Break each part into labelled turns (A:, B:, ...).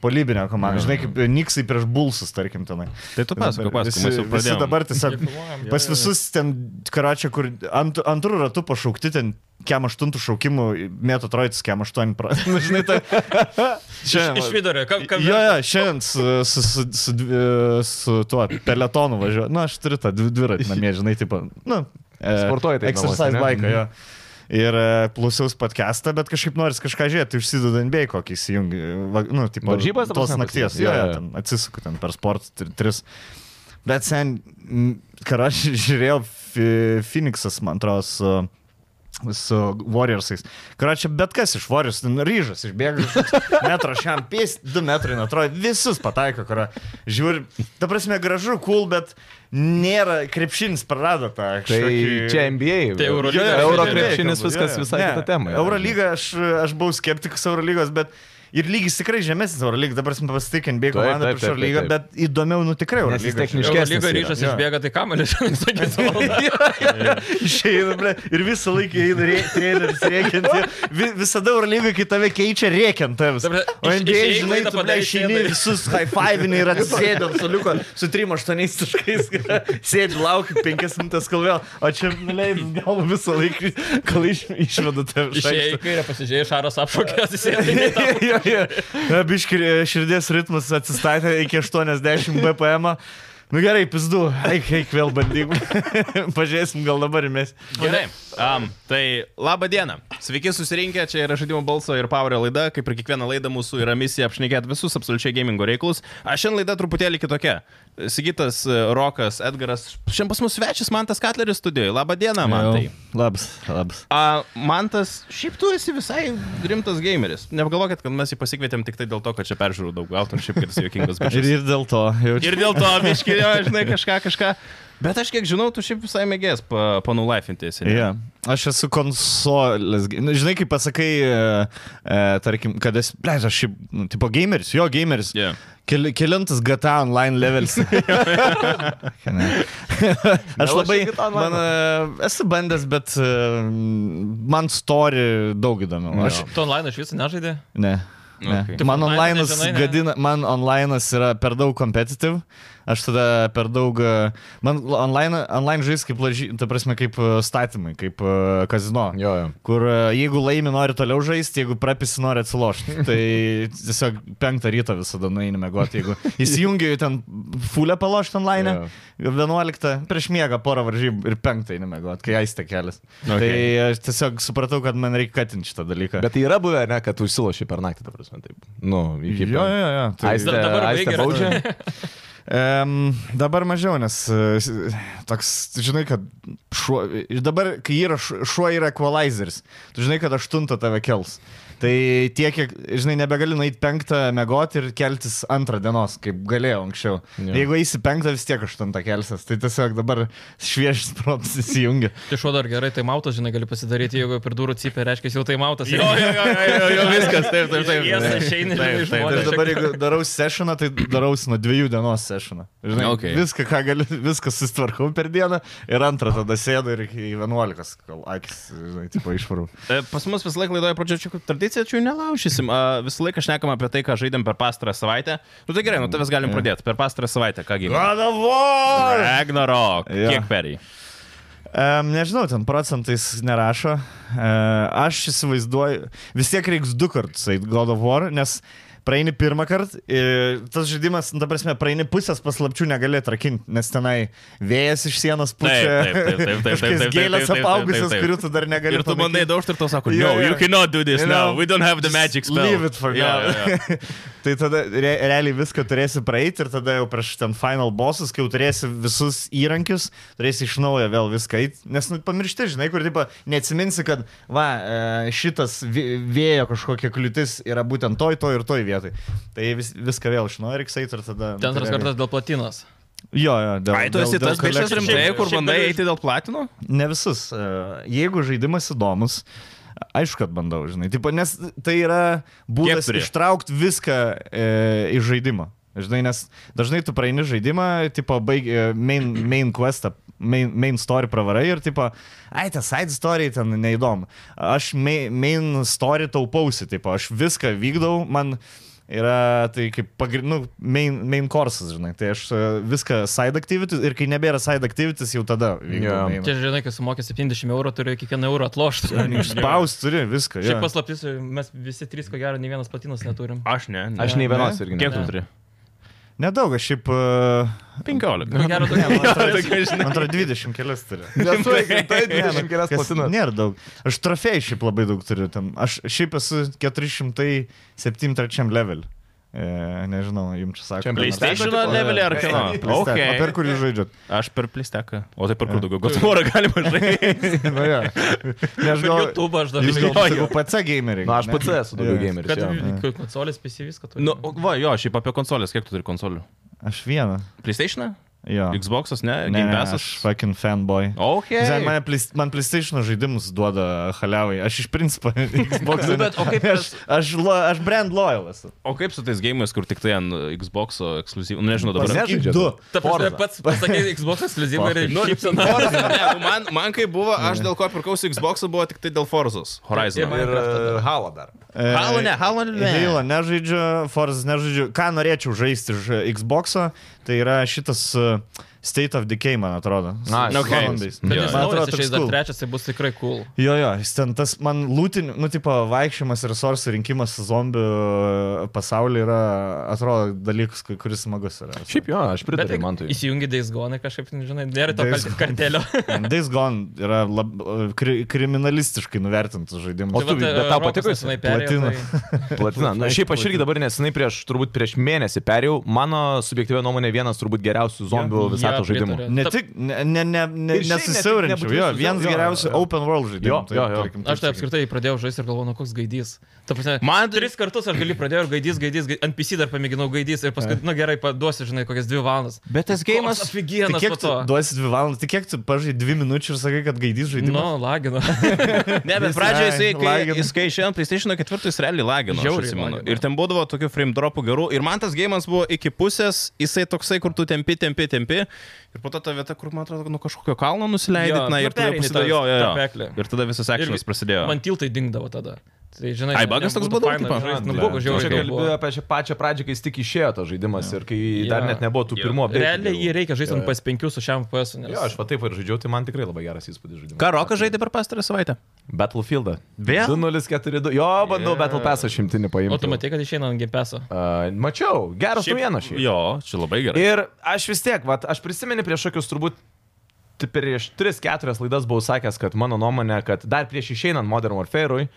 A: polybinė komanda. Žinai, kaip э, Niksai prieš Bulsus, tarkim, tenai.
B: Tai tu pasako, pasako, mes
A: Visi,
B: jau
A: visi
B: pradėjome.
A: dabar tiesiog pas visus ten, karočią, kur ant, antrų ratų pašaukti ten. Kem aštuntų šaukimų, mėtų trojus, kem aštuoni procentų. Nu, Žinai, tai... Čia,
C: Iš vidurio, kam, kam
A: Jo, jo, šiandien su, su, su, su, dvi- su tuo peletonu važiuoju. Na, aš turiu tą dvi- dviratį namie, žinai, taip, nu. e,
D: Sportuoji taip
A: Exercise
D: namuose, ne? Mhm.
A: bike, jo. Ir e, klausiaus podcastą, bet kažkaip noris kažką tai žiūrėti, užsidedant bei kokį įsijungi. va- Nu, tipo,
D: Varžybas, ta
A: tos
D: prasme,
A: nakties.
D: pasižiūri?
A: Jo,
D: Jo,
A: jo,
D: jo.
A: ten atsisuku ten per sport tri- tris. Bet sen, m, kar aš žiūrėjau, Fi- Phoenixas, man atrodo, su su Warriorsais. Karačia, bet kas iš Warriors, ten ryžas išbėga, kažkoks metro šiam pės, du metrai, nu atrodo, visus pataiko, kur žiūri, ta prasme, gražu, cool, bet nėra, krepšinis prarado tą.
D: Tai
A: kažkokį-
D: čia NBA.
C: Tai Eurolyga.
A: Jo, jo,
D: Euro
A: žaidėjai
D: krepšinis
A: kalbu,
D: viskas
A: jo, jo.
D: visai
A: Ne,
D: kita tema. yra.
A: Eurolyga, aš, aš buvau skeptikas Eurolygos, bet ir lygis tikrai žemesnis Eurolygos, dabar mes pasitikėm NBA
D: Taip,
A: komandą
D: taip,
A: prieš
D: taip, taip,
A: Eurolygą,
D: taip.
A: bet įdomiau, nu tikrai
D: Nes jis
A: Eurolygą.
D: techniškai
C: Jau lyga
D: yra.
C: ryžas
A: Jo.
C: išbėga, tai kamelis, sakytum.
A: Išeina, ble, ir visą laiką eina rė- treneris rėkianti. Vi, visada Eurolygoje, kai tave keičia rėkiantams.
C: Ta prasme,
A: O
C: iš-
A: NBA,
C: išėjai
A: žinai,
C: klaidą
A: tu
C: padarei,
A: plešini
C: sėdai.
A: visus high five ir atsisėdi ant suliuko su 3-8 taškais. Sėdi, lauki 5 minutės kalvėl, o čia nuleidai galvą visą laiką, kol iš, išvedu tave iš
C: Išėjai į
A: aikštės.
C: kairę, pasižiūrėjai, šaras apšokęs, tai jis
A: Jo, jo. Biški širdies ritmas atsistatė iki 80 BPM. Nu gerai, pizdu, eik, eik vėl bandyk. Pažiūrėsim, gal dabar mes.
B: Gerai. Um, tai laba diena. Sveiki susirinkę, čia yra žaidimų balso ir Power laida. Kaip ir kiekvieną laidą mūsų yra misija apšnekėti visus absoliučiai gamingo reikalus. Aš šiandien laida truputėlį kitokia. Sigitas, e, Rokas, Edgaras. Šiandien pas mus svečias Mantas Katleris studijoje. Labą dieną, Mantai.
A: Labas, labas.
B: A, Mantas, šiaip tu esi visai rimtas gameris. Nepagalvokit, kad mes jį pasikvietėm tik tai dėl to, kad čia peržiūrų daug gautum, šiaip kad jis juokingas. bičas.
A: Ir, ir dėl to, jaučiu.
B: Ir dėl to, miškinio, žinai, kažką, kažką. Bet aš kiek žinau, tu šiaip visai mėgės pa, panulaifinti esi. ne?
A: Yeah. Aš esu konsolės. ge- nu, Žinai, kai pasakai, e, e, tarkim, kad esi, ble, aš šiaip, nu, tipo, gameris, jo gameris.
B: Jo.
A: Kel, kelintas GTA online levels. Ne. aš
D: Nelašai
A: labai...
D: GTA online.
A: Man, e, esu bandęs, bet e, man story daug įdomiau. Aš,
C: Tu online iš viso nežaidė?
A: Ne. Ne.
B: Okay.
A: Okay. Man
C: Online
A: online
C: nežinai, ne?
A: gadina, man online yra per daug competitive, aš tada per daug, e, man online, online žais kaip, laži, ta prasme, kaip e, statymai, kaip e, kazino,
D: Jo, jo.
A: kur e, jeigu laimi nori toliau žaisti, jeigu prapisi nori atsilošti, tai tiesiog penktą ryto visada nueini mėgoti, jeigu įsijungi ten fulę palošti online,
D: Jo.
A: yeah. 11 prieš miegą porą varžybų ir penktą eini mėgoti, kai aistė kelias.
B: Okay.
A: Okay. Tai aš tiesiog supratau, kad man reikia katinti šitą dalyką.
D: Bet tai yra buvę, ne, kad užsiloši per naktį, ta prasme, taip. Nu, iki...
A: Jo, jo, jo. Tai...
D: Aistė,
C: Da- dabar
D: aistė
C: baigė
D: baudžia.
A: Um, dabar mažiau, nes e, toks, žinai, kad šuo, ir dabar, kai yra šu- šuo, yra equalizeris, tu žinai, kad aštuntą tave kels. Tai tiek, kiek, žinai, nebegali nueiti penktą mėgoti ir keltis antrą dienos, kaip galėjau anksčiau.
D: Jo.
A: Jo. Jeigu eisi penktą, vis tiek aštuntą kelsis. Tai tiesiog dabar šviežis protas įsijungia.
C: Tai šuo dar gerai, tai mautas, žinai, gali pasidaryti, jeigu per durų cipė, reiškia, jau tai mautas.
B: Jo, jo, jo, jo, jo, viskas, taip, taip, taip.
C: Jie išeina, žinai,
B: Taip,
C: iš
B: taip,
A: Ir
C: modelio.
B: taip.
A: dabar, jeigu darau sesioną, tai darau nuo dviejų dienos sesioną. Žinai,
B: Okay.
A: okay. viską, ką galiu, viską susitvarkau per dieną ir antrą tada sėdu ir iki 11, kol akis, žinai, tipo išvarau.
B: E, Pas mus visą laiką laidoje pradžioje čia kokių tradicija, čia jų nelaušysim. A, Visą laiką šnekam apie tai, ką žaidėm per pastarą savaitę. Nu tai gerai, nu tavęs galim pradėti. Per pastarą savaitę, kągi.
A: Vadavo!
B: Ragnarok.
A: Jo.
B: Kiek perėjai?
A: Um, nežinau, ten procentais nerašo. Uh, aš įsivaizduoju, vis tiek reiks du kartus eit God of War, nes praeini pirmą kartą, ir tas žaidimas, nu, ta prasme, praeini pusės paslapčių negali atrakinti, nes tenai vėjas iš sienos
B: taip, taip, taip, taip,
A: pučia,
B: taip, taip, taip,
A: kažkokios
B: taip,
A: gėlės
B: taip,
A: apaugusios,
B: taip, taip.
A: kurių tu dar negali.
B: Ir tu bandai
A: panaikinti.
B: daužti ir tau sako,
A: Jo,
B: no,
A: jo.
B: you cannot do this
A: You
B: now,
A: know,
B: we don't have the
A: just
B: magic spell.
A: Leave it for
B: Jo,
A: now.
B: jo, jo.
A: tai tada re, realiai viską turėsi praeiti ir tada jau prieš ten final bossus, kai jau turėsi visus įrankius, turėsi iš naujo vėl viską eiti, nes nu, pamiršti, žinai, kur tipo, neatsiminsi, kad va, e, šitas vė- vėjo kažkokia kliūtis yra būtent toj, toj ir toj vietai. Tai vis, viską vėl iš naujo reiks eiti ir tada...
C: Ten antras
A: realiai-
C: kartas dėl platinos.
A: Jo, jo, dėl...
B: Tai Ai, tu
A: dėl-
B: esi
A: dėl
B: tas bičias
A: collection.
B: rimtai,
C: Šiaip-
B: kur
C: šiaip
B: bandai
C: galiu-
B: eiti dėl platino?
A: Ne visus. E, Jeigu žaidimas įdomus, aišku, kad bandau, žinai. Tipo, nes tai yra būdas
B: Kiek turi?
A: ištraukti viską e, iš žaidimo. Žinai, nes dažnai tu praeini žaidimą, tipo, baig, e, main, main questą, main, main story pravarai ir, tipo, ai, ta side story ten neįdomu. Aš main, main story taupausi, tipo, aš viską vykdau, man Yra tai kaip pagri... nu, main, main courses, žinai. Tai aš e, viską side activities ir kai nebėra side activities, jau tada
D: Jo.
A: vykdau.
C: Čia, žinai, kai sumokė 70 eurų, turiu kiekvieną eurą atlošti.
A: Išspausti turi viską.
C: Šiaip
A: jo.
C: paslaptis, mes visi trys, ko gero, nei vienas platinas neturim.
B: Aš ne. ne.
D: Aš nei vienos irgi.
B: Kiek
D: neturiu.
B: tu turi?
A: Nedaug, aš šiaip... Uh,
B: 15.
C: Ko gero, Tai
B: tai
C: tokia.
A: Antra 20 kelias turiu.
D: Nesu, tai
A: Ne, nu,
D: 20 kelias
A: kas
D: platinas.
A: Nėra daug. Aš trofėjų šiaip labai daug turiu. Ten. Aš šiaip esu 473 level. E, nežinau, jums čia
D: Čia
A: sako.
B: PlayStation
D: Tipo,
B: levelį ar kieno?
A: Okay. O per kurį žaidžiat?
B: Aš per plisteką. O tai per kur daugiau? Gotamorą galima žaisti.
A: Na, ja. Ne, aš gal...
C: YouTube aš
A: Nu Jūs gal
C: dažnai.
B: Jo, jo.
A: sakau PC gameriai.
D: Na, Nu, aš
A: ne?
D: pats esu daugiau
A: Jo.
D: gameris.
C: Kad
D: jo.
C: kad konsolės, PC viską turi.
B: Nu, o, va, jo, šiaip apie konsolės, kiek tu turi konsolių?
A: Aš vieną.
B: PlayStation?
A: Jo.
B: Xbox'as, ne?
A: Ne,
B: Game
A: ne,
B: Pass'as?
A: aš fucking fanboy.
B: Ok.
A: Žinai, mane plis- man PlayStation žaidimus duoda haliavai. Aš iš principo Xbox.
C: Nu, bet o kaip
A: aš, aš, lo, aš brand loyal esu.
B: O kaip su tais gėjimais, kur tik tai ant Xbox'o ekskluzyvų? Nu, nežinau dabar.
D: Pasakyk
A: Pasakyk
D: du.
A: du.
C: Ta prasme,
D: Forza.
C: pats pasakė Xbox ekskluzivą ir
B: Nu,
C: šypsena.
B: ne, man, man kai buvo, aš dėl ko pirkausi Xbox'ą, buvo tik tai dėl Forzos Horizon.
C: Ir-
D: Ir e, Halo dar.
A: E,
B: Halo ne, Halo ne.
A: Halo nežaidžiu, Forza nežaidžiu. Ką norėčiau žaisti iš e, Xbox'o, tai yra šitas e, State of Decay, man atrodo. su-
D: Na,
A: su
B: okay.
A: zombiais.
B: Bet
A: Man
C: Bet
B: Jo,
C: jis
B: jo.
A: atrodo,
C: naujas
A: toks
C: išeis dar
A: cool.
C: trečias, tai bus tikrai cool.
A: Jo, jo, jis ten tas man lūtin, nu, tipo, vaikščiamas ir sorsų rinkimas zombių pasaulyje yra, atrodo, dalykas, ku- kuris smagus yra.
D: Šiaip jo, aš
C: Bet
D: pritariu man tai.
C: įsijungi Daisgonai kažkaip, žinai, nėra to
A: Days
C: kal-
A: Gone.
C: kartelio.
A: Days Gone yra lab, kri, kriminalistiškai nuvertintas žaidimas.
D: O tu, bet tau patiko jis?
C: senai perėjo.
A: Platina.
C: tai-
D: Platina. Na, šiaip aš irgi dabar nesenai prieš, turbūt prieš mėnesį perėjau. Mano subjektyvė nuomonė vienas turbūt geriausių zombių
C: Jo,
D: visato žaidimų.
C: pritariu.
A: Ne
C: Ta-
A: tik, ne, ne, ne, ne,
D: Ir šiaip
A: nesusiaurinčiau,
D: ne-
A: jo,
D: nebūtinai su-
A: vienas
D: jo,
A: geriausių
D: jo.
A: open world žaidimų.
D: Jo, jo, jo.
A: tarkim,
C: Aš tai
A: taip sakyt.
C: apskritai pradėjau žaisti ir galvoju, nu koks gaidys. Ta prasme,
B: Man-
C: tris kartus aš gali pradėjau ir gaidys, gaidys, gaidys, ant PC dar pamėginau gaidys ir paskui, nu gerai, paduosi, žinai, kokias dvi valandas.
D: Bet tas gėjimas.
A: Tai
C: Aфиgenas
A: kiek
C: po
A: tu
C: to.
A: duosi dvi valandas, tai kiek tu pažaidai dvi minučių ir sakai, kad gaidys žaidimą?
C: Nu, lagino.
B: Ne, bet
A: Jis
B: pradžioje jisai,
A: lag-
B: kai,
A: lagino.
B: jis, kai išėjo ant PlayStation 4, jis realiai lagino.
C: Žiauriai
B: Žiauriai lagino.
C: lagino.
B: Ir ten būdavo tokių frame dropų gerų. Ir man tas gėjimas buvo iki pusės, jisai toksai, kur tu tempi, tempi, tempi. Ir po to ta vieta, kur man atrodo, nu kažkokio kalno nusileidai.
C: Jo,
B: Na
C: nu,
B: ir tada
C: pereini tą-
B: prasidėjo. Jo, jo,
C: tą
B: jo.
C: peklį.
B: Ir tada visas
C: Ir
B: akcijas prasidėjo.
C: Man tiltai dingdavo tada. Tai žinai,
B: Ai, bagas toks būdavo, tipo?
C: Nu,
B: Blet.
C: buvo
D: Aš
C: žiauriai
D: kalbėjau
C: buvo.
D: apie šią pačią pradžią, kai jis tik išėjo tas žaidimas ir kai dar
C: Jo.
D: net nebuvo tų
B: Jo.
D: pirmų apie.
C: Realiai jį reikia žaisti ant PS5 su šiam PS. nes-
D: Jo, aš va taip ir žaidžiau, tai man tikrai labai geras įspūdis žaidimas.
B: Ką roką žaidė per pastarą savaitę?
D: Battlefield.
B: Vėl?
D: 2042. Jo, bandau
B: Yeah.
D: yeah. Battle Pass šimtinį paimti.
C: O tu matai, kad išeina ant GPS.
D: Uh, mačiau, geras naujienas šiaip.
B: Jo, čia labai gerai.
D: Ir aš vis tiek, vat, aš prisimenu prieš kokius turbūt t- prieš 3-4 laidas buvau sakęs, kad mano nuomonė, kad dar prieš išeinant Modern Warfare'ui,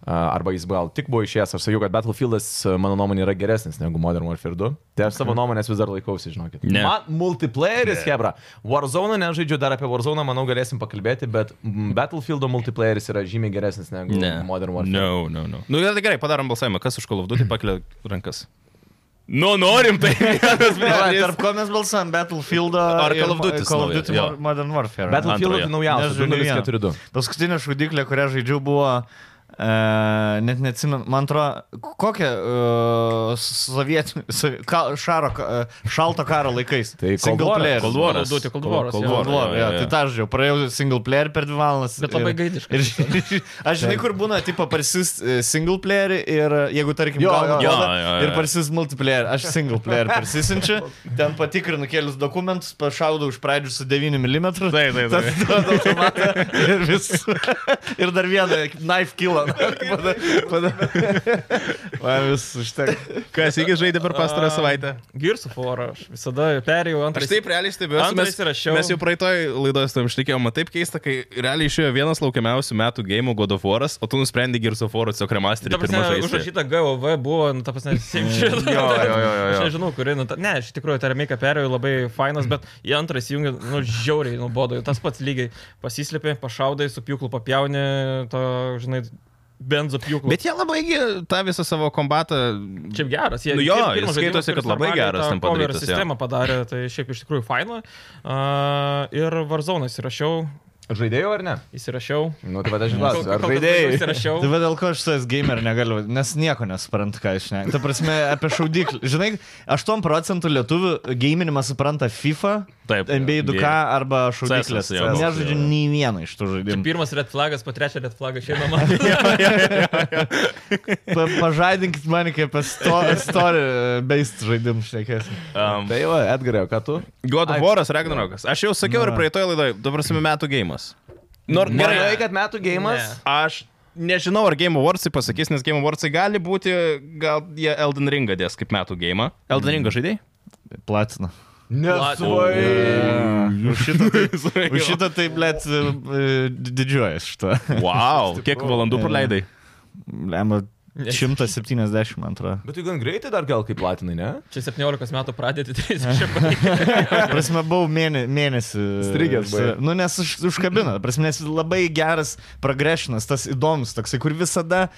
D: a, arba jis gal tik buvo išėjęs, aš sakiau, kad Battlefieldas a, mano nuomonė yra geresnis negu Modern Warfare 2. Tai aš savo nuomonės vis dar laikausi, žinokit.
B: Mhm. Ne.
D: Man multiplayeris, Hebra. Warzone nežaidžiu, dar apie Warzone manau galėsim pakalbėti, bet mm, Battlefield'o multiplayeris yra žymiai geresnis negu
B: Ne.
D: Modern Warfare.
B: No, no, no. Nu, tai gerai, padarom balsavimą. Kas už kolovdų, tai pakelia rankas. Nu, norim, tai vienas
A: Ne,
B: blogis.
A: Tarp ko mes balsuojam Battlefield e,
B: Ar Call of Duty's
A: Call of
B: nauja,
A: Duty
B: jo.
A: Mo- Modern Warfare.
D: Battlefield
B: Antrojo.
D: naujausias
A: Nežaidžiu nei vieno.
D: 2042.
A: Paskutinė šaudyklė, kurią žaidžiau, buvo, e, net neatsimenu, man atrodo, kokia e, sovietų, so, ka, šaro, ka, e, šalto karo laikais.
D: Tai Cold
A: single
D: War,
A: player.
B: Cold Waras.
C: Call of Duty, Cold Waras,
B: Cold
C: jo.
B: War,
A: Cold War, jo,
B: jo, jo,
A: tai
B: jo.
A: tą žaidžiau, praėjau single player per dvi valandas.
C: Bet labai
A: ir-
C: gaidiškai.
A: Ir, aš žinai, kur būna, tipo, parsis e, single player ir e, jeigu, tarkim,
D: Jo,
A: gaunu
D: jo,
B: jo,
A: kodą
B: jo, jo.
A: ir parsis multiplayer, aš single player persisinčiu, ten patikrinu kelius dokumentus, pašaudau iš pradžių su 9 mm.
B: Taip, taip, taip.
A: Tas duoda automatą ir vis. Ir dar vieną knife kilo. Pada, pada. Man vis užtenka.
B: Kas iki žaidė per pastarą
C: A,
B: savaitę?
C: Girsų forą aš visada perėjau antrą.
B: Aš taip realiai stebiuosi,
C: Antras
B: mes,
C: įrašiau.
B: mes jau praeitoj laidoje su tam šnekėjom, man taip keista, kai realiai išėjo vienas laukiamiausių metų game God of War'as, o tu nusprendai Gears of War'o tiesiog remasterį
C: Ta
B: pirmą
C: prasme,
B: žaisti.
C: užrašyta GOV buvo, nu, ta prasme, Simšin.
D: Jo, jo, jo, jo,
C: Aš
D: jo.
C: nežinau, kuri, nu, ta, ne, iš tikrųjų, tą remake'ą perėjau labai fainas,
B: Mm.
C: bet į antrą įjungiu, nu, žiauriai nubodo, tas pats lygiai pasislėpė, pašaudai, su pjūklu papjauni, to, žinai, benzo pjūklu.
B: Bet jie labai gi tą visą savo kombatą.
C: Šiaip geras, jie
B: Nu jo,
C: pir-
B: jis
C: pirmas
B: skaitosi,
C: žaidimas,
B: kad
C: kuris
B: labai
C: normaliai
B: geras
C: tą
B: ten
C: cover
B: padarytas, jo.
C: Sistemą padarė, tai šiaip iš tikrųjų faina. Uh, ir Varzonas įrašiau.
D: Žaidėjau ar ne?
C: Įsirašiau.
D: Nu, tai vadai
C: Kol-
D: žinau,
C: kol
D: ar
C: kas
D: žaidėjai.
A: Tai
C: Įsirašiau.
A: va dėl ko aš su tais gamer negaliu, nes nieko nesuprantu, ką aš ne. Ta prasme, apie šaudiklį. Žinai, 8 procentų lietuvių geiminimą supranta FIFA,
B: Taip.
A: NBA 2K arba šaudiklės.
B: CS, jo,
A: Nežaidžiu
B: jo.
A: nei vieno iš tų žaidimų.
C: Pirmas red flagas, po trečią red flagą išėjo mama.
A: Pa, pažadinkit mane kaip apie sto- story-based žaidimų šnekėsim.
B: Um,
D: Tai va, Edgarai, o ką tu?
B: God of
D: Ai,
B: War'as Ragnarokas. Aš jau sakiau ir
A: Na.
B: praeitoje laidoje, dabar prasme, metų gėjimas. Nor,
D: Gerai,
B: gerai,
D: kad metų gėjimas.
C: Ne.
B: aš nežinau, ar Game Awardsai pasakys, nes Game Awardsai gali būti, gal jie Elden Ringą dės kaip metų gėjimą. Elden Ringą žaidėjai?
A: Platina.
D: Nesvai.
A: Už šitą tai, už
B: Už šitą.
A: šitą tai blėt, didžiuojas šitą.
B: Wow, kiek valandų
A: Jo.
B: praleidai?
A: Lemba 170 antrą.
D: Bet tu gan greitai dar gal kaip platinai, ne?
C: Čia 17 metų pradėti tai 30 metų.
A: Prasme, buvau mėne, mėnesį.
D: Strigęs buvai.
A: Nu, nes už, užkabino. Prasme, nes labai geras progressionas, tas įdomus toksai, kur visada,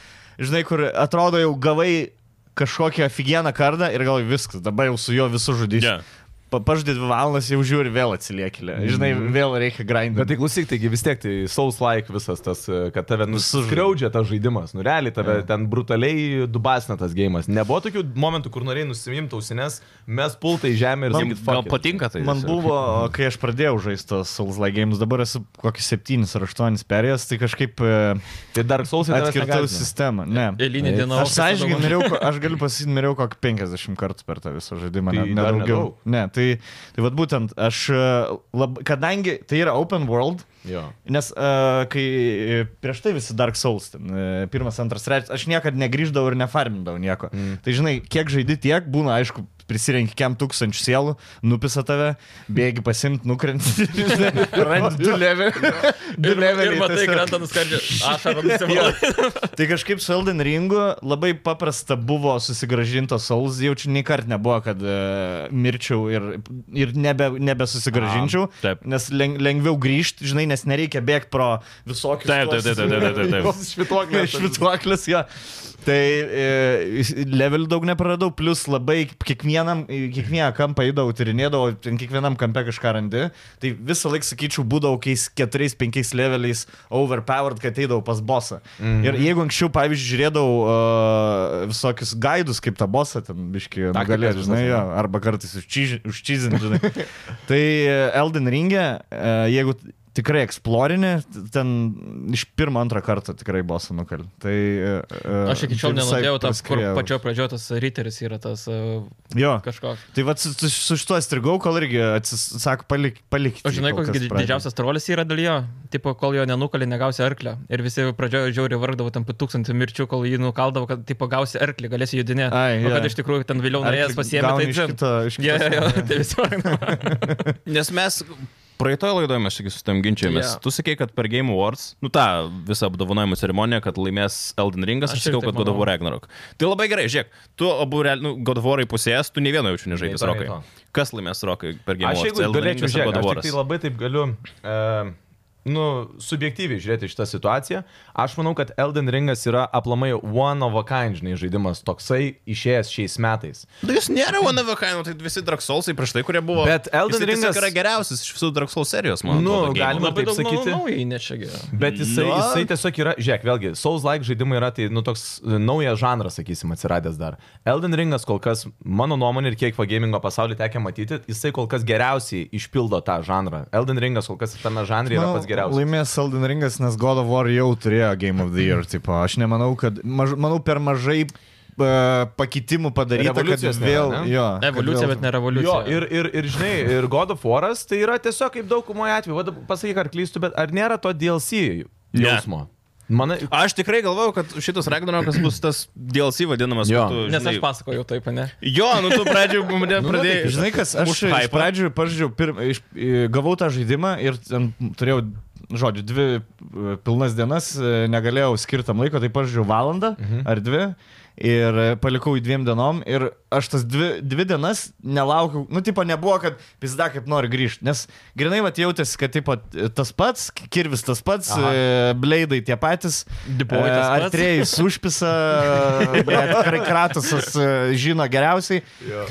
A: žinai, kur atrodo jau gavai kažkokią aфиgeną kardą ir gal viskas, dabar jau su juo visų žudysiu.
B: Jo.
A: Yeah. Pa, Pažadai dvi valandas jau žiūri vėl atsiliekilė. Žinai, vėl reikia
D: Mhm. Bet tai
A: grindinti.
D: klausyk, taigi vis tiek tai Souls like visas tas, e, kad tave
A: Visus
D: nuskriaudžia tas žaidimas, nu realiai tave ten brutaliai dubasina tas gėjimas. Nebuvo tokių momentų, kur norėjai nusimimti ausines, mes pultai žemė ir sakyt,
B: Gal
D: fuck. it.
B: patinka tai?
A: Man
B: tiesiog?
A: buvo, kai aš pradėjau žaisti tos Souls Like Games, dabar esu kokį 7 ar 8 perėjęs, tai kažkaip e,
D: Tai dar Souls like
A: atkirtau sistemą. Ne.
D: E,
C: Eilinį
D: nu,
C: dieną.
A: Aš
D: tai
A: sąžininkai miriau, ko- aš galiu pasakyti, miriau kokį 50 kartų per tą visą žaidimą,
D: Tai
A: tai
D: dar
A: nedaugiau.
D: nedaug.
A: Ne, tai, tai vad būtent, aš, e, lab, kadangi tai yra open world,
D: Jo.
A: nes uh, kai e, prieš tai visi Dark Souls, ten, e, pirmas, antras, trečias, aš niekada negrįždavau ir nefarmindavau nieko. Mm. Tai žinai, kiek žaidi tiek, būna, aišku, prisirenki kiem tūkstančių sielų, nupisa tave, bėgi pasimti, nukrenti, žinai, randi du leveliai. Du
C: Ir, ir
A: leveliai
C: matai,
A: tiesiog.
C: krenta nuskardžia. Aš ar nusivalau.
A: Tai kažkaip su Elden Ringu labai paprasta buvo susigražinto Souls, jau čia nei kart nebuvo, kad uh, mirčiau ir, ir nebe, nebesusigražinčiau,
B: A, taip.
A: nes leng, lengviau grįžti, žinai, nes nereikia bėgti pro visokius
B: Taip, taip, taip, taip, taip, taip, taip.
A: švituoklės. švituoklės, jo. Tai e, level daug nepraradau, plus labai kiekvienam, į kiekvieną kampą įdavau, tyrinėdavau, ten kiekvienam kampe kažką randi. Tai visą laiką, sakyčiau, būdavau kokiais keturiais, penkiais leveliais overpowered, kad eidavau pas bosą. Mm. Ir jeigu anksčiau, pavyzdžiui, žiūrėdavau uh, visokius gaidus, kaip tą bosą ten, biški,
D: Taktikas
A: nugalėti, žinai,
D: visas,
A: jo, arba kartais užčyž- užčyzint, žinai. tai Elden Ringė, e, jeigu t- tikrai eksplorinė, t- ten iš pirmo, antro karto tikrai bosą nukali. Tai, e, e,
C: Aš iki šiol
A: tai visai
C: nenudėjau, tas kur
A: praskriejo.
C: pačio pradžio tas riteris yra tas uh,
A: Jo.
C: kažkoks.
A: Tai va, su, su- su šituo strigau, kol irgi atsisako palik, palikti.
C: O žinai, koks did- didžiausias trolis yra dalyje? Tipo, kol jo nenukalė, negausi arklio. Ir visi pradžioje žiauriai vargdavo ten po tūkstantį mirčių, kol jį nukaldavo, kad tipo gausi arklį, galėsi judinėti.
A: Ai,
C: O kad
A: jo.
C: iš tikrųjų ten vėliau norėjęs pasiemti, tai
A: Iš
C: čia.
A: kito, iš kito.
C: Jo, jo, jo, tai visi vargdavo.
B: Nes mes praeitoje laidoje mes irgi su tam ginčiamės.
C: Jo.
B: Yeah. Tu sakei, kad per Game Awards, nu tą visą apdovanojimų ceremoniją, kad laimės Elden Ringas,
C: Aš
B: aš
C: irgi
B: sakiau,
C: taip
B: kad God of
C: manau.
B: War Ragnarok. Tai labai gerai, žiūrėk, tu abu real- nu, God of War'ai pusės, tu ne vieno jaučiu nežaidęs
D: Nei to, nei
B: rokai.
D: to.
B: Kas laimės rokai per Game
D: Aš
B: Awards?
D: jeigu galėčiau
B: ar
D: žiūrėti,
B: God of
D: aš tik
B: Waras?
D: tai labai taip galiu, e, nu, subjektyviai žiūrėti šitą situaciją. Aš manau, kad Elden Ringas yra aplamai one of a kind, žinai, žaidimas toksai išėjęs šiais metais.
B: Tai jis nėra One of a Kind, tai visi Dark Soulsai prieš tai, kurie buvo.
D: Bet Elden
B: Jisai tiesiog
D: Ringas-
B: yra geriausias iš visų Dark Souls serijos, man
D: Nu,
B: atrodo.
D: galima-
B: Galima...
D: Taip
C: Labai daug
D: sakyti.
C: sakyti. naujai nečiagi.
D: Bet jisai,
B: Na.
D: jisai tiesiog yra, žiūrėk, vėlgi, Souls-like žaidimai yra tai, nu, toks e, naujas žanras, sakysim, atsiradęs dar. Elden Ringas kol kas, mano nuomonė ir kiek vagemingo pasaulį tekia matyti, jisai kol kas geriausiai išpildo tą žanrą. Elden Ringas kol kas tame žanre yra pats
A: Nu,
D: geriausias.
A: Laimės Elden Ringas, nes God of War jau turėjo Game of the Year. Tipo. Aš nemanau, kad... Maž, manau, per mažai e, pakitimų padaryta, kad
D: Revoliucijos nėra,
A: vėl...
D: ne?
A: Jo, kad
C: Evoliucija,
A: vėl-
C: bet ne
D: Jo,
C: revoliucija.
D: ir, ir, ir žinai, ir God of War'as tai yra tiesiog kaip daugumoje atveju. Vada, Pasakyk, ar klystu, bet ar nėra to DLC
B: Ne.
D: jausmo? Manai,
B: Aš tikrai galvojau, kad šitas Ragnarokas bus tas DLC vadinamas.
D: Jo.
B: kur tu,
C: Nes
B: žinai-
C: aš pasakojau taip, ne?
B: Jo, nu tu pradžioje mane pradėjai.
A: nu, tai Žinai, kas, aš
B: už
A: iš
B: hype'ą.
A: pradžių pažiūrėjau, pirm, iš, i, gavau tą žaidimą ir ten turėjau, nu, žodžiu, dvi e, pilnas dienas, e, negalėjau skirtam laiko, tai pažiūrėjau valandą mhm. ar dvi Ir e, palikau jį dviem dienom ir aš tas dvi, dvi dienas nelaukiau, nu, tipo, nebuvo, kad visada kaip nori grįžti, nes grinai vat jautėsi, kad, tipo, tas pats, kirvis tas pats,
D: Aha.
A: e, bleidai tie patys, e,
C: Diploidai tas pats.
A: artrėjus užpisa, tikrai kratusas e, žino geriausiai,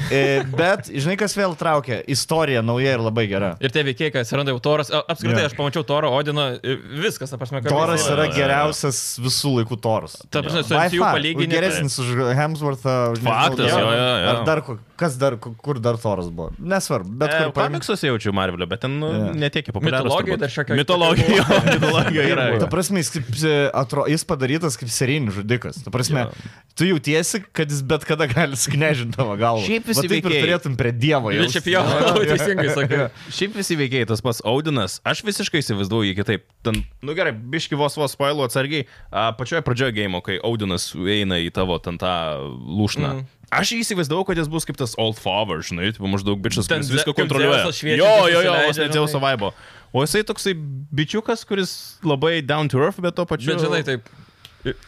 A: E, bet, žinai, kas vėl traukia, istorija nauja ir labai gera.
C: Ir tie veikėjai, kad atsiranda jau Toras. A, Apskritai,
A: Jo.
C: aš pamačiau Toro Odino, ir viskas, ta prasme, kad...
A: Toras
B: jo,
A: yra
B: jo, jo.
A: geriausias visų laikų Toras.
C: Ta prasme, su
A: By
C: MCU
A: far.
C: palyginti.
A: Geresnis už Hemsworthą. už nežinau,
B: Faktas,
A: dar-
B: jo, jo, jo.
A: Ar dar, ko- kas dar, ku- kur dar Toras buvo. Nesvarbu, bet
B: Bet
A: kur
B: kur komiksus E, jaučiu Marvelio, bet ten
A: Jo.
B: yeah. netiek populiarus.
C: Mitologijoj
B: turbūt.
C: dar šiokio-
B: Mitologijoj, jo, mitologijoj yra.
A: Ta prasme, jis, kaip, e, atro, jis padarytas kaip serijinis žudikas. Ta prasme,
B: Jo.
A: tu jautiesi, kad jis bet kada gali sknežinti tavo galvą.
B: Šiaip visi
A: Va taip ir
B: veikėjai.
A: turėtum prie Dievo.
C: Ir čia jau teisingai sakai.
B: Šiaip visi veikėjai, tas pats Audinas, aš visiškai įsivaizduoju jį kitaip. Ten, nu gerai, biški vos vos spoilu atsargiai, a, pačioje pradžioje gėjimo, kai Audinas eina į tavo ten tą lūšną.
C: Mm.
B: Mm. Aš jį įsivaizdavau, kad jis bus kaip tas old father, žinai, tipo maždaug bičias,
C: Ten
B: kuris
C: Ze-
B: viską
C: kaip
B: kontroliuoja.
C: Dzeusas šviečiantis
B: Jo, jo, jo, vos
C: įsileidžia,
B: nedėjau
C: žinai.
B: savaibo. O jisai toksai bičiukas, kuris labai down to earth, bet to pačiu.
C: Bet žinai, taip.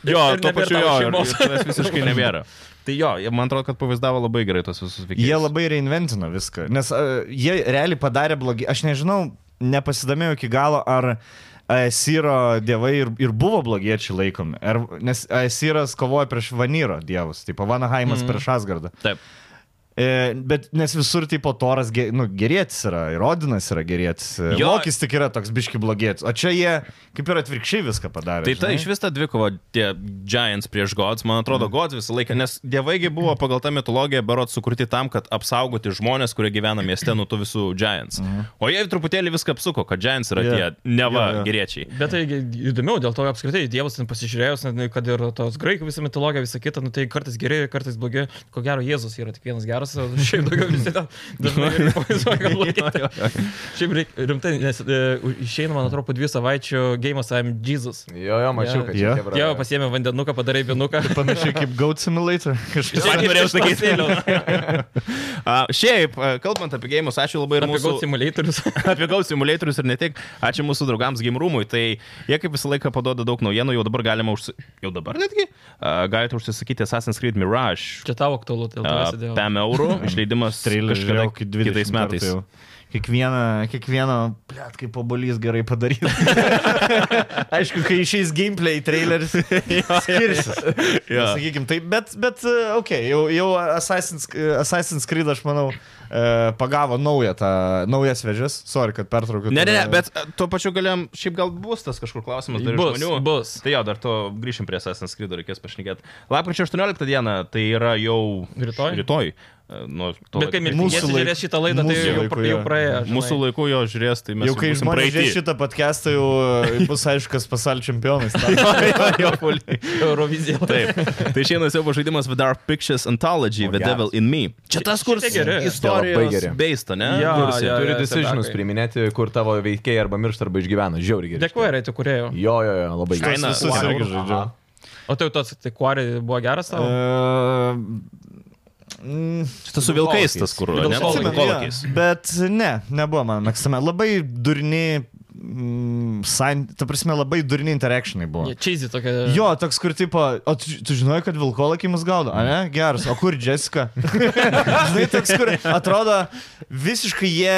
B: Jo,
C: ir nebėra
B: to pačiu
C: tavo
B: jo, ir-
C: šeimos.
B: ir tavęs visiškai nebėra. Tai jo, jie, man atrodo, kad pavaizdavo labai gerai tos visus veikėjus.
A: Jie labai reinventino viską, nes uh, jie realiai padarė blogi. Aš nežinau, nepasidomėjau iki galo, ar Aesyro dievai ir, ir buvo blogiečiai laikomi. Ar, nes Aesyras kovoja prieš Vanyro dievus, tai
B: Mhm.
A: Vanahaimas mm. prieš Asgardą.
B: Taip.
A: E, bet nes visur tipo Toras ge, nu, gerėtis yra, Rodinas yra gerėtis,
B: Jo.
A: Lokis tik yra toks biški blogietis, o čia jie kaip ir atvirkščiai viską padarė.
B: Tai ta iš vis ta dvikova, tie Giants prieš Gods, man atrodo, Gods visą laiką, nes dievaigi buvo pagal tą mitologiją berot sukurti tam, kad apsaugoti žmonės, kurie gyvena mieste nuo tų visų Giants. O jie truputėlį viską apsuko, kad Giants yra
A: Jo.
B: tie neva
A: Jo, jo.
B: geriečiai.
C: Bet tai gi- įdomiau, dėl to apskritai dievas ten pasižiūrėjus, net, nu, kad ir tos graikų visą mitologiją, visą kitą, nu, tai kartais geri, kartais blogi. Ko gero, Jėzus yra tik vienas geras, o šiaip daugiau visi ten dažnai ir įsivaizduoja, kad blogi. Šiaip reik, rimtai, nes e, u- išeina, man atrodo, po dviejų savaičių gėjimas I'm Jesus.
D: Jo, jo, mačiau,
C: Jo.
D: kad
A: Jo.
D: čia chebra-
C: Dievą pasiemė vandenuką, padarai vienuką.
A: Panašiai kaip Goat Simulator. Kažkas.
B: Sakė, norėjau sakyti.
C: Pasėliau.
B: A, Šiaip, a, kalbant apie gėjimus, ačiū labai ir
C: Apie
B: mūsų...
C: Goat Simulatorius.
B: apie Go simuliatorius ir ne tik. Ačiū mūsų draugams Game Roomui. Tai jie kaip visą laiką padoda daug naujienų, jau dabar galima užsi... Jau dabar netgi? Uh, galite užsisakyti Assassin's Creed Mirage.
C: Čia tavo aktualu, dėl to
B: Uh,
C: prasidėjo.
B: 5 eurų išleidimas
A: trailerį
B: kažkada
A: žiūrėjau iki 20
B: kitais metais.
A: kartų jau. Kiekvieną, kiekvieną, plėt, kaip obolys gerai padaryta. Aišku, kai išeis gameplay traileris, skirsis.
B: Jo.
A: Sakykim, tai, bet, bet, e, ok, jau, jau Assassin's, e, Assassin's Creed, aš manau, e, pagavo naują tą, naujas vežės. Sorry, kad pertraukiau.
B: Ne, ne, ne,
A: tave.
B: bet a, tuo pačiu galėjom, šiaip gal bus tas kažkur klausimas dar iš
C: Bus,
B: žmonių.
C: bus.
B: Tai jo, dar to grįšim prie Assassin's Creed, reikės pašnekėti. Lapkričio 18 diena, tai yra jau...
C: Rytoj?
B: Rytoj. A, Nu, to
C: Bet kai
B: laiko-
A: Mūsų
C: mūsų
A: laik-
C: žiūrės šitą laidą, tai
A: mūsų
C: jau,
A: laiku,
C: pra- jau
A: jo.
C: praėjo. žinai.
B: Mūsų laiku jo žiūrės, tai mes
A: Jau kai
B: būsim
A: žmonės žiūrės
B: praeity.
A: šitą podcastą, jau e, bus aišku, kas pasaulio čempionas. tapo.
B: jo, jo,
C: Eurovizija.
B: Taip. Tai išeina siaubo žaidimas The Dark Pictures Anthology,
D: O,
B: The
D: geras.
B: Devil in Me. Čia tas, kur
C: Šitie geri.
D: Labai geri.
B: istorijos beista, ne?
C: Jo,
B: Kur jisai
C: jo,
B: turi-
D: Turi
C: jo,
D: decisionus
C: sedakai.
D: priiminėti, kur tavo veikėjai arba miršta, arba išgyvena. Žiauriai gerai.
C: Dėkuoju, Reitų kurėjo.
D: Jo, jo, jo, labai gerai.
B: Kaina-
A: Visus
B: Wow.
A: irgi žaidžiu.
D: Aha.
C: O tai jau tas, tai kuari buvo geras tavo?
A: E, mm,
B: Čia tas su
D: Vilkolakis.
B: vilkais, tas kur.
C: Vilkolakis.
B: Ne,
C: Atsimenu,
B: vilkolakis.
A: Jo, Bet ne, nebuvo mano mėgstama. Labai durni, mm, san, ta prasme, labai durni interakšinai buvo.
C: Čizį tokia.
A: Jo, toks kur tipo, o tu, tu žinojai, kad vilkolakiai mus gaudo, ar ne? Geras, o kur Jessica? Žinai, toks kur atrodo visiškai jie...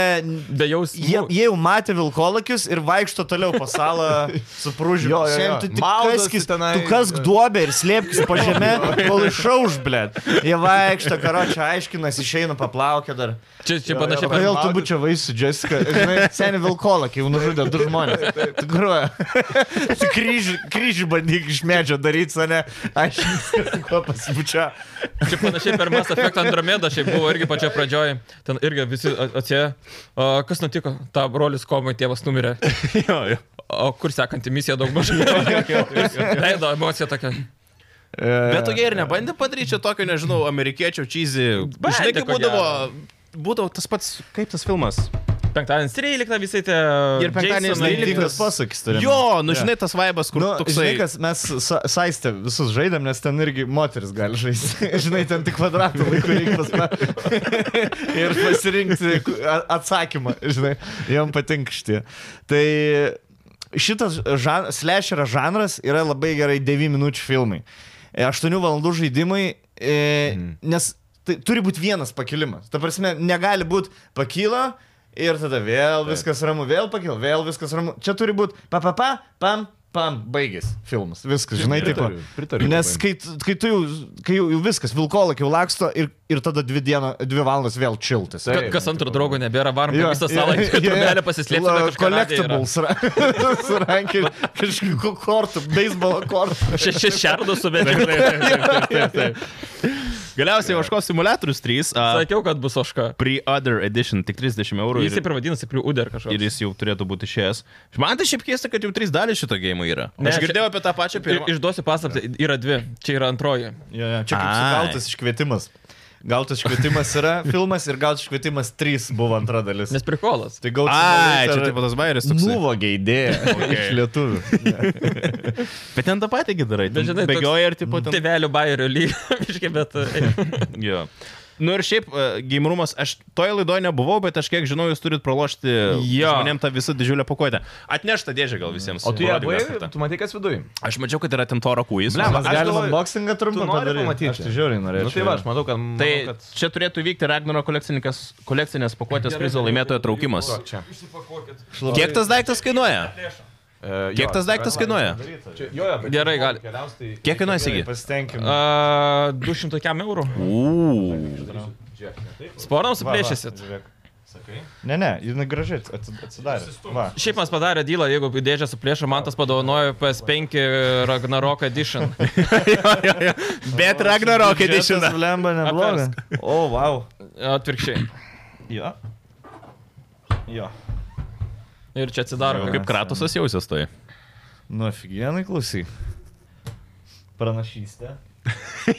C: Be jausmų.
A: Jie, jie jau matė vilkolakius ir vaikšto toliau po salą su prūžiu.
D: Jo, jo, jo.
A: Tu, tik
D: Maudosi
A: kaskis,
D: tenai.
A: tu kask duobę ir slėpkis po žemę, kol išauž, blėt. Jie vaikšto, karočią aiškinasi, išeina paplaukia dar.
C: Čia, čia panašiai
A: Kodėl
C: pat.
A: tu būčiau vaisių, Jessica? Žinai, Seniai vilkolakį jau nužudė du žmonės. Tikruoju. Kryžių, kryžių bandyk iš medžio daryti, o ne aš kuo pasibučia.
C: Čia panašiai per Mass Effect Andromedą šiaip buvo irgi pačioje pradžioje. Ten irgi visi atėjo. Kas nutiko? Ta brolis komai tėvas numirė.
B: Jo, jo.
C: O kur sekanti misija daug mažai? Leido emocija tokia.
B: Bet tu jie ir nebandė padaryti čia tokio, nežinau, amerikiečio čizį.
C: Bandė,
B: Žinai, kaip
C: ko
B: būdavo, būdavo tas pats, kaip tas filmas.
C: Penktadienis 13 visai tie.
B: Ir penktadienis
C: Jasonai.
B: 13.
A: Lygas pasakys, turiu.
B: Jo, nu žinai, tas vaibas, kur
A: Nu,
B: toksai...
A: žinai, kas mes sa- saistę visus žaidėm, nes ten irgi moteris gali žaisti. žinai, ten tik kvadratų laiko reikia pasme. ir pasirinkti ku- a- atsakymą, žinai, jam patinka šitie. Tai šitas žan, slasherio žanras yra labai gerai 9 minučių filmai. 8 valandų žaidimai, e,
D: Mhm.
A: nes tai turi būti vienas pakilimas. Ta prasme, negali būti pakyla ir tada vėl viskas ramu, vėl pakyla, vėl viskas ramu. Čia turi būti papapa, pam. Pam, baigis filmas. Viskas, žinai, taip.
D: Pritariu, pritariu
A: Nes
D: labai.
A: kai, tu- kai tu jau, kai jau, jau viskas, vilkolak jau laksto ir, ir tada dvi, diena, dvi valandas vėl čiltis.
D: Taip.
C: Ka- Kas antro draugo nebėra, varom
A: Jo,
C: visą salą,
A: jo,
C: kad
A: jo,
C: trobelė
A: la-
C: pasislėpti.
A: Collectibles ra- surankė kažkokių kortų, beisbolo kortų.
C: Šeši šerdus suvedė.
B: Galiausiai Oškos simulatorius 3. Uh,
C: Sakiau, kad bus oška.
B: Pre-order edition, tik 30 eurų.
C: Jis
B: ir-
C: taip ir vadinasi, priuder
B: ir
C: kažkoks.
B: jis jau turėtų būti išėjęs. Man tai šiaip keista, kad jau trys dalys šito gėjimo yra.
C: Ne,
B: Ne, aš
C: čia-
B: girdėjau apie tą pačią
C: Ir
B: pirmą.
C: išduosiu paslaptį, yra dvi, čia yra antroji.
A: Ja, ja, čia kaip su
B: Ai.
A: gautas iškvietimas. Gautas iškvietimas yra filmas ir gautas iškvietimas 3 buvo antra dalis.
C: Nes prikolas.
A: Tai gautas
B: Ai, čia taip pat tas bairis toks.
A: Nuvogė idėją okay. iš lietuvių.
B: Bet ten tą patį gi darai.
C: Bet žinai, toks-
B: bėgioja ir
D: Tai
B: tipo ten.
C: Tėvelių bairio lygio, biškai, bet... e,
B: Jo. Nu ir šiaip, e, gamerumas, aš toje laidoje nebuvau, bet aš kiek žinau, jūs turit pralošti
C: Jo.
B: žmonėm tą visą didžiulę pakuotę. Atnešta dėžė gal visiems.
D: O tu ją
B: Parodyk
D: buvai,
B: dar kartą.
D: tu matai, kas Nu, viduje.
B: Aš mačiau, kad yra ten toro kuis.
D: Blemba.
A: Mes
D: aš
A: galime
D: galvoju,
A: boksingą trumpą
D: tu nori pamatyti?
A: Aš tai žiauriai norėčiau.
D: Nu, tai va, aš matau, kad...
B: Tai
D: manau, kad...
B: čia turėtų vykti Ragnaro kolekcininkas- kolekcinės pakuotės prizo laimėtojo traukimas.
D: Palauk čia.
B: Kiek tas daiktas kainuoja?
D: E,
B: Kiek
D: jo,
B: tas daiktas
D: yra-
B: kainuoja?
D: Čia- Jo, jo, bet
C: Gerai,
D: jeigu
C: gali.
D: keliaus, tai-
B: Kiek kainuoja
A: Gerai,
B: įsigyti?
A: Pasitenkim.
C: a, 200 kiam eurų.
B: Uuu.
C: Sporams
A: Va, va,
C: suplėšysit.
A: žiūrėk. Ne, ne, jinai gražiai atsi- atsidarė. Va.
C: Šiaip mes padarė dylą, jeigu dėžę suplėšė, man tas padovanojo PS5 Ragnarok Edition.
B: Bet Ragnarok edition.
A: Biudžetas, Blemba neblogas. O, wow.
C: Atvirkščiai.
A: Jo. Jo.
C: Ir čia atsidaro.
A: Jo,
C: Kaip...
B: Kaip Kratosas jausias tai.
A: Nu, aфиgenai klausy. Pranašystė.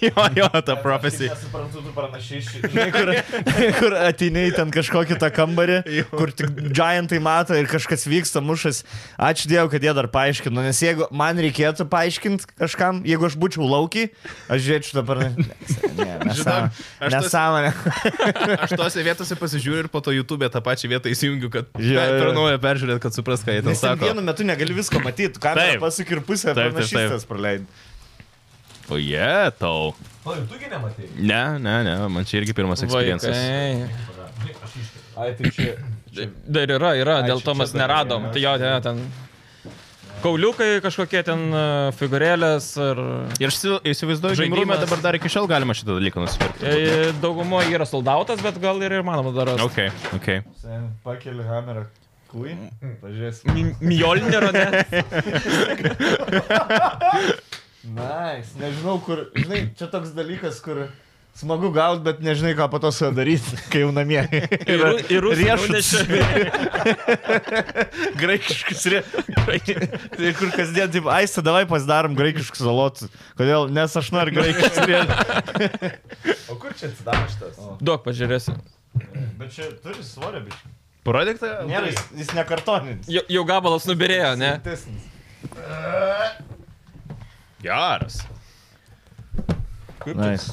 B: jo, jo, ta profesija.
A: Nesuprantu, tu pranašyši. Žinai, kur, kur ateiniai ten kažkokį tą kambarį, kur tik giantai mato ir kažkas vyksta, mušas. Ačiū Dievui, kad jie dar paaiškino, nes jeigu man reikėtų paaiškinti kažkam, jeigu aš būčiau laukiai, aš žiūrėčiau dabar. Ne, ne,
B: Žinok, aš tas-
A: nesąmonė.
B: Aš tose vietose pasižiūriu ir po to YouTube e tą pačią vietą įsijungiu, kad
A: Jo, jo, jo.
B: per naują peržiūrėt, kad supras, ką jie ten
A: Nes ten
B: sako.
A: vienu metu negali visko matyti, ką
B: Taip.
A: pasakai ir pusę
B: Taip, taip, taip.
A: pranašystės praleidai.
B: O jie tau.
D: Palauk, tu gi nematei.
B: Ne, ne, ne, man čia irgi pirmas eksperimentas.
C: Vaikai.
D: Ai, tai čia...
C: Dar yra, yra,
D: Ai,
C: dėl
D: čia-
C: to
D: čia
C: mes
D: dar
C: neradom.
D: yra,
C: Tai jo, ne, ten. Kauliukai kažkokie ten e, figūrėlės ir...
B: Ir aš įsi- įsivaizduoju,
C: Žaidimas.
B: žaidimą dabar dar iki šiol galima šitą dalyką nusipirkti.
C: e, Daugumoje yra soldautas, bet gal ir įmanoma dar. rasti.
B: Ok, ok.
A: Sen, Pakeli hamerą. Kui? Pažiūrėsim.
C: Mi- Mjolniro, ne?
A: Nice. Nežinau, kur. Žinai, čia toks dalykas, kur smagu gauti, bet nežinai, ką po to su juo daryti, kai jau namie.
C: Ir, ru- ir
A: riešutas.
C: rusų.
A: Graikiškas riešutas. Ir kur kasdien, taip, aistą, davai pasidarom graikiškus salotus. Kodėl? Nes aš noriu graikiškus riešutus.
D: O kur čia atsidaro šitas?
C: Duok, pažiūrėsiu.
A: Bet čia turi svorio, bičiuli.
B: Parodyk tą.
A: Nėra, jis, jis nekartoninis.
C: Jau, jau gabalas nubirėjo, ne?
A: Tesnis.
B: Geras.
A: Nice.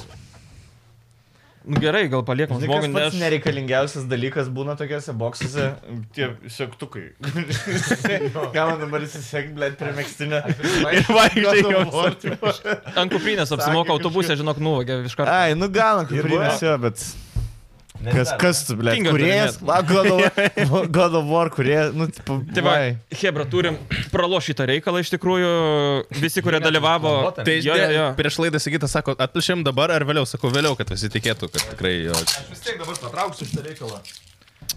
C: Nu, Gerai, gal paliekam
A: Žinai,
C: žmogui,
A: kas
C: nes
A: pats nereikalingiausias dalykas būna tokiuose boksuose, tie sektukai. Ką man dabar įsisek, blėt, prie mėgstinio.
B: Ir vaikštai
A: Juodu
B: jau.
A: vortimu.
C: ant kuprinės apsimoka autobusė, žinok, nuvogė iš karto.
A: Ai, nu gal, kaip
D: Ir
A: primės jo, bet... Kas, kas tu, blėt,
C: Kingas
A: kuriejas? Va, God of- God of War kuriejas, nu, tipo,
C: Tai va, Hebra, turim pralošytą reikalą iš tikrųjų. Visi, kurie dalyvavo.
D: planuota.
B: Tai
C: jo, jo, jo.
B: prieš laidą sakytas, sako, atpušėm dabar ar vėliau, sakau vėliau, kad visi tikėtų, kad tikrai jo.
D: Aš vis tiek dabar patrauksiu šitą reikalą.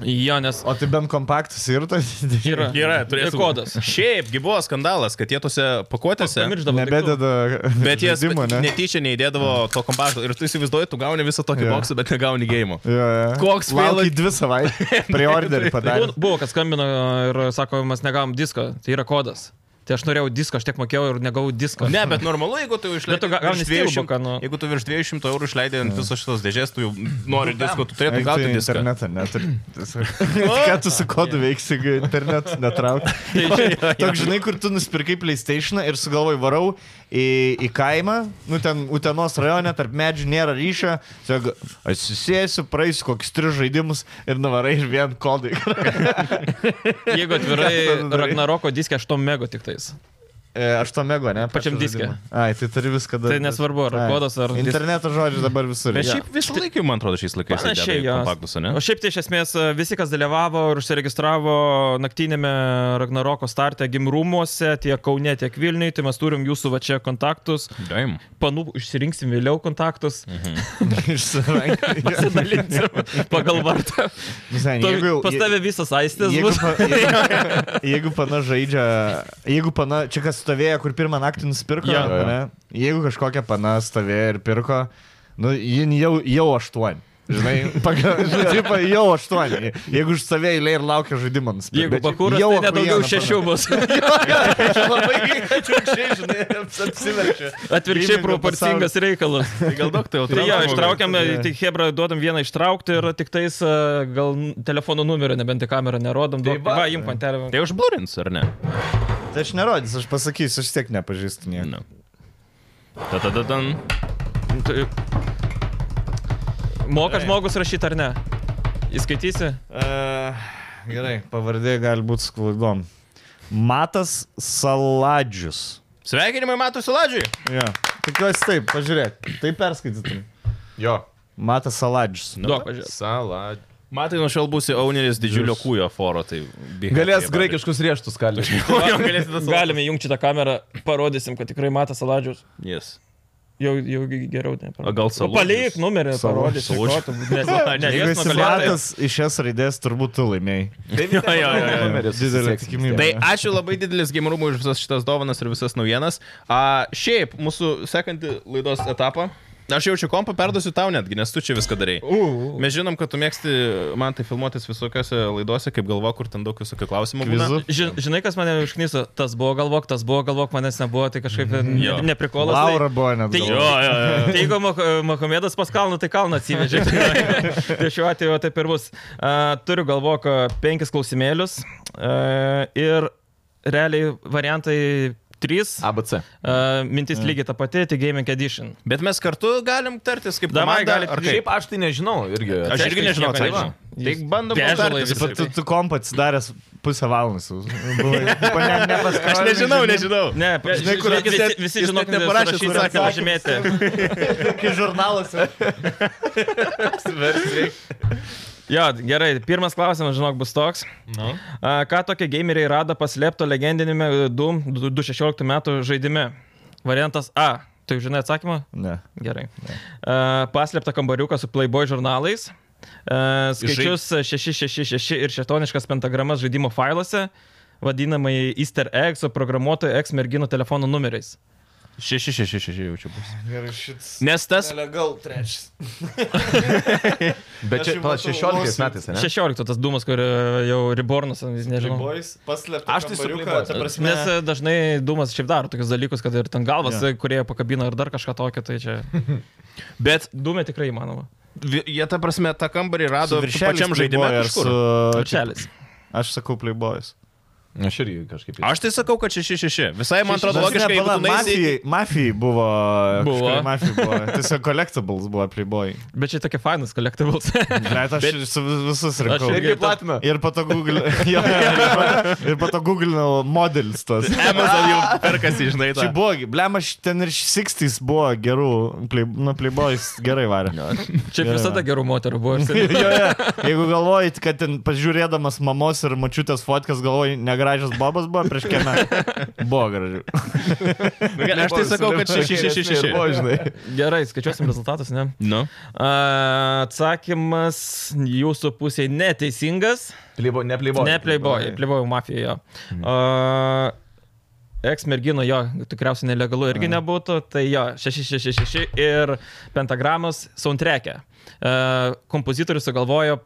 C: Jo, nes.
A: O tai bent kompaktus ir tas...
C: Yra.
B: Yra, turės
C: Ir kodas.
B: Šiaipgi buvo skandalas, kad jie tose pakuotėse.
C: Pamiršdavo. daiktų.
A: Nebededa...
B: Bet jie
A: žaidimo,
B: sp-
A: ne?
B: netyčia neįdėdavo to kompakto. Ir tu įsivaizduoji, tu gauni visą tokį
A: Jo.
B: boksą, bet negauni gėjimo.
A: Jo, jo.
B: Koks
A: Laukiai
B: failai-
A: dvi savaitės. Preorderį padarė.
C: Buvo, buvo, kad skambino ir sako, mes negavom disko. Tai yra kodas. Tai aš norėjau disko, aš tiek mokėjau ir negavau disko.
B: Ne, bet normalu, jeigu tu
C: Bet tu
B: išleidai
C: ga- gauni steelbooką, nu.
B: jeigu tu virš 200 eurų išleidai ant visos šitos dėžės, tu jau nori
C: Nu,
B: disko, tu turėtum gauti
A: Eik tu į
B: diską.
A: tai internetą neturi. Ką tu su kodu veiksi, jeigu internetas netraukia? Toks, žinai, kur tu nusipirkai PlayStation ir sugalvoj varau į, į kaimą, nu ten Utenos rajone, tarp medžių nėra ryšio, tiesiog atsisėsiu, praeisiu kokius tris žaidimus ir nuvarai ir vien kodai.
C: Jeigu atvirai,
A: Ką tu darai?
C: Ragnaroko diskė 8 mega tik tais.
A: E, 8 ne?
C: Pačiam
A: Pačio
C: diske.
A: žaidimo. Ai, tai turi viską daryti.
C: Tai nesvarbu, ar kodas, ar dis-
A: Interneto žodžiai dabar visur.
B: Bet šiaip visą laiką, man atrodo, šiais laikais jie deda
C: Panašiai,
B: į
C: jo.
B: kompaktus, ne?
C: O šiaip tai iš esmės visi, kas dalyvavo ir užsiregistravo naktinėme Ragnaroko starte gimrumuose, tiek Kaune, tiek Vilniui, tai mes turim jūsų va čia kontaktus.
B: Daim.
C: Panų išsirinksim vėliau kontaktus,
B: Mhm.
A: Išsirankiai.
C: pasidalinsim pagal vardą. Pas tave visas aistės
A: Jeigu,
C: bus.
A: pa, jeigu, jeigu pana žaidžia, jeigu pana, čia kas stovėjo, kur pirmą naktį nusipirko,
D: Jo, jo, jo.
A: ne, jeigu kažkokia pana stovėjo ir pirko, nu, jin jau, jau aštuoni. Žinai, pagal, žinai, jau aštuoni. Jeigu už save eilė ir laukia žaidimams.
C: Jeigu bakūras, tai nedaugiau šešių bus.
A: Aš labai atvirkščiai, žinai, apsiverčiu.
C: Atvirkščiai
A: Priminė
C: proporcingas reikalas.
B: Tai gal daug tai jau
C: Tai jo,
B: traukia žmogų.
C: ištraukiam, tik Hebra duodam vieną ištraukti ir tik tais e, gal n- telefono numerio, nebent į kamerą nerodom.
D: Tai
C: duok-
D: va.
C: Va, imk man telefą.
B: Tai užblurins, ar ne?
A: Tai aš nerodysiu, aš pasakysiu, aš tiek nepažįstu nieko.
B: Ne. Tada ten.
C: Tai- Moka žmogus rašyti ar ne? Įskaitysi?
A: Uh, gerai, pavardė gali būti sklaidom. Matas Saladžius.
B: Sveikinimai matosi ladžiui.
A: Jo, tikiuosi taip, pažiūrėk. Tai perskaitytum.
D: Jo.
A: Matas Saladžius. nu.
C: Duok, pažiūrėk.
D: Sala.
B: Matai, nuo šiol būsi Auneris didžiulio kūjo foro, tai...
D: Galės graikiškus rieštus kalbėti.
B: kūjo. Galės tas
C: Galime jungti tą kamerą, parodysim, kad tikrai matas saladžius.
B: Yes.
C: Jau, jau geriau ne.
B: O gal Saladžius?
C: Palik numerį,
A: Saladžius.
C: parodysim.
B: Saladžius.
A: Jeigu
C: Nes
A: esi
C: nugalėtas.
A: matas iš šias raidės, turbūt tu laimėjai.
B: Jo, jo, jo, jo.
A: Didelė tikimybė.
B: Tai ačiū labai didelis gimrumui už visas šitas dovanas ir visas naujienas. A, šiaip, mūsų sekantį laidos etapą. Aš jaučiu kompą, perduosiu tau netgi, nes tu čia viską darai. Mes žinom, kad tu mėgsti man tai filmuotis visokiose laidose, kaip galvo, kur ten daug visokių klausimų. būna.
A: Vizu.
C: Žinai, kas mane užknyso? Tas buvo galvok, tas buvo galvok, manęs nebuvo, tai kažkaip mm,
B: Jo.
C: neprikolas. tai-
A: Laura buvo net.
C: Tai,
A: galvoju.
C: tai jeigu Mah- Mahomedas pas kalną, tai kalną atsivežė. tai šiuo atveju taip ir bus. A, Turiu galvok a, penkis klausimėlius a, ir realiai variantai trys.
D: ABC.
C: A, Mintis lygiai ta pati, tai Gaming Edition.
B: Bet mes kartu galim tartis kaip
C: Davai,
B: komanda.
C: galit-
B: ar kaip?
D: Šiaip aš tai nežinau irgi.
B: Aš irgi
C: aišku,
B: nežinau
C: nieko
B: atsakymo.
C: nežinau.
B: Tai
C: Jūs
B: bandom
C: bežalai
B: tartis.
A: Bet tu, tu kompą atsidaręs pusę valandos. Aš
B: Aš nežinau, nežinau.
C: Ne,
A: žinai, kur
C: žiūrėkit,
A: jis net-
C: visi, visi
A: jis
C: žinok,
A: net neparašė, kur
C: surašyti,
A: atsakė.
C: pažymėti.
A: Kai žurnaluose.
C: Jo, gerai, pirmas klausimas, žinok, bus toks.
B: Nu.
C: A, Ką tokie gameriai rado paslėpto legendinėme Doom 2016 metų žaidime? Variantas A. Tai žinai atsakymą?
A: Ne.
C: Gerai. Uh, paslėptą kambariuką su Playboy žurnalais. Uh, skaičius 666 ir šetoniškas pentagramas žaidimo failuose, vadinamai Easter eggs, o programuotojų eks merginų telefonų numeriais.
B: 666 jaučiu bus.
A: Gerai, šitas.
B: Nes tas...
A: Nelegal trečias.
D: Bet
A: Aš
D: čia
A: jau
D: to
A: matau
D: 16
A: lawsuit.
D: metais, ne?
C: 16 tas dūmas, kur e, jau Rebornas, jis nežinau.
A: paslėptas.
D: Aš tai su kambariuką, Playboy. ta
C: Prasme... Nes e, dažnai Dūmas šiaip daro tokius dalykus, kad ir ten galvas,
A: Jo.
C: yeah. kurie pakabina ir dar kažką tokio, tai čia
B: Bet
C: Dūmė tikrai įmanoma.
B: vi- jie, ta prasme, tą kambarį rado
A: viršelis
B: pačiam žaidimui.
A: Playboy ar su-
C: Arčelis.
A: Aš sakau Playboy's.
D: Nu, Aš irgi kažkaip.
B: Aš tai sakau, kad 666. Visai, man atrodo, logiškai,
A: Ne,
B: jeigu
A: pala,
B: tu nueisi...
A: mafijai, mafijai buvo.
C: Buvo.
A: kažkuri Mafijai buvo. Tiesiog collectibles buvo Playboy.
C: Bet čia tokie fainas kolektyvus.
A: Bet aš Bet, visus rinkau.
D: irgi platinau.
A: Ir po to googlinau. Jo, ir po to googlinau modelis tas.
B: Amazon jau perkasi, žinai,
A: Čia
B: tą.
A: buvo, blem, aš ten ir 60s buvo gerų, play, nu, Playboys gerai varė.
C: čia visada gerų moterų buvo. aš seniai.
A: Jo, jo. Jeigu galvojat, kad ten pažiūrėdamas mamos ir mačiutės fotkas galvojai, negražios bobas buvo prieš kelią. Buvo gražiu.
B: Aš tai sakau, kad 666.
A: žinai.
C: Gerai, skaičiuosim rezultatus, ne?
B: Nu.
C: A, Atsakymas jūsų pusėje neteisingas.
D: Plybo, ne plybo.
C: Ne Playboy, Mhm. Playboy mafija jo. A, Eks mergino jo tikriausiai nelegalu irgi nebūtų, tai jo 666 ir pentagramas soundtrack'e. A, Kompozitorius sugalvojo a,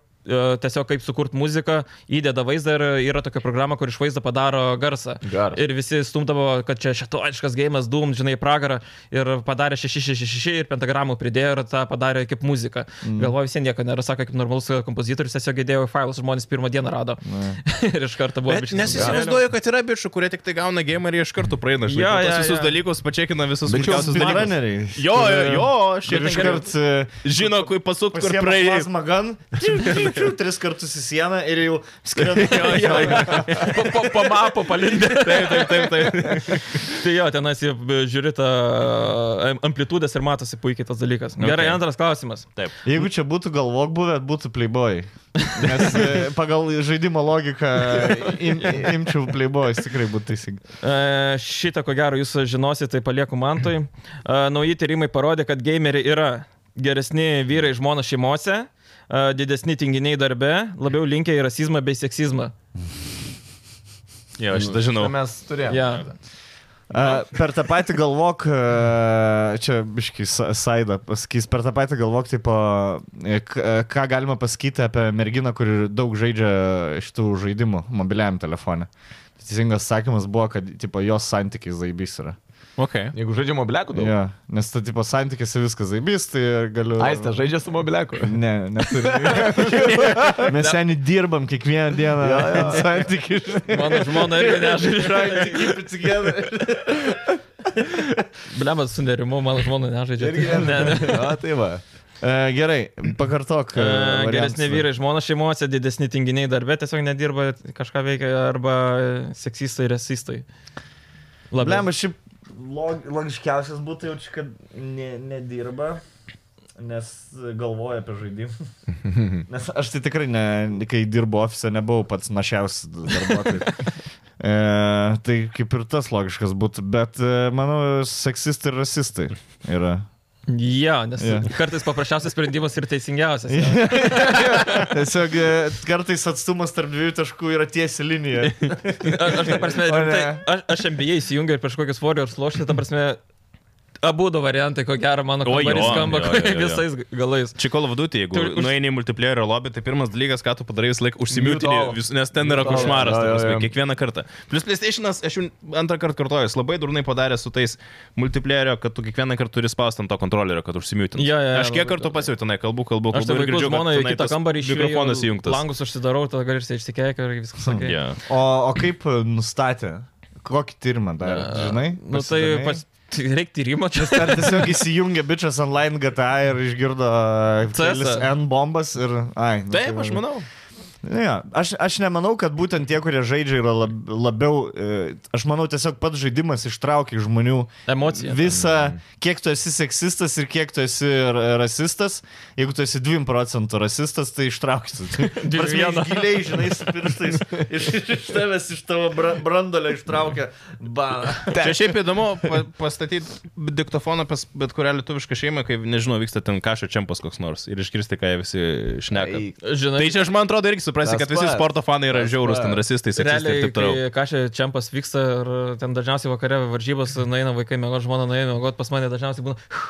C: tiesiog kaip sukurti muziką, įdeda vaizdą ir yra tokia programa, kur iš vaizdo padaro garsą.
D: Garsą.
C: Ir visi stumdavo, kad čia šitoiškas gėjimas, dum, žinai, į pragarą ir padarė 666 ir pentagramų pridėjo ir tą padarė kaip muziką. Mm. Galvoju, visiems nieko nėra, sako, kaip normalus kompozitorius, tiesiog įdėjo į failus, žmonės pirmą dieną rado. ir iš karto buvo
B: Bet
C: biškį
B: nes
C: skandalo.
B: įsivaizduoju, kad yra bičių, kurie tik tai gauna game ir jie iš karto praeina.
C: Jo,
B: Žinai, ja, ja,
C: jo,
B: visus
C: jo.
B: dalykus, pačiakina visus
A: Bet čia
B: smulkiausius dalykus.
A: speedrunneriai.
B: Jo, jo, jo, aš
A: Ir
B: ir
A: iškart e,
B: žinau, kaip pasukti, kur
A: pasiema
B: praeiti.
A: plazmą gan. čiu, tris kartus į sieną ir jau skrenda.
C: Po, po, po mapo palindė.
B: Taip, taip, taip, taip.
C: Tai jo, tenais jie žiūri tą e, amplitudės ir matosi puikiai tas dalykas. Gerai,
B: Okay.
C: antras klausimas.
B: Taip.
A: Jeigu čia būtų galvok buvę, būtų playboy. Nes e, pagal žaidimo logiką im, imčiau playboy, tikrai būtų teisingai.
C: E, Šitą, ko gero, jūs žinosit, tai palieku mantui. E, Nauji tyrimai parodė, kad gameriai yra geresni vyrai žmona šeimose, e, didesni tinginiai darbe, labiau linkę į rasizmą bei seksizmą.
B: Jo, aš tą žinau.
D: Čia Mes turėjome.
C: Ja.
A: A, Per tą patį galvok, a, čia biškai Saida pasakys, per tą patį galvok, tipo, e, k- e, ką galima pasakyti apie merginą, kuri daug žaidžia šitų žaidimų mobiliajam telefone. Teisingas sakymas buvo, kad tipo, jos santykiai zaibys yra.
B: Okay.
D: Jeigu žaidžia mobiliakų daug.
A: Ja, nes ta tipo santykiuose viskas zaibys, tai galiu...
D: Aistė žaidžia su mobiliaku.
A: Ne, neturiu. Mes seniai dirbam kiekvieną dieną. Ja, ja. Santykiai.
C: Mano žmona irgi nežaidžia. Blemas su nerimu, mano žmona nežaidžia. Ne, ne.
D: Na, tai va.
A: E, Gerai, pakartok. e,
C: E,
A: variantus.
C: Geresni vyrai žmona šeimose, didesni tinginiai darbe, tiesiog nedirba, kažką veikia arba seksistai, rasistai.
A: Blema, šiaip log, logiškiausias būtų jau čia, kad ne, nedirba, nes galvoja apie žaidimą. Nes aš tai tikrai, ne, kai dirbu ofise, nebuvau pats našiausias darbuotojas. E, tai kaip ir tas logiškas būtų, bet e, manau, seksistai ir rasistai yra.
C: Jo, nes
A: Jo.
C: yeah. kartais paprasčiausias sprendimas ir teisingiausias. jo.
A: Tiesiog e, kartais atstumas tarp dviejų taškų yra tiesi linija.
C: A- Aš, ta prasme,
A: O ne.
C: rimtai, aš, aš MBA įsijungiu ir prieš kokius Warriors lošti, tam prasme, abu du variantai, ko gero, mano
B: O,
C: kambarys
B: jo,
C: skamba
B: jo, jo, jo, jo.
C: visais galais.
B: Čia Call of Duty, jeigu
C: Tai už-
B: nueini į multiplayerio lobby, tai pirmas dalykas, ką tu padarai, vis laik
D: Mute all.
B: užsimiutinį, vis- nes ten yra
D: Mute all. Jo,
B: košmaras, ta
D: jo,
B: prasme,
D: jo.
B: kiekvieną kartą. Plus PlayStation'as, aš jau antrą kartą kartoju, jis labai durnai padarė su tais multiplayerio, kad tu kiekvieną kartą turi spausti ant to kontrolerio, kad užsimiutinį.
C: Jo, jo, jo,
B: aš kiek
C: labai
B: kartų
C: daug.
B: pasiūliau tenai, kalbu, kalbu, kalbu
C: Aš tai
B: ir
C: vaikų
B: girdžiu, kad
C: žmoną į
B: tenai
C: kitą
B: tas
C: kambarį išėjau,
B: Mikrofonas įjungtas. Hm,
C: Langus užsidarau, tada gal ir išsikeikia ir viskas. Okay.
B: Yeah.
A: O, o kaip nustatė? Kokį tyrimą dar? Žinai?
C: Nu tai
A: pasidomėjai?
C: pas... reikia tyrimo čia.
A: Ar tiesiog įsijungė bičias online GTA ir išgirdo uh,
C: CS.
A: kelis N bombas ir... Ai, nu,
B: Taip,
A: tai-
B: aš manau.
A: Ne, aš, aš nemanau, kad būtent tie, kurie žaidžia, yra lab, labiau... e, Aš manau, tiesiog pats žaidimas ištraukia iš žmonių
C: Emocija.
A: visą, kiek tu esi seksistas ir kiek tu esi ra- rasistas. Jeigu tu esi 2 procentų rasistas, tai ištrauksit.
C: Viena.
A: giliai, žinai, su pirštais iš, iš tavęs, iš tavo bra, brandolio ištraukia. Ba.
B: Čia šiaip įdomu pa, pastatyti diktofoną pas bet kurią lietuvišką šeimą, kai, nežinau, vyksta ten kažko čempas koks nors ir išgirsti, ką jie visi šneka.
D: Eik.
C: Žinai,
B: Tai čia aš man atrodo irgi suprasi,
D: Tas
B: kad visi
D: pats.
B: sporto fanai yra
D: Tas
B: žiaurūs, ten
D: pats.
B: rasistai, seksistai ir
C: Realiai,
B: taip toliau.
C: kai kažkai čempas vyksta ir ten dažniausiai vakare varžybos nueina vaikai, mėgo žmona nueina, mėgo pas mane dažniausiai būna.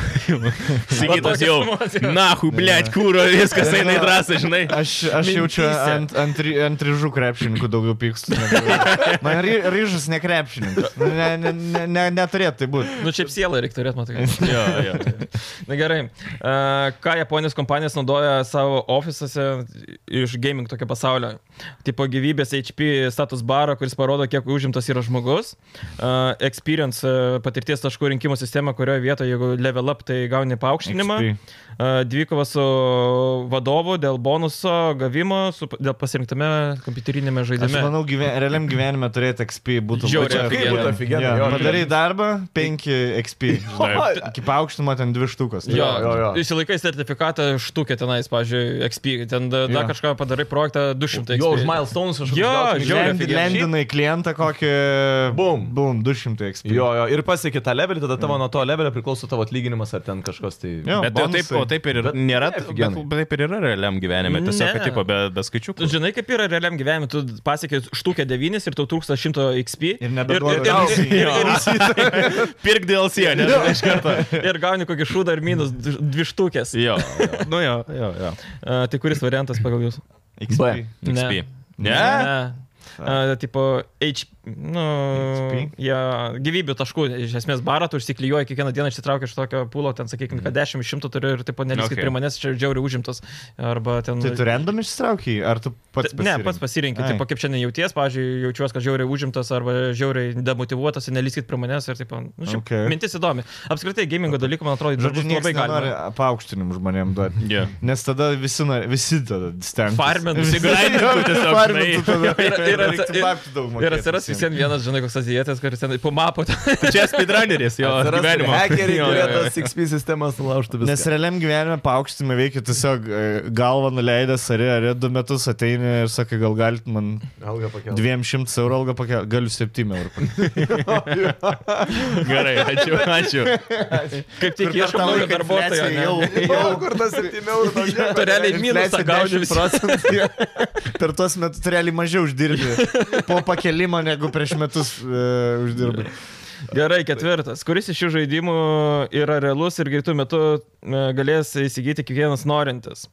C: Va
B: Sigitas
C: tokios
B: jau.
C: emocijos.
B: Na, hublėt, kūro, viskas eina į drąsą, žinai.
A: Aš, aš jaučiu
C: Mintyse.
A: ant, ant, ry- ant ryžų krepšininkų daugiau pykstu. negu- Man ry, ryžas ne krepšininkas. Nu, Ne, ne, ne, ne, neturėtų tai būti.
C: Nu, čia sielą reikia turėti, matai.
B: Jo, jo.
C: Na gerai. E, Ką japonijos kompanijos naudoja savo ofisuose iš gaming tokio pasaulio? Tipo gyvybės HP status baro, kuris parodo, kiek užimtas yra žmogus. E, Experience e, patirties taškų rinkimo sistema, kurioje vietoje, jeigu level up, tai gauni paaukštinimą.
A: XP.
C: E, Dvikova su vadovu dėl bonuso gavimo, su, dėl pasirinktame kompiuterinėme
A: Aš
C: žaidime.
A: manau, gyven, realiam gyvenime turėti XP būtų
C: Žiauriai
A: būtų-
D: Kaip
C: Afigeną.
D: būtų
A: Jo,
D: afigenai. jo,
A: Padarai darbą, 5 XP.
D: Jo.
A: Iki paaukštinimo ten 2 štukos.
C: Jo,
D: jo,
C: jo, jo.
D: jo.
C: Išsilaikai sertifikatą štukė tenais, pažiūrėjau, XP, ten da, da
A: Jo.
C: kažką padarai projektą 200 XP.
D: Jo, už milestones kažkokius
C: Jo,
D: gautum
C: žiauriai
A: Lendi-
D: milijonų.
A: Lendinai klientą kokį.
D: Bum.
A: Bum, 200 XP.
D: Jo, jo, ir pasieki tą levelį, tada tavo nuo to levelio priklauso tavo atlyginimas ar ten kažkas tai...
A: Jo,
B: Bet tai taip,
A: bonusai.
B: o taip ir
D: Bet-
B: nėra,
D: taip,
B: bet,
D: genai.
B: bet taip ir yra realiam gyvenime.
C: Ne.
B: Tiesiog, kad tipo, be, be skaičių.
C: Tu žinai, kaip yra realiam gyvenime, tu pasiekai štukę 9 ir tau trūksta 100 XP.
A: Ir
C: ir,
A: nebeduoda
C: ir, ir, ir,
B: Pirk DLC, ne? Iš karto.
C: ir, ir gauni kokį šūdą ar minus 2 štukės.
B: Jo. jo. Nu jo, jo, jo.
C: Uh, tai kuris variantas pagal jūs?
A: XP.
D: B.
B: XP. Ne?
C: Uh, tipo, H, nu,
A: HP?
C: jie gyvybių taškų, iš esmės barą tu užsiklijuoji, kiekvieną dieną išsitraukia iš tokio pulo, ten sakykime, kad 10 iš 100 turi ir taip pat neliskit
B: Okay.
C: okay. prie manęs, čia džiauriai užimtas. Arba ten...
A: Tai tu random išsitraukiai, ar tu pats
C: Ne, pats
A: pasirinkai?
C: pasirinkit,
A: Ai.
C: tipo, kaip šiandien jauties, pavyzdžiui, jaučiuosi, kad žiauriai užimtas arba žiauriai demotivuotas, ir neliskit prie manęs ir taip, nu, šiaip,
A: Okay.
C: okay. mintis įdomi. Apskritai, gamingo dalykų, man atrodo,
A: Žodžiu,
C: žodžiu,
A: nieks
C: Tai labai
A: nenori
C: galima.
A: paaukštinim žmonėm duoti.
B: Jo.
A: Nes tada visi, nori- visi tada stengsis.
C: Farmintų,
A: Visi-
B: grindintų tiesiog,
A: Farmintų
B: žinai.
A: tada.
C: Ir- ir- ir-
A: Reiktų
C: ir-
A: babkių daug
C: Ir
A: mokėt
C: atsiras
A: visiem.
C: vis vien vienas, žinai, koks azijietis, kuris ten po mapo ten
B: Tai čia speedrunneris, jo,
D: Atsiras
B: gyvenimo.
D: Hakeriai,
B: Jo,
D: kurie
B: jo, jo.
D: tas XP sistemas laužtų
A: Nes
D: visą.
A: realiam gyvenime paaukštimai veikia tiesiog e, galvą nuleidęs ar, ar du metus ateini ir sakai, gal galit man
D: Alga pakelti.
A: 200 eurų algą pakelti, galiu 7 eurų. pakelti.
B: Gerai, ačiū, ačiū.
C: kaip
A: Kur
C: tik
A: per tą
C: ieško naujo
A: laiką
C: darbuotojo.
A: infliacija
C: ne?
A: jau-
D: O, kur tas 7 eurų? daugiau?
C: Tu realiai minusą
A: Infliacija
C: gauni
A: 10
C: visą.
A: procentų, jo. Per tuos metus tu realiai mažiau uždirbi po pakelimo negu prieš metus uh, uždirbi.
C: Gerai, ketvirtas. Kuris iš šių žaidimų yra realus ir greitų metų e, galės įsigyti kiekvienas norintis?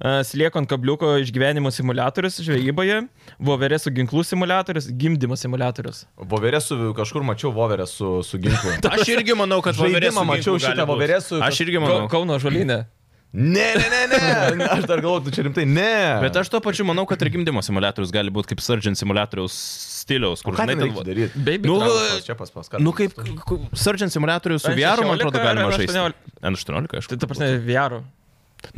C: E, Slieko ant kabliuko išgyvenimo simulatorius žvejyboje, voverė su ginklų simulatorius, gimdymo simulatorius.
D: Voverė su kažkur mačiau voverę su, su ginklu.
B: Aš irgi manau, kad
D: Žaidimą
B: voverė su ginklu
D: mačiau
B: gali
D: šitą
B: būt.
D: voverė su-
B: Aš irgi
C: Ka
B: manau.
C: Kauno žolinė.
D: Ne, ne, ne, ne. Aš dar galvoju, tu čia rimtai. Ne.
B: Bet aš tuo pačiu manau, kad ir gimdymo simulatorius gali būti kaip Surgeon simulatoriaus stiliaus, kur
D: Ką
B: žinai,
D: ten
B: ten-
D: reikia daryti?
C: Baby.
B: Nu,
C: Drive.
D: Pas- Čia pas paskas.
B: Nu kaip k- Surgeon simulatorius su
C: N16
B: VR, man atrodo, galima
C: ar
B: žaisti.
C: N18?
B: N18, aišku.
C: Tai ta prasme, vėru.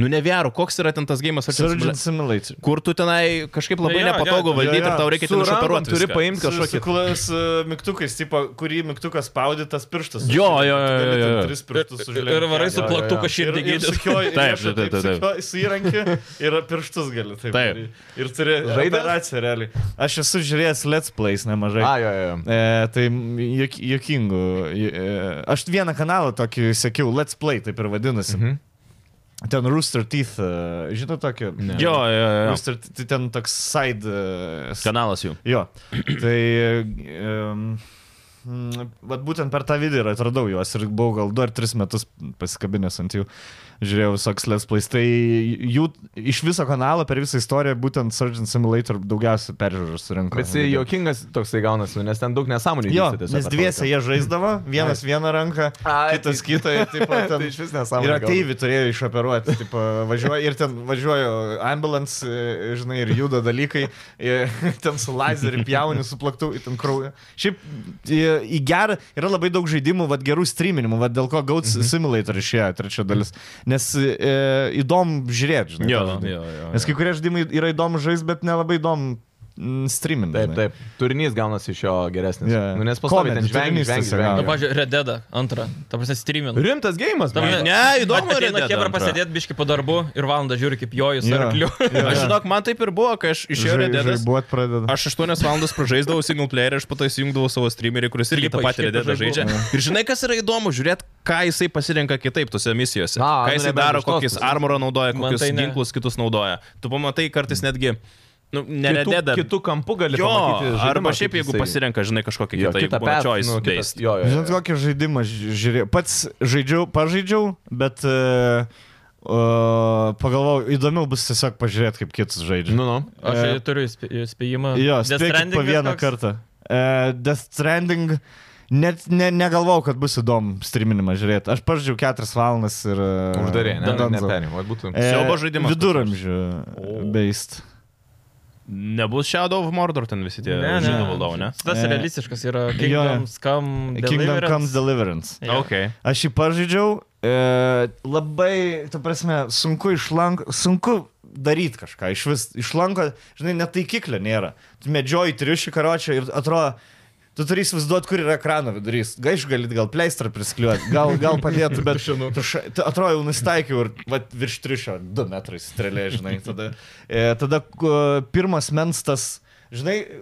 B: Nu ne VR, koks yra ten tas gėjimas Surgeon
A: Surgeon
B: simulatorius?
A: Simulator.
B: Kur tu tenai kažkaip
C: Jo,
B: labai
C: jo,
B: nepatogu
C: jo,
B: valdyti
A: jo.
B: ir tau reikia ten išoperuoti.
D: turi
B: viską.
D: paimti
A: Kažkokie
D: kažkokį
A: klas mygtukais, tipo, kurį mygtukas spaudė, tas pirštas.
B: Jo,
A: užsidedi,
B: jo,
A: tu gali
B: jo,
A: ten
B: jo.
A: Tris
C: Ir,
A: pirštus
C: ir,
A: užlenkti.
C: ir varai su
D: Jo, jo, jo.
C: plaktuku
A: Ir,
C: širdį
A: ir
C: gydyti.
A: sukioji,
B: Taip,
A: taip, taip, taip,
B: taip, taip.
A: taip. Sukioji, su įrankiu ir pirštus gali taip.
B: Taip.
A: daryt. Ir turi
D: Žaidęs?
A: operaciją realiai. Aš esu žiūrėjęs Let's Plays nemažai.
D: A, jo, jo. jo.
A: E, tai juok- juokingų. ju- E, aš vieną kanalą tokį sekiau, Let's Play taip ir vadinasi. Mhm. Ten Rooster Teeth, e, žinot tokį? Ne.
B: Jo, jo, jo, jo.
A: Rooster, tai ten toks side. e, s-
B: Kanalas jų.
A: Jo, tai... Um, Bet būtent per tą video ir atradau juos ir buvau gal 2 ar 3 metus pasikabinęs ant jų, žiūrėjau visoks Let's Plays. Tai jų iš viso kanalo per visą istoriją būtent Surgeon Simulator daugiausia peržiūrų surinko.
D: Bet jis jokingas toksai gaunasi, nes ten daug nesąmonių.
A: Jo,
D: vyksta tiesiog
A: nes
D: per tą
A: dviese
D: laiką.
A: jie žaisdavo, vienas vieną ranką,
D: Ai,
A: kitas
D: tai-
A: kitą ir taip pat.
D: Tai iš vis nesąmonė.
A: Ir ateivį turėjo išoperuoti, tipo, važiuoja, ir ten važiuoja ambulance, e, žinai, ir juda dalykai, ir ten su lazeriu pjauni, su plaktu, ir ten krauju. Šiaip į, į gerą yra labai daug žaidimų, vad gerų streaminimų, vad dėl ko Gauts mhm. Simulator išėjo trečia dalis. Nes e, įdomu žiūrėti, žinai.
B: Jo,
A: tą žaidimą.
B: jo, jo,
A: Nes
B: jo.
A: kai kurie žaidimai yra įdomu žaisti, bet nelabai įdomu mm, streaminti.
D: Taip, taip. Turinys gaunasi iš jo geresnis.
A: Jo, jo.
D: Nu, nes pastoviai ten
A: Comedy,
D: žvengi,
A: turinys
D: žvengi,
A: tiesiog
C: Na,
A: gaunasi.
D: žvengi.
C: pažiūrėjau, Rededa antrą. Ta prasme, streaming.
D: Rimtas gėjimas,
C: prasme,
D: man.
B: Ne, įdomu,
C: At-
B: Red
C: Ateina
B: Dead
C: kiebra
B: antrą.
C: pasėdėti biški po darbu ir valandą žiūri, kaip jojas
A: Jo.
C: yeah. arkliu.
B: Aš žinok, man taip ir buvo, kai aš išėjau redėdas.
A: Žaibuot pradeda.
B: Aš 8 valandas pražaisdavau single player ir aš po to įsijungdavau savo streamerį, kuris irgi
C: Klipą
B: tą
C: iš
B: patį
C: klipų
B: redėdą
C: žaidimų.
B: žaidžia. Ir žinai, kas yra įdomu, žiūrėt, ką jisai pasirenka kitaip tose misijose.
D: Na, nu,
B: Ką jisai
D: nebent
B: daro,
D: iš tos
B: kokius
D: pusės.
B: armorą naudoja,
C: Man
B: kokius
C: tai ne.
B: ginklus kitus naudoja. Tu pamatai kartais netgi, nu,
D: Kitų,
B: neredėda.
D: kitų kampų gali
B: Jo,
D: pamatyti. žaidimą,
B: arba
D: kaip
B: šiaip jeigu
D: jisai-
B: pasirenka, žinai, kažkokį
D: Jo,
B: kitą,
D: kitą
B: kitą
D: path,
B: pačiojus.
D: nu, kitas- Jo, jo,
A: Žinot,
D: jo.
A: kokį žaidimą ži- žiūrėjau. Pats žaidžiau, pažaidžiau, bet uh, uh, pagalvojau, įdomiau bus tiesiog pažiūrėti, kaip kitas žaidžia.
D: Nu, nu.
C: Aš
A: E,
C: e, turiu įspė- įspėjimą.
A: Jo,
C: Death
A: spėkit po
C: Stranding
A: vieną
C: kažkoks?
A: kartą. Uh, Death Stranding. Net ne, negalvau, kad bus įdomu streaminimą žiūrėti. Aš pažiūrėjau 4 valandas ir... Uh,
D: Uždarė, ne?
A: Donzo.
D: Neperėmė. Būtų.
A: E,
B: Siaubo žaidimas
A: Viduramžių
B: O.
A: beist.
B: Nebus Shadow of Mordor ten visi tie
C: Ne, ne.
B: žaidimų valdovai, ne?
C: Tas
A: E,
C: realistiškas yra
A: jo, jo.
C: Kingdoms Come
A: Kingdom Come
C: Deliverance.
A: Deliverance.
C: Jo.
B: Okay.
A: Aš jį pažaidžiau, e, labai, tu prasme, sunku išlank, sunku daryti kažką, iš vis išlanko, žinai, netaikiklio nėra. Tu medžioji triušį karočią ir atrodo, tu turi įsivaizduoti, kur yra ekrano vidurys. Gaiš galit gal pleistrą priskliuoti, gal, gal padėtų, bet tu ša- tu atrodo jau nustaikiau ir va, virš triušio 2 metrai strėlė, žinai. Tada, e, tada e, pirmas mens tas Žinai, e,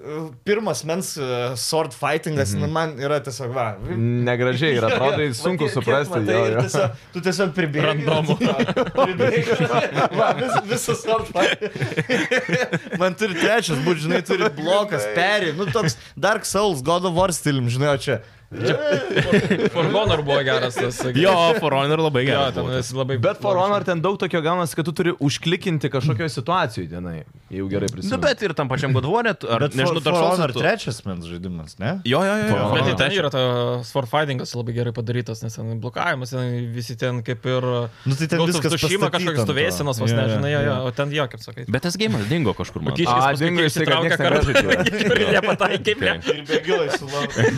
A: pirmas mens e, sword fightingas, mm -hmm. man yra tiesiog, va,
D: Negražiai ir atrodo, jis sunku suprasti.
A: Tai
D: jo, jo.
A: tiesiog, tu tiesiog pribėgi.
C: Randomu.
A: Randomu. Visas arpas. Man turi trečias, būt, žinai, turi blokas, peri. Nu, toks Dark Souls, God of War stilium, žinai, o čia.
C: For Honor buvo geras tas.
B: Jo, For Honor labai
C: jo,
B: geras.
C: ten
B: buvo tas.
C: jis labai.
D: Bet For Honor ten daug tokio gaunasi, kad tu turi užklikinti kažkokioje situacijoje dienai, jeigu gerai
B: Nu,
D: prisimenu.
B: bet ir tam pačiam Godvorė, ar
A: Bet
B: nežinau,
A: For-
B: dar
A: For
B: šaltas.
A: Honor trečias mens žaidimas, ne?
B: Jo, jo, jo. jo.
D: For
C: Bet
D: Honor.
C: ir ten yra tas sword fightingas labai gerai padarytas, nes ten blokavimas, ten visi ten kaip ir...
A: Nu, tai ten
C: Ghost of
A: viskas
C: Tsushima
A: pastatyta nu,
C: kažkokios
A: ant to.
C: stovėsenos, vos
A: Jo, jo,
C: nežinai, jo, jo,
A: jo.
C: o ten jo, kaip sakai.
B: Bet tas gėjimas dingo kažkur. man atrodo.
C: Kyškis
D: A,
C: paskui
D: dingo
C: kai
D: jisai, kad
C: išsitraukia
D: nieks nebežaidžia.
C: kartą. Ir nepataikė, kaip ne.
A: Ir bėgilai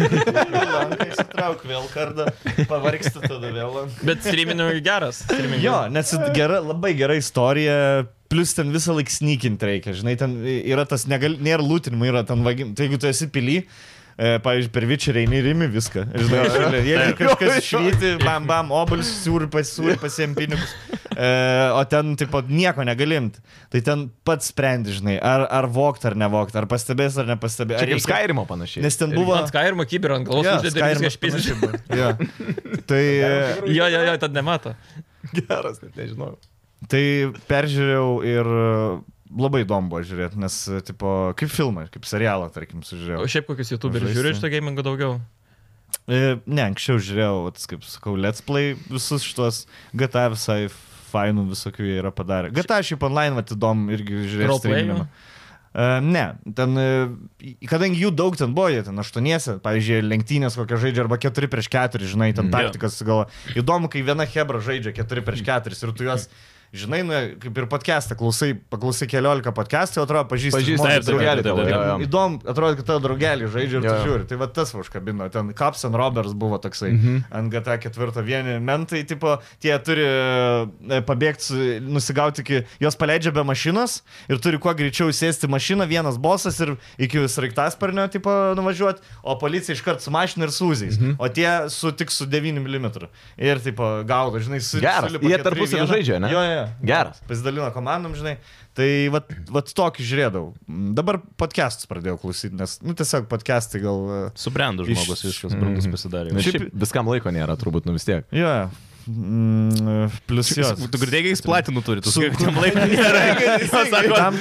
A: sulaukia. Įsitrauk vėl kardą, pavargsti tada vėl.
C: Bet streaminiui geras. streaming
A: Jo, nes it- gera, labai gera istorija. Plus ten visą laiką snykinti reikia, žinai, ten yra tas, negal, nėra lūtinimo, yra ten vagim. Tai jeigu tu esi pily, e, pavyzdžiui, per vičerį eini rimi viską. Žinai, šalia, jeigu kažkas švyti, bam, bam, obulis, siūri, pasiūri, pasiem pinigus. E, o ten, tipo, nieko negalimti. Tai ten pats sprendi, žinai, ar, ar vokt ar nevokt, ar pastebės ar nepastebės.
D: Čia
A: Ar
D: kaip Skyrimo panašiai.
A: Nes ten
C: Buvo
A: buvo...
C: ant Skyrim'o kiber ant galvos,
A: Jo,
C: uždedi viską
A: Skyrimas
C: išpizdi.
A: panašiai buvo. Jo. Tai... e,
C: Jo, jo, jo, tad nemato.
D: geras, net nežinau.
A: Tai peržiūrėjau ir e, labai įdomu buvo žiūrėti, nes, e, tipo, kaip filmą, kaip serialą, tarkim,
C: O
A: sužiūrėjau.
C: šiaip kokius YouTuberius
A: Žaisti.
C: žiūri iš to gamingo daugiau.
A: E, Ne, anksčiau žiūrėjau, vat, kaip sakau, Let's Play visus šitos GTA visai fainų visokių jie yra padarę. GTA šiaip online, vat, įdomu, irgi žiūrėjau.
C: Roleplay'ų?
A: streaminimą. E, Ne, ten, e, kadangi jų daug ten buvo, jie ten aštuoniesi, pavyzdžiui, lenktynės kokią žaidžia arba keturi prieš keturi, žinai,
B: Mm.
A: ten taktikas gal. Įdomu, kai viena Hebra žaidžia keturi prieš keturis ir tu juos, žinai, nu, kaip ir podcastą, klausai, paklausai keliolika podcastų, atrodo, pažįsti.
D: Pažįsti,
A: žmones,
B: taip, taip,
A: draugelį
B: taip, taip,
A: tavo.
B: taip,
A: Ir
D: taip.
A: Įdomu, atrodo, kad tavo draugelį žaidžia ir tu
D: Jo, jo.
A: žiūri. Tai va tas va užkabino. Ten Caps and Roberts buvo toksai mhm. ant GTA 4 vieni mentai, tipo, tie turi e, pabėgti, su- nusigauti iki, jos paleidžia be mašinos ir turi kuo greičiau įsėsti į mašiną, vienas bosas ir iki sraigtasparnio tipo nuvažiuoti, o policija iškart su mašina ir sūzys. Mhm. O tie su tik su 9 mm. Ir tipo gaudo, žinai, su...
D: Geras.
A: sulipa
D: Jie
A: keturi į
D: tarpusavy
A: vieną.
D: žaidžia, ne?
A: Jo, jo, jo
D: Geras.
A: pasidalino komandom, žinai. Tai vat, vat tokį žiūrėdavau. Mm, Dabar podcastus pradėjau klausyti, nes, nu, tiesiog podcastai gal... e,
B: Subrendo
A: Iš-
B: žmogus, viskas brandus pasidarė.
D: Na,
A: Šiaip-
D: šiaip viskam laiko nėra, turbūt, nu vis tiek.
A: Jo, mm, e, plus jo.
B: Tu girdėjai, jis platinų turi, tu
A: Su-
B: sakai, kad jam laiko nėra.
A: Tam turi,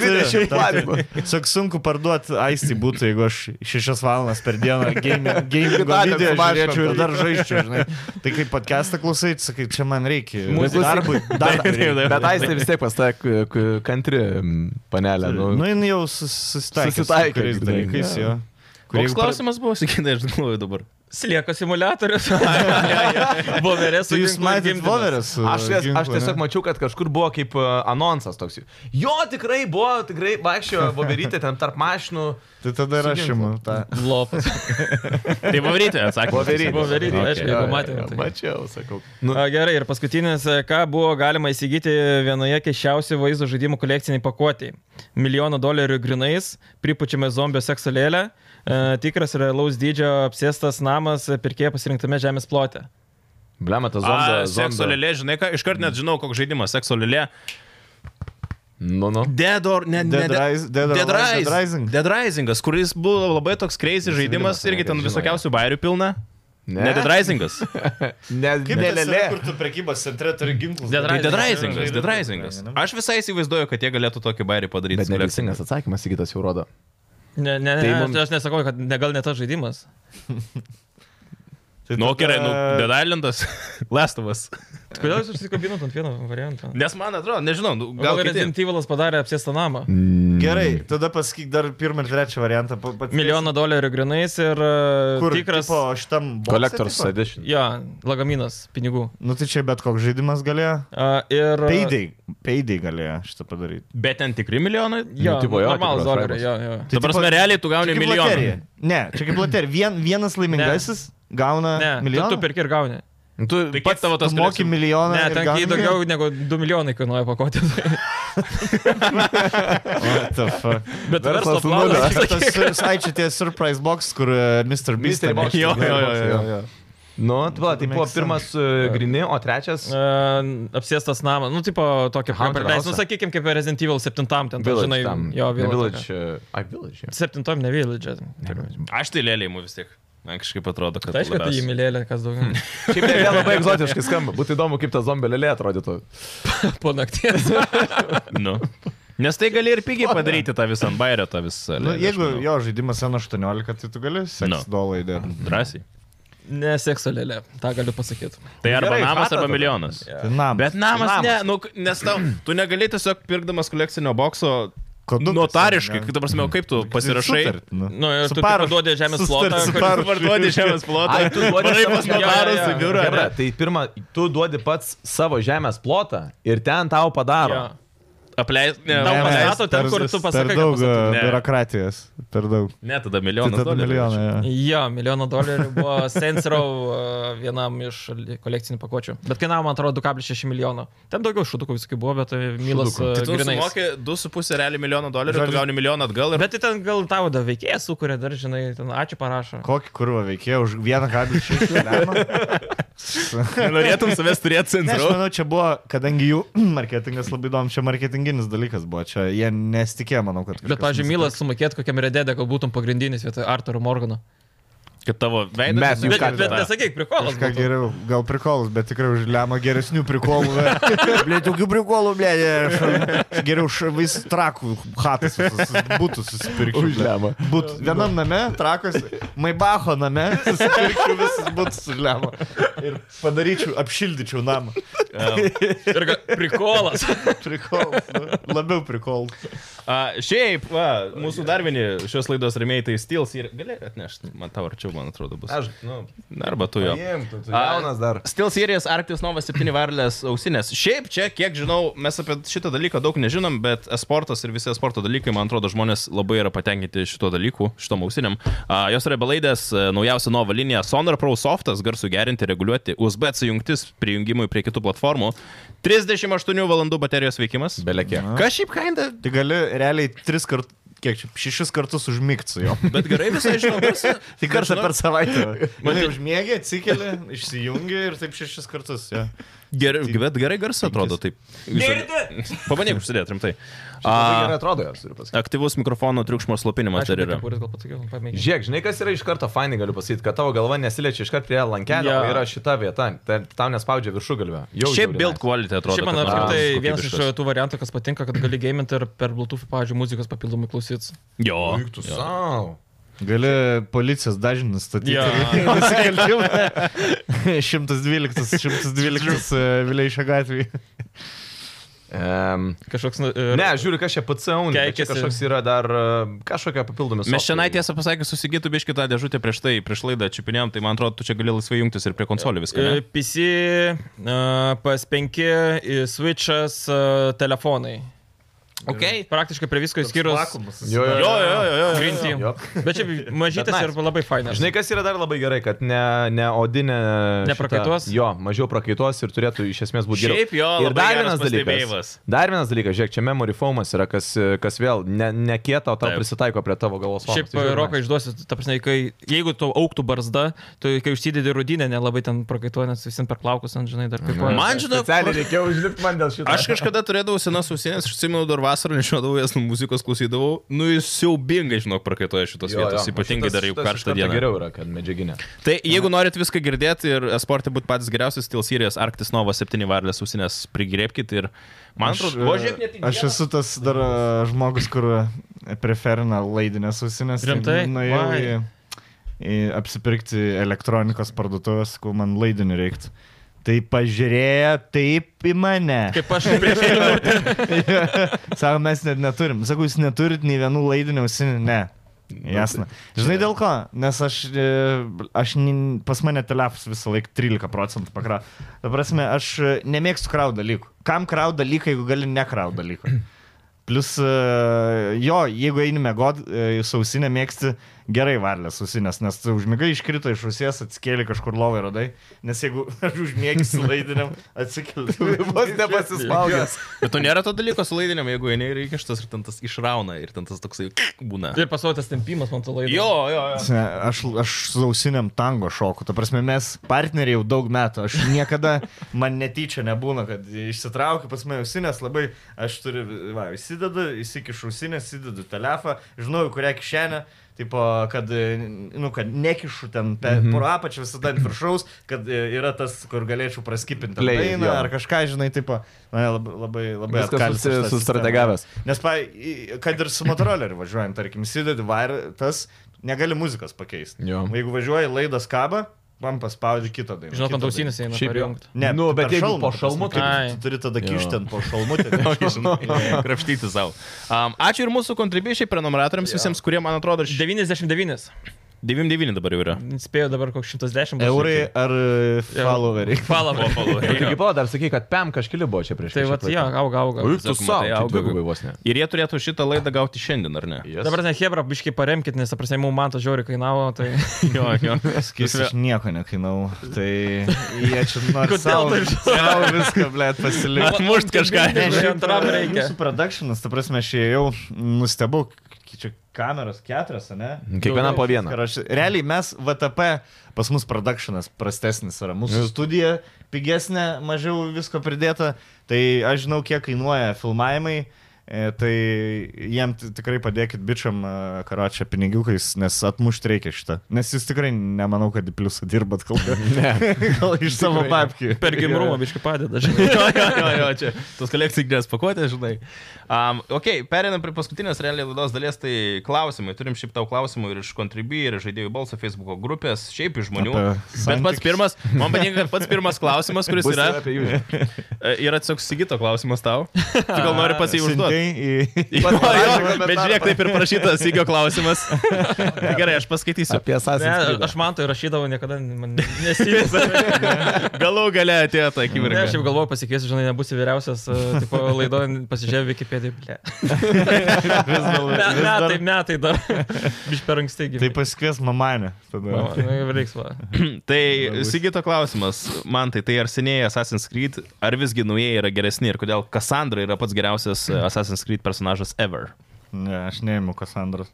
A: tam turi.
D: dvidešimt platinų.
A: Tiesiog sunku parduoti aistį būtų, jeigu aš šešias valandas per dieną game, game
D: Dar
A: video
D: sumažinam.
A: žiūrėčiau ir dar žaidžiu, žinai. Tai kaip podcastą klausai, tu sakai, čia man reikia.
D: Muzika.
A: darbui. Darbui. reikia.
D: Bet aistė vis tiek pas tą kantri panelę. Nu,
A: Nu, jinai jau sus- susitaikė. su
D: Susitaikė,
A: kuriais
D: žinai,
A: dalykais, jo.
D: jo.
A: Kur
B: Koks
A: jeigu pra-
B: klausimas buvo, sakykime, aš galvoju dabar.
C: Slieko simulatorius. Voverės
A: Tai
C: su
A: jūs
C: ginklu
A: matėt
C: atgimdymas.
A: voveras?
D: Aš, ties, aš tiesiog mačiau, kad kažkur buvo kaip e, anonsas toks. Jo, tikrai buvo, tikrai vaikščiojo voverytė ten tarp mašinų.
A: Tai tada ir
D: Su
A: aš
D: ginklu.
A: imu tą.
C: Lopas.
B: Tai pavaryti, atsakė.
D: Voverytė.
C: Voverytė, aišku, jeigu matėme. tai.
D: Mačiau, sakau.
C: Nu. A, gerai, ir paskutinis, e, ką buvo galima įsigyti vienoje keščiausių vaizdo žaidimų kolekciniai pakuotėjai. Milijono dolerių grinais, pripučiame zombio seksualėlę, e, tikras realaus dydžio apsėstas namas e, pirkėjo pasirinktame žemės plote.
D: Blema, tas
B: Sekso
D: zombis.
B: lėlė, žinai ką, iškart net žinau, koks žaidimas. Sekso lėlė.
D: Nu, nu.
B: Dead or ne,
A: Dead
B: ne, de-
A: Rise- Dead or
B: Dead
A: Rise-
B: Rise-
A: Dead Rising.
B: Dead Risingas, kuris buvo labai toks crazy žaidimas, irgi ten
D: žinau,
B: visokiausių bairių pilna.
D: Ne,
B: Ne Dead Risingas.
D: Ne,
A: Kaip
D: ne,
A: lėlė, kur tu prekybos centre turi ginklus.
B: Tai Dead Risingas, Dead Risingas. Aš visai įsivaizduoju, kad jie galėtų tokį bairį padaryti.
D: Bet
B: su
D: nelėsingas atsakymas, Sigitas jau rodo.
C: Ne, ne, ne,
D: Tai
C: tai
D: mum-
C: mums... aš nesakau, kad ne, gal ne tas žaidimas.
A: Tai
B: Nu,
A: tada-
B: gerai, nu, Dead Islandas, Lastovas.
C: Tai Kodėl jūs užsikabinot ant vieno varianto?
B: Nes man atrodo, nežinau, nu,
C: O Gal
B: gal kiti.
C: Resident Evilas padarė apsėstą namą?
D: Mm.
A: Gerai, tada pasakyk dar pirmą ir trečią variantą. pa- pats-
C: Milijono dolerių grinais ir e,
A: Kur
C: tikras...
A: Po šitam. boxe,
D: Collector's
A: tipo?
D: Edition.
C: Jo, lagaminas pinigų.
A: Nu tai čia bet koks žaidimas galėjo.
C: Uh, ir...
A: Peidai. Peidai galėjo šitą padaryti.
B: Bet ten tikri milijonai.
C: Jo,
D: Nu, tipo, jo,
C: normalus
D: tikras
C: doleriai, jo,
D: žaidimas.
C: jo.
A: Tai
B: Tai dabar mes realiai tu gauni
A: Čia kaip
B: milijoną.
A: loterija. Ne, čia kaip loterija. Vien, vienas laimingasis gauna
C: Ne, tu,
A: milijoną.
C: tu perki ir gauni.
D: Nu, Tu
B: Tai kiek
D: pats
B: tavo
A: Tu
B: tas
A: moki
B: mokymai?
A: milijoną.
C: Ne,
A: ir
C: ten
A: gauni
C: kai daugiau negu 2 milijonai kainuoja pakoti.
A: What the fuck?
C: Bet verslo
D: Verslas
C: planas.
A: Čia tas, sur- ai, čia tie surprise box, kur e, Mr. Beast.
D: Mystery
A: ten
D: Box.
B: Jo,
D: Mystery
B: jo,
D: Box,
B: jo,
D: jo. Nu, tu va, tai buvo
A: Makes
D: pirmas e, grini, o trečias.
C: Uh, apsėstas namas, nu, tipo, tokio
D: Haunted
C: hamburgerio.
D: House.
C: Nu, sakykime, kaip Resident Evil 7, ten, ten
D: Village
C: žinai,
D: tam.
C: jo,
D: Ne, Village.
C: Village.
D: e, Ai, Village. jo.
C: 7, ne Village.
B: Aš tai lėlė įmu vis tiek. Man kažkaip atrodo, kad...
C: Tai aišku, tai jį
B: labiausiai.
C: mylėlė, kas daugiau.
D: Šiaip tai vėl labai egzotiškai skamba. Būtų įdomu, kaip ta zombė lėlė atrodytų.
C: po nakties.
B: Nu. Nes tai gali ir pigiai padaryti tą visą ant bairio, tą visą.
A: Nu,
B: lėlę, aš
A: jeigu
B: manau.
A: jo žaidimas N18, tai tu gali seks
B: Nu.
C: Mhm.
A: no. dolai dėti.
B: Drąsiai.
C: Neseksualėlė, tą galiu pasakyti.
B: Tai arba
D: Gerai,
B: namas,
D: fatą
B: arba
D: tada.
B: milijonas.
A: Tai na,
B: Bet namas,
D: Namas.
B: namas. ne, nu, nes tau, tu negali tiesiog pirkdamas kolekcinio bokso
A: Kodėl?
B: notariškai, kaip, ta prasme, o kaip tu pasirašai.
A: Sutart, nu.
C: Nu, ir tu
A: Suparuoš-
C: parduodė žemės
A: susitart-
C: plotą, kur-
A: suparuoš-
B: Parduodi žemės plotą,
D: Ai, tu duodi
B: varai
D: savo
B: pas
D: žemę.
B: notarus
C: Jo,
B: į
C: jo, jo.
B: biurą.
D: Gerai,
B: ne?
D: tai pirma, tu duodi pats savo žemės plotą ir ten tau padaro.
C: Jo.
B: Apleist, ne,
C: Tau
A: Ne,
B: apleist-
A: mes
C: pastato ten,
A: per-
C: kur tu pasakai,
A: Per
C: kad
A: daug
C: pastatai.
B: Ne.
A: e, biurokratijos, per daug.
B: ne, tada
A: Tai
B: milijonas.
A: tada
B: dolerių.
A: milijoną. jo.
C: Jo, milijono dolerių buvo Sensro vienam iš li- kolekcinių pakuočių. Bet kainavo, man atrodo, 2,6 milijono. Ten daugiau šudukų visokių buvo, bet tai Milas
D: Šudukų.
C: e,
B: Tai tu
C: grynais.
B: sumokė 2,5 realiai milijono dolerių, tu
A: Žodžiu-
B: gauni milijoną atgal ir...
C: Bet tai ten gal tavo da veikėjas sukuria, dar žinai, ten ačiū parašo.
A: Kokį kurvą veikėjo už vieną kablį šešių?
B: Norėtum savęs turėti
A: Ne, aš
B: centru.
A: manau, čia buvo, kadangi jų marketingas labai įdomus, čia marketinginis dalykas buvo, čia jie nesitikėjo, manau, kad...
C: Bet, pažiūrėjau, Milas sumokėt kokiam rededė, kad būtum pagrindinis vietoj Arturo Morgano.
B: Kad tavo veidas.
D: Mes jų
C: Bet,
D: ką-
C: bet nesakyk, prikolas.
A: Ką
C: būtų.
A: geriau, gal prikolus, bet tikrai už lemą geresnių prikolų. Blė, tokių prikolų, blė, aš geriau šavais trakų hatas būtų susipirkčiau.
D: Už
A: blet.
D: lemą.
A: Būtų vienam name, trakos, Maibacho name, susipirkčiau visus būtų už lemą. Ir padaryčiau, apšildyčiau namą.
C: Ir ga- prikolas.
A: Prikolus. nu, Labiau prikolus.
B: A, šiaip, va, mūsų dar vieni šios laidos remėjai tai Steels ir gali atnešti, man tau arčiau, man atrodo, bus.
D: Aš, nu,
B: Arba tu jo.
D: paimtų, tu
B: A,
D: jaunas dar.
B: Steel Series Arctis Nova 7 varlės ausinės. Šiaip čia, kiek žinau, mes apie šitą dalyką daug nežinom, bet esportas ir visi esporto dalykai, man atrodo, žmonės labai yra patenkinti šito dalyku, šitom ausiniam. A, jos yra belaidės, a, naujausia Nova linija Sonar Pro Softas, garsų gerinti, reguliuoti, USB atsijungtis prijungimui prie kitų platformų. 38 valandų baterijos veikimas.
D: Belekė.
B: Kas šiaip kinda
A: Tai gali realiai tris kartus, kiek čia, šešis kartus užmigti su juo.
B: Bet gerai visai žinau.
A: Tik kartą per savaitę. Man
B: tai-
A: užmėgė, atsikeli, išsijungi ir taip šešis kartus. Ja.
B: Gerai, bet gerai garsas atrodo taip. Pabandyk užsidėti rimtai.
D: Labai
B: A,
D: gerai atrodo, jos turiu pasakyti.
B: aktyvus mikrofono triukšmo slopinimas dar yra.
C: Kuris gal pasakiau, pamėgiau.
D: Žiūrėk, žinai, kas yra iš karto fainai, galiu pasakyti, kad tavo galva nesiliečia iš karto prie lankelio,
C: Jo.
D: yeah. yra šita vieta, tai tau nespaudžia viršugalvio. Jau
B: Šiaip
D: žiauriai
B: build
D: nice.
B: quality atrodo.
C: Šiaip man
B: kad
C: apskritai
B: kokybiškas.
C: vienas iš tų variantų, kas patinka, kad gali gaiminti ir per Bluetooth, pavyzdžiui, muzikos papildomai klausytis.
B: Jo.
D: Eik tu sau.
A: Gali policijos dažnį nustatyti.
C: Jo.
A: Nusikaltimą. 112, 112 e, Vileišio gatvėje.
D: Um,
C: Kažkoks...
D: ne, žiūriu, kas čia pats own.
C: Keikiasi.
D: Kažkoks yra dar e, kažkokia papildoma.
B: Mes šiandien tiesą pasakius susigytų biškį tą dėžutę prieš tai, prieš laidą čiupinėjom, tai man atrodo, tu čia gali laisvai jungtis ir prie konsolių viską.
C: E,
B: ne?
C: PC, e, PS5, e, Switch'as, e, telefonai.
B: Ok.
C: Praktiškai prie visko išskyrus.
D: Jo, jo,
B: Jo, jo, jo, jo.
C: Green Team.
D: Jo.
C: Bet čia mažytas
D: Bet
C: ir
D: nice.
C: labai fainas.
D: Žinai, kas yra dar labai gerai, kad ne, ne odinė.
C: Neprakaituos?
D: šita- Jo, mažiau prakaituos ir turėtų iš esmės būti geriau.
B: Šiaip jo,
D: ir
B: labai
D: dar
B: geras
D: vienas dalykas.
B: pastebėjimas.
D: Dar vienas dalykas, žiūrėk, čia memory foamas yra, kas, kas vėl ne, ne kieta, o tau
B: Taip.
D: prisitaiko prie tavo galvos. formos.
C: Šiaip
D: Tai žiauriai
C: roką
D: nice.
C: išduosiu, ta prasme, kai, jeigu tu auktų barzda, tu kai užsidedi rudinę, nelabai ten prakaituoji, nes visiems per plaukus, ant, žinai, dar kaip
B: Man žinok,
D: Specialiai reikėjo užlipti man dėl šito.
B: Aš kažkada turėdavau senas ausinės, aš atsimenu dar vasarą, nešiodavau jas, muzikos klausydavau. Nu, jis siaubingai, žinok, prakaitoja šitos
D: Jo, jo,
B: vietos, ypatingai
D: šitas-
B: dar jau
D: šitas iš
B: karštą
D: karto
B: dieną.
D: Geriau yra, kad medžiaginė.
B: Tai jeigu norit viską girdėti ir esportė būti patys geriausias, Steel Series Arctis Nova 7 varlės ausinės prigriepkit ir man atrodo,
A: Aš, e, aš esu tas dar e, žmogus, kur e, preferina laidinės ausinės. Tai
C: Rimtai?
A: Nuėjau
C: Vai.
A: į, į apsipirkti elektronikos parduotuvės, kur man laidinių reiktų. Tai pažiūrėjo taip į mane.
C: Kaip aš prieš tai.
A: Sako, mes net neturim. Sakau, jūs neturit nei vienų laidinių ausinių. Ne. Jasna. Žinai dėl ko? Nes aš, e, aš ni- pas mane telefas visą laiką 13 procentų pakra. Ta prasme, aš e, nemėgstu krau dalykų. Kam krau dalyką, jeigu gali nekrau dalyką? Plus, e, jo, jeigu eini mėgot, sausinę mėgsti gerai varlės sausinės, nes tu užmigai iškrito iš ausies, atsikėlė kažkur lovai radai, nes jeigu aš užmėgsi su laidiniam, atsikėlė.
D: Vos nepasispaugęs.
B: Bet tu nėra to dalyko su laidiniam, jeigu eini ir įkištas ir ten tas išrauna ir ten tas toksai būna.
C: Ir pasautas tempimas man to laiko.
B: Jo, jo, jo.
A: Ta prasme, Aš, aš su ausiniam tango šoku. Ta prasme, mes partneriai jau daug metų. Aš niekada, man netyčia nebūna, kad išsitraukiu pas mane ausinės labai. Aš turiu, va, įsidedu, įsikišu ausinės, įsidedu telefoną, žinau, į kurią kišenę. Tipo, kad, nu, kad nekišu ten pe, mm -hmm.
D: Mhm.
A: pro apačią visada ant viršaus, kad e, yra tas, kur galėčiau praskipinti
D: Play,
A: dainą
D: jo.
A: ar kažką, žinai, tipo, mane labai, labai, labai
D: Viskas
A: apkaltins
D: susi-
A: šita
D: sustrategavęs.
A: sistema. Nes, pa, į- kad ir su motoroleriu važiuojant, tarkim, įsidedi vairą, tas negali muzikos pakeisti.
D: Jo.
A: Jeigu važiuoji laidas kabą, man paspaudžiu kitą dainą.
C: Žinot,
A: kitą
C: ant ausinės eina
D: Šiaip jau.
C: perjungti.
A: Ne,
D: Nu,
A: per
D: bet jeigu
A: šalmą, ta
D: po
A: prasme,
D: šalmu,
A: kai
C: tai-
A: Tu turi tada
B: Jo.
A: kišti ant po šalmu, tai reiškia, žinai.
B: Krapštyti savo. Um, ačiū ir mūsų kontribišiai, prenumeratoriams visiems, kurie, man atrodo, š-
C: 99.
B: 99 dabar jau yra.
C: Spėjau dabar koks 110. bus.
A: Eurai ar e, followeriai?
C: Follower.
B: Jo.
D: Taigi, pala, dar sakai, kad PEM kažkili buvo čia prieš
C: Tai va, jo, auga, auga.
D: Ui, tu
B: Tiesiog
D: savo,
B: matai,
D: tai
B: auga.
D: dvigubai vos ne.
B: Ir jie turėtų šitą laidą gauti šiandien, ar ne?
D: Yes.
C: Dabar ne Hebra, biškai paremkit, nes, aprasai, mums man to žiauriai kainavo, tai...
B: Jo, jo.
A: Skis aš nieko nekainau. Tai jie čia nori
C: Kodėl
A: savo,
C: taip
A: savo viską, blė, pasilikti.
B: Atmušt kažką.
A: Ne,
C: Žinai,
A: šiaip
C: antram
A: e,
C: reikia.
A: Mūsų produkšinas, ta prasme, aš jau nustebau, k- čia kameros keturios, ne?
D: Kiekviena po vieną.
A: Ir aš, realiai mes VTP, pas mus produkšinas prastesnis yra, mūsų
D: Jis-
A: studija pigesnė, mažiau visko pridėta, tai aš žinau, kiek kainuoja filmavimai. e, Tai jiem t- tikrai padėkit bičiam e, karočią pinigiukais, nes atmušti reikia šitą. Nes jūs tikrai nemanau, kad į pliusą dirbat kol kas. Ne. Gal iš savo papkių.
C: Per gimrumą biškai padeda, žinai.
B: jo, jo, jo, jo, čia tos kolekcinės pakuotės, žinai. Um, ok, perinam prie paskutinės realiai laidos dalies, tai klausimai. Turim šiaip tau klausimų ir iš Contribui, ir iš žaidėjų balso Facebook'o grupės, šiaip iš žmonių.
A: Apie
B: Bet pats
A: santykius.
B: pirmas, man patinka, kad pats pirmas klausimas, kuris
D: Bus
B: yra,
D: ir apie jų.
B: e, yra tiesiog Sigito klausimas tau. Tu gal nori pats jį
A: Siuntei
B: užduoti?
A: į...
B: Jo, jo,
A: komentarą.
B: bet žiūrėk, taip ir parašytas Sigio klausimas. Gerai, aš paskaitysiu.
D: Apie
C: Ne,
D: sąsają.
C: aš man tai rašydavau, niekada man nesivysdavau.
B: Galų gale atėjo ta
C: Ne, aš
B: akimirka.
C: jau galvoju, pasikviesiu, žinai, nebūsiu vyriausias, e, tipo, laido, pasižiūrėjau Wikipediją, ble.
A: Vis dar-
C: Me,
A: vis dar-
C: metai, metai dar. Iš per anksti gimė.
A: Tai pasikvies mamanę.
C: Mama,
A: Tada.
C: nu, reiks, va.
B: Tai Sigito klausimas, man tai, tai ar senieji Assassin's Creed, ar visgi naujieji yra geresni ir kodėl Cassandra yra pats geriausias e, Assassin's Creed personažas ever?
A: Ne, aš neimu Kasandros.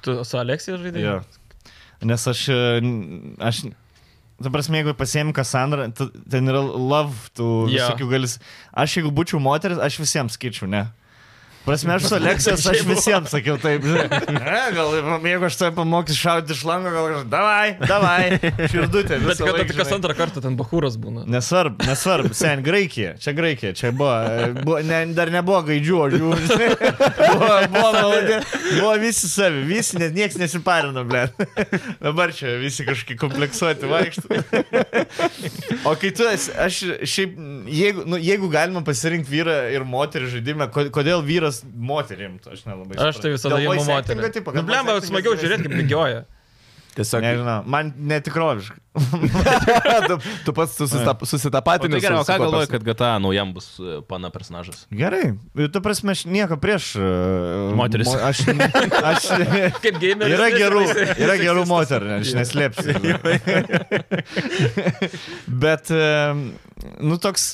C: Tu su Aleksija žaidėjai?
A: Jo. Nes aš... e, n- aš Ta prasme, jeigu pasiemi Kasandrą, tu- ten yra love, tu
C: Jo.
A: visokių galis. Aš jeigu būčiau moteris, aš visiems skaičiau, ne. Prasme, aš su Aleksijos, aš visiems sakiau taip. žinai. Ne, gal jeigu aš tave pamokysiu šaudyti iš lango, gal aš... Davai, davai, širdutė.
C: Bet
A: visą
C: kad
A: laiką,
C: tai kas
A: žinai.
C: antrą kartą ten bahūras būna.
A: Nesvarbu, nesvarbu, sen Graikija, čia Graikija, čia buvo, e, buvo ne, dar nebuvo gaidžių, o jų, žinai, buvo, buvo, malonė, buvo visi savi, visi, net niekas nesiparino, ble. Dabar čia visi kažkaip kompleksuoti vaikštų. O kai tu esi, aš šiaip, jeigu, nu, jeigu galima pasirinkti vyrą ir moterį žaidime, ko- kodėl vyras moterim, aš nelabai.
C: Aš tai visada jau moterį. Nu, blemba, smagiau žiūrėti, kaip bėgioja.
D: Tiesiog
A: Nežinau, man netikroviškai.
D: tu, tu pats susitap,
B: O tai
D: susitapatini.
B: gerai, o
D: su- su
B: ką
D: tuo
B: galvoji,
D: perso-
B: kad GTA naujam bus e, pana personažas?
A: Gerai, tu prasme, aš nieko prieš. e,
B: Moteris.
A: Mo, aš, aš,
C: Kaip gameris.
A: yra
C: nes
A: gerų,
C: jisai-
A: yra gerų moterų, ne, aš neslėpsiu. Bet, e, nu toks,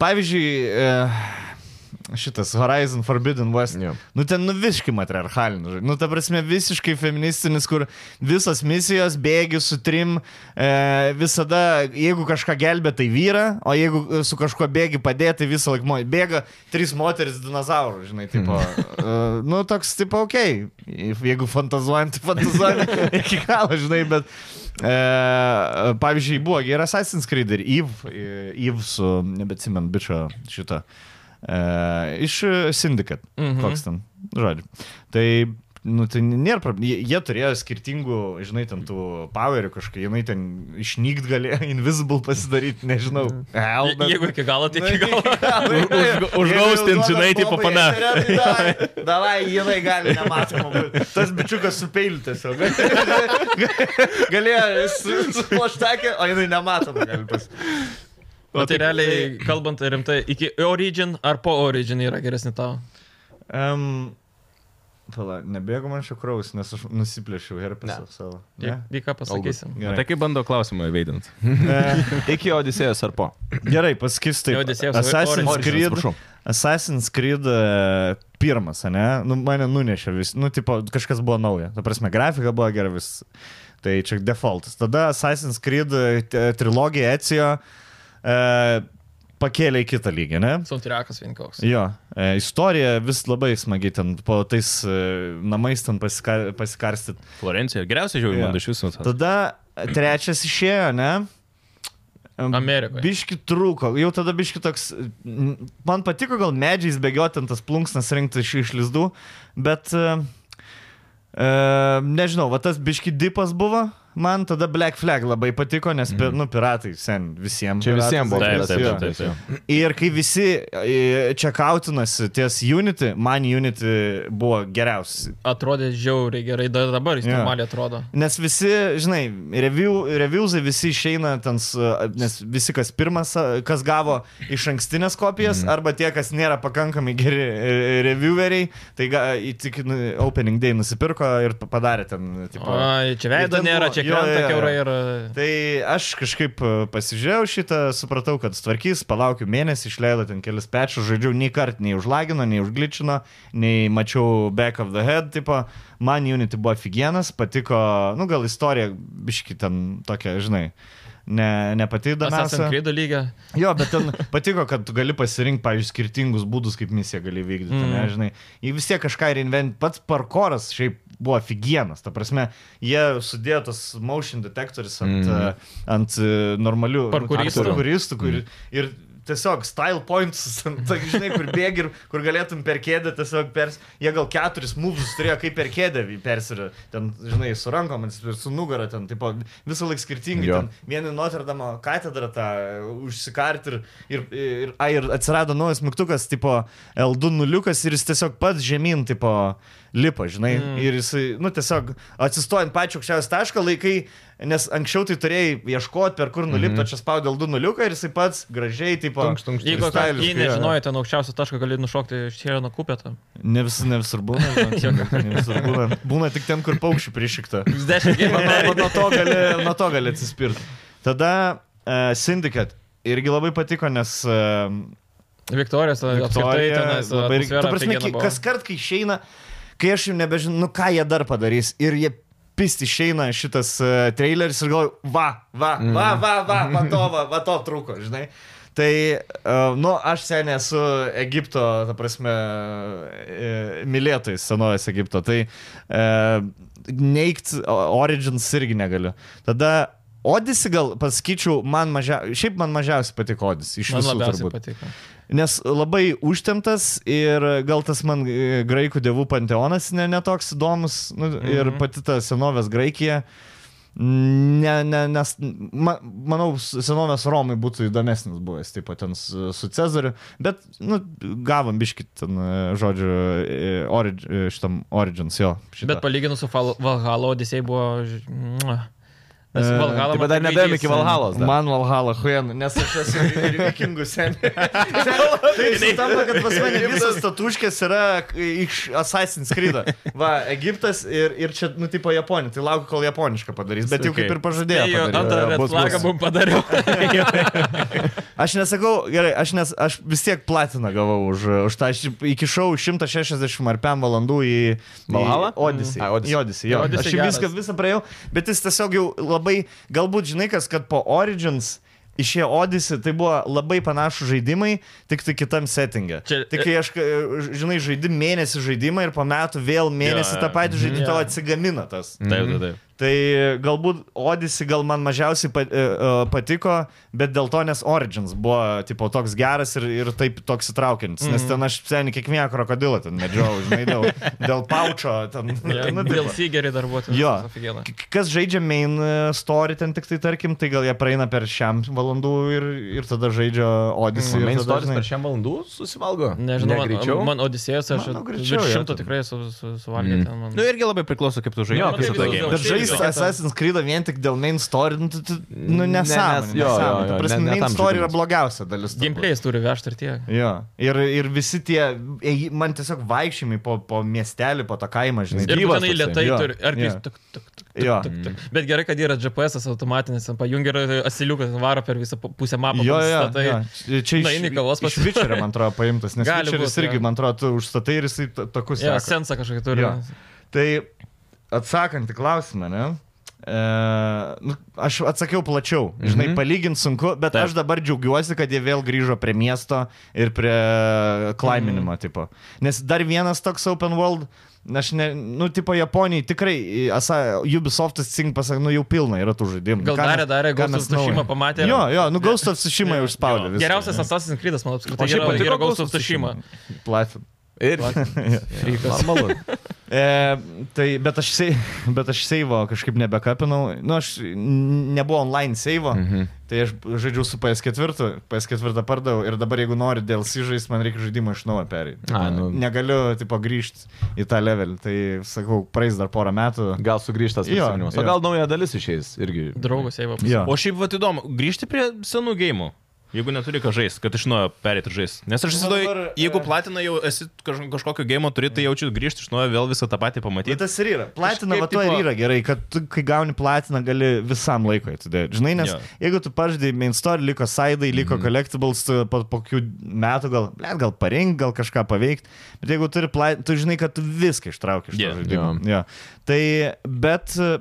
A: pavyzdžiui, e, šitas Horizon Forbidden West.
D: Jo.
A: Nu ten, nu visiškai matriarchalinis. žinai. Nu, ta prasme, visiškai feministinis, kur visos misijos, bėgi su trim, e, visada, jeigu kažką gelbė, tai vyra, o jeigu e, su kažkuo bėgi padėti, tai visą laiką mo- bėga trys moteris dinozaurų, žinai, tipo. E, nu, toks, tipo, ok, jeigu fantazuojant, tai fantazuojant iki galo, žinai, bet... E, pavyzdžiui, buvo ir Assassin's Creed, ir Eve, e, Eve su, nebeatsimenu, bičio šitą. E, iš e, Syndicate, mm
C: Mhm.
A: -hmm. koks ten, žodžiu. Tai, nu, tai nėra problemų. Jie, jie turėjo skirtingų, žinai, ten tų powerių kažkaip, jinai ten išnykt galėjo, invisible pasidaryti, nežinau. Hell,
C: Je- Jeigu iki galo, tai iki galo.
B: užgaustint, žinai, tipo,
A: tai
B: pana.
A: Davai, jinai gali nematoma. būti. Tas bičiukas su peiliu tiesiog. Galėjo su, su plaštakė, o jinai nematoma gali pas.
C: O tai realiai, kalbant rimtai, iki Origin ar po Origin yra geresni tau?
A: Um, Pala, nebėgo man šio kraus, nes aš nusiplėšiau herpesą savo. Ne?
C: Į į ką pasakysim?
A: Gerai.
B: Tai kaip bando klausimą įveidinti?
D: Iki Odisėjos ar po?
A: E, Gerai, pasakys taip.
C: Ne Odisėjaus, o
A: Assassin's
C: Origins,
A: Creed.
D: atsiprašau.
A: Assassin's Creed e, pirmas, ne? Nu, mane nunešė vis. Nu, tipo, kažkas buvo nauja. Ta prasme, grafika buvo gera vis. Tai čia defaultas. Tada Assassin's Creed e, t- trilogija Ecijo e, pakėlė į kitą lygį, ne?
C: Suntriakas vien koks.
A: Jo, e, istorija vis labai smagi ten, po tais e, namais ten pasika, pasikarstyt.
B: Florencija, geriausiai žiūriu,
A: Jo.
B: man iš visų. tas.
A: Tada e, trečias išėjo, ne? Em,
C: Amerikoje.
A: Biški trūko, jau tada biški toks, m, man patiko gal medžiais bėgioti ant tas plunksnas rinkti iš, iš lizdų, bet, e, e, nežinau, va tas biški dipas buvo, Man tada Black Flag labai patiko, nes, mm. nu, piratai, sen, visiems.
D: Čia visiems buvo. Tai
B: Taip,
D: tas,
B: taip,
D: jo.
B: taip, taip, taip.
A: Ir kai visi e, čekautinasi ties Unity, man Unity buvo geriausias.
C: Atrodė žiauriai gerai, dar dabar jis
A: Jo.
C: normaliai atrodo.
A: Nes visi, žinai, review, reviewsai visi išeina, ten, s- nes visi, kas pirmas, a, kas gavo iš ankstinės kopijas, mm. arba tie, kas nėra pakankamai geri e, revieweriai, tai ga, į tik nu, opening day nusipirko ir pa- padarė ten, tipo.
C: Ai, čia
A: Ir
C: veido
A: ten
C: nėra,
A: buvo-
C: čia
A: jo, jo,
C: krenta
A: jo.
C: keurai ir...
A: Tai aš kažkaip e, pasižiūrėjau šitą, supratau, kad tvarkys, palaukiu mėnesį, išleidau ten kelis pečius, žaidžiau, nei kart nei užlagino, nei užgličino, nei mačiau back of the head tipo. Man Unity buvo aфиgenas, patiko, nu gal istorija, biški ten tokia, žinai, ne, ne pati
C: Assassin's
A: įdomiausia.
C: Creed lygio.
A: Jo, bet ten patiko, kad tu gali pasirinkti, pavyzdžiui, skirtingus būdus, kaip misiją gali vykdyti, mm.
C: Mm.
A: nežinai. Jį vis tiek kažką reinvent, pats parkoras šiaip buvo aфиgenas, ta prasme, jie sudėjo tas motion detectoris ant,
D: Mm.
A: mm. ant e, normalių
C: Parkouristų.
A: parkuristų kur, ir tiesiog style points, ant, tai, žinai, kur bėgi ir kur galėtum per kėdę tiesiog pers... Jie gal keturis moves turėjo kaip per kėdę persirė, ten, žinai, su rankom, ant- ir su nugarą ten, tipo, visą laiką skirtingai.
D: Jo.
A: Ten, vieni Notre Dame katedrą tą užsikart ir, ir, ir, ai, ir atsirado naujas mygtukas, tipo L2 nuliukas ir jis tiesiog pats žemyn, tipo lipa, žinai, mm. ir jis, nu, tiesiog atsistojant pačiu aukščiausią tašką laikai, nes anksčiau tai turėjai ieškoti, per kur nulipti, mm. o čia spaudė L2 nuliuką ir jis pats gražiai, tipo,
D: Tunkšt, tunkšt,
A: ir
C: Jeigu ką,
A: styliškai,
C: jei
A: jo.
C: nežinojai, ten aukščiausio taško gali nušokti iš Sierano kupetą.
A: Ne, vis, ne visur būna, žinok, ne visur būna. Būna tik ten, kur paukščių prišikta.
C: 10 gimą
A: nuo, nuo, to gali, nuo to gali atsispirti. Tada uh, Syndicate irgi labai patiko, nes uh,
C: Viktorijos, apskritai, ten
A: labai... Ta prasme, ki- kas kart, kai išeina, kai aš jau nebežinau, nu ką jie dar padarys ir jie pisti išeina šitas uh, traileris ir galvoju, va, va, va,
C: Mhm.
A: va, va, va to, va, va to trūko, žinai. Tai, uh, nu, aš seniai esu Egipto, ta prasme, e, mylėtojas, senovės Egipto, tai uh, neigt Origins irgi negaliu. Tada Odyssey gal pasakyčiau, man mažiausiai, šiaip man mažiausiai patiko Odyssey iš
C: Man
A: visų
C: labiausiai
A: turbūt.
C: patiko.
A: Nes labai užtemtas ir gal tas man e, graikų dievų panteonas ne- netoks ne įdomus nu, mm -hmm. ir pati ta senovės Graikija. Ne, ne, nes, ma, manau, s- senovės Romai būtų įdomesnis buvęs, taip pat ten su, su Cezariu, bet, nu, gavom biškit ten, e, žodžiu, e, orig, e, šitam Origins, jo. šitą.
C: Bet palyginus su Fal- Valhalla, Odisei buvo... ž- mua. Nes
A: E,
C: Valhalla...
D: Taip, bet dar
C: man
B: tai
C: kaip
D: nebėjom
C: gaidys,
D: iki Valhalos. dar.
A: Man Valhalla, Huyen, nes aš esu ir vikingų seniai. tai sutampa, kad pas mane visas statuškės yra iš Assassin's Creed. Va, Egiptas ir, ir čia, nu, tipo Japonija. Tai laukiu, kol japonišką padarys. Bet jau
B: Okay.
A: kaip ir
C: Tai
A: pažadėjo.
C: jau
A: padarys.
C: antrą
A: Bus,
C: red
A: bus.
C: flagą bum padariau.
A: Aš nesakau, gerai, aš, nes, aš vis tiek platiną gavau už, už tą, aš įkišau 160 ar 5 valandų į...
D: Valhalą?
A: Odysei.
D: Mm. Ai, Odyssey.
A: Odysei, jo.
C: Odyssey
A: Aš jį
C: geras.
A: viską visą praėjau, bet jis tiesiog jau labai, galbūt žinai kas, kad po Origins Išėjo Odyssey, tai buvo labai panašus žaidimai, tik tai kitam settingė.
C: Čia-
A: Tik kai aš, e, žinai, žaidi mėnesį žaidimą ir po metų vėl mėnesį
B: Jo,
A: tą patį žaidimą,
C: jo.
A: tau atsigamina tas.
B: Taip, taip, taip.
A: Tai galbūt Odyssey gal man mažiausiai pa, e, e, patiko, bet dėl to, nes Origins buvo tipo, toks geras ir, ir taip toks įtraukiantis. Mm.
D: Mhm.
A: Nes ten aš seniai kiekvieną krokodilą ten medžiau, žinai, dėl, dėl paučio. Ten, nu, tipo.
C: Dėl Sigerį darbuotojų.
A: Jo. K- Kas žaidžia main e, story ten tik tai, tarkim, tai gal jie praeina per šiam valandų ir, ir tada žaidžia Odyssey.
D: Man
A: Mm,
D: Mhm. main storis per šiam valandų susivalgo.
C: Nežinau,
D: Ne, greičiau.
C: man, man Odisėjas, aš
A: Manau, greičiau,
C: virš
A: jo,
C: šimto
A: ten. Mm.
C: tikrai su, su, suvalgė ten. Man...
B: Nu irgi labai priklauso, kaip tu žaidži.
D: Jo,
B: kaip
D: kaip
B: tu
D: tu-
B: žaidži.
A: Bet
C: Aš
A: žaisti
C: irgi-
A: Assassin's Creed vien tik dėl main story, nu, tu- tu- nu
D: Ne, nes-
A: nesąmonė.
D: jo, jo,
A: nesąmonė. Ta
D: jo,
A: prasme,
D: ne- ne
A: Main
D: tam
A: story yra
D: žaidimas.
A: blogiausia dalis. turbūt.
C: Gimplėjas turi vežti ir tiek.
A: Jo. Ir, ir visi tie, ėj- man tiesiog vaikščiami po, po miestelį, po tą kaimą, žinai.
C: Ir
D: Gyvas
C: būtinai
D: toksai.
C: lietai
A: Jo,
C: turi. Ar
A: jo.
C: kaip tuk, tuk, tuk, tuk,
A: Jo.
C: tuk, tuk. Bet gerai, kad yra GPS automatinis, ten pajungia ir asiliukas varo per visą pu- pusę mapą.
A: Jo, jo,
C: pasistatai.
A: jo. Čia- Čia
C: tai nueini
A: iš, iš
C: kavos pasi-
A: Vičerio, man atrodo, paimtas, nes
C: Gali
A: Vičeris
C: būt,
A: irgi,
C: jo.
A: man atrodo, tu užstatai ir jisai ta- takus.
C: Jo,
A: seka.
C: sensą kažkokį turi.
A: Jo. Tai atsakant į klausimą, ne? E, nu, aš atsakiau plačiau, žinai,
C: Mhm.
A: mm -hmm. palyginti sunku, bet Taip. aš dabar džiaugiuosi, kad jie vėl grįžo prie miesto ir prie
C: Mhm.
A: klaiminimo mm. tipo. Nes dar vienas toks open world, aš ne, nu, tipo Japonijai tikrai, i, asa, Ubisoftas Sing pasakė, nu jau pilna yra tų žaidimų.
C: Gal
A: Ką
C: darė,
A: mes-
C: darė,
A: ką
C: Ghost
A: mes
C: of Tsushima
A: naujo?
C: pamatė.
A: Jo, jo, nu Ghost of Tsushima jau užspaudė. viską,
C: Geriausias
A: žinai.
C: Assassin's Creed'as, man
D: O
C: apskritai,
D: šiaip
C: yra,
D: patiko Ghost
C: yra Ghost
D: of
C: of Tsushima.
A: Platin.
D: Ir.
A: Jo.
D: Normalu.
A: E, tai, bet aš, sei- bet aš seivo kažkaip nebekapinau. Nu, aš n- nebuvo online seivo, mhm. tai aš žaidžiau su PS4, PS4 pardaviau ir dabar jeigu nori dėl sižais, man reikia žaidimą iš naujo perėti.
D: A, nu.
A: Negaliu, tipo, grįžti į tą levelį. Tai, sakau, praeis dar porą metų.
D: Gal sugrįžtas
A: Jo,
D: prisiminimas.
A: jo.
D: O gal nauja dalis išeis irgi.
C: Draugas, jeigu
A: Jo.
B: O šiaip vat įdomu, grįžti prie senų gėjimų. Jeigu neturi ką žaisti, kad iš naujo perėti žaisti. Nes aš įsivaizduoju,
A: dabar,
B: jeigu
A: e,
B: platina jau esi kaž- kažkokio gėjimo turi, tai jaučiu grįžti iš naujo vėl visą tą patį
A: Tai
B: pamatyti.
A: tas ir yra. Platina,
B: Kažkaip
A: va to ir
B: tipo-
A: yra gerai, kad tu, kai gauni platiną, gali visam laikui atidėti. Žinai, nes
B: Jo.
A: jo. jeigu tu pažadai main story, liko saidai, liko
D: Mhm.
A: mm. collectibles, tu po, po kokių metų gal, blėt, gal parink, gal kažką paveikti, bet jeigu turi platiną, tu žinai, kad tu viską ištraukai iš
B: Jo.
A: to žaidimo. Jo. Tai, bet e,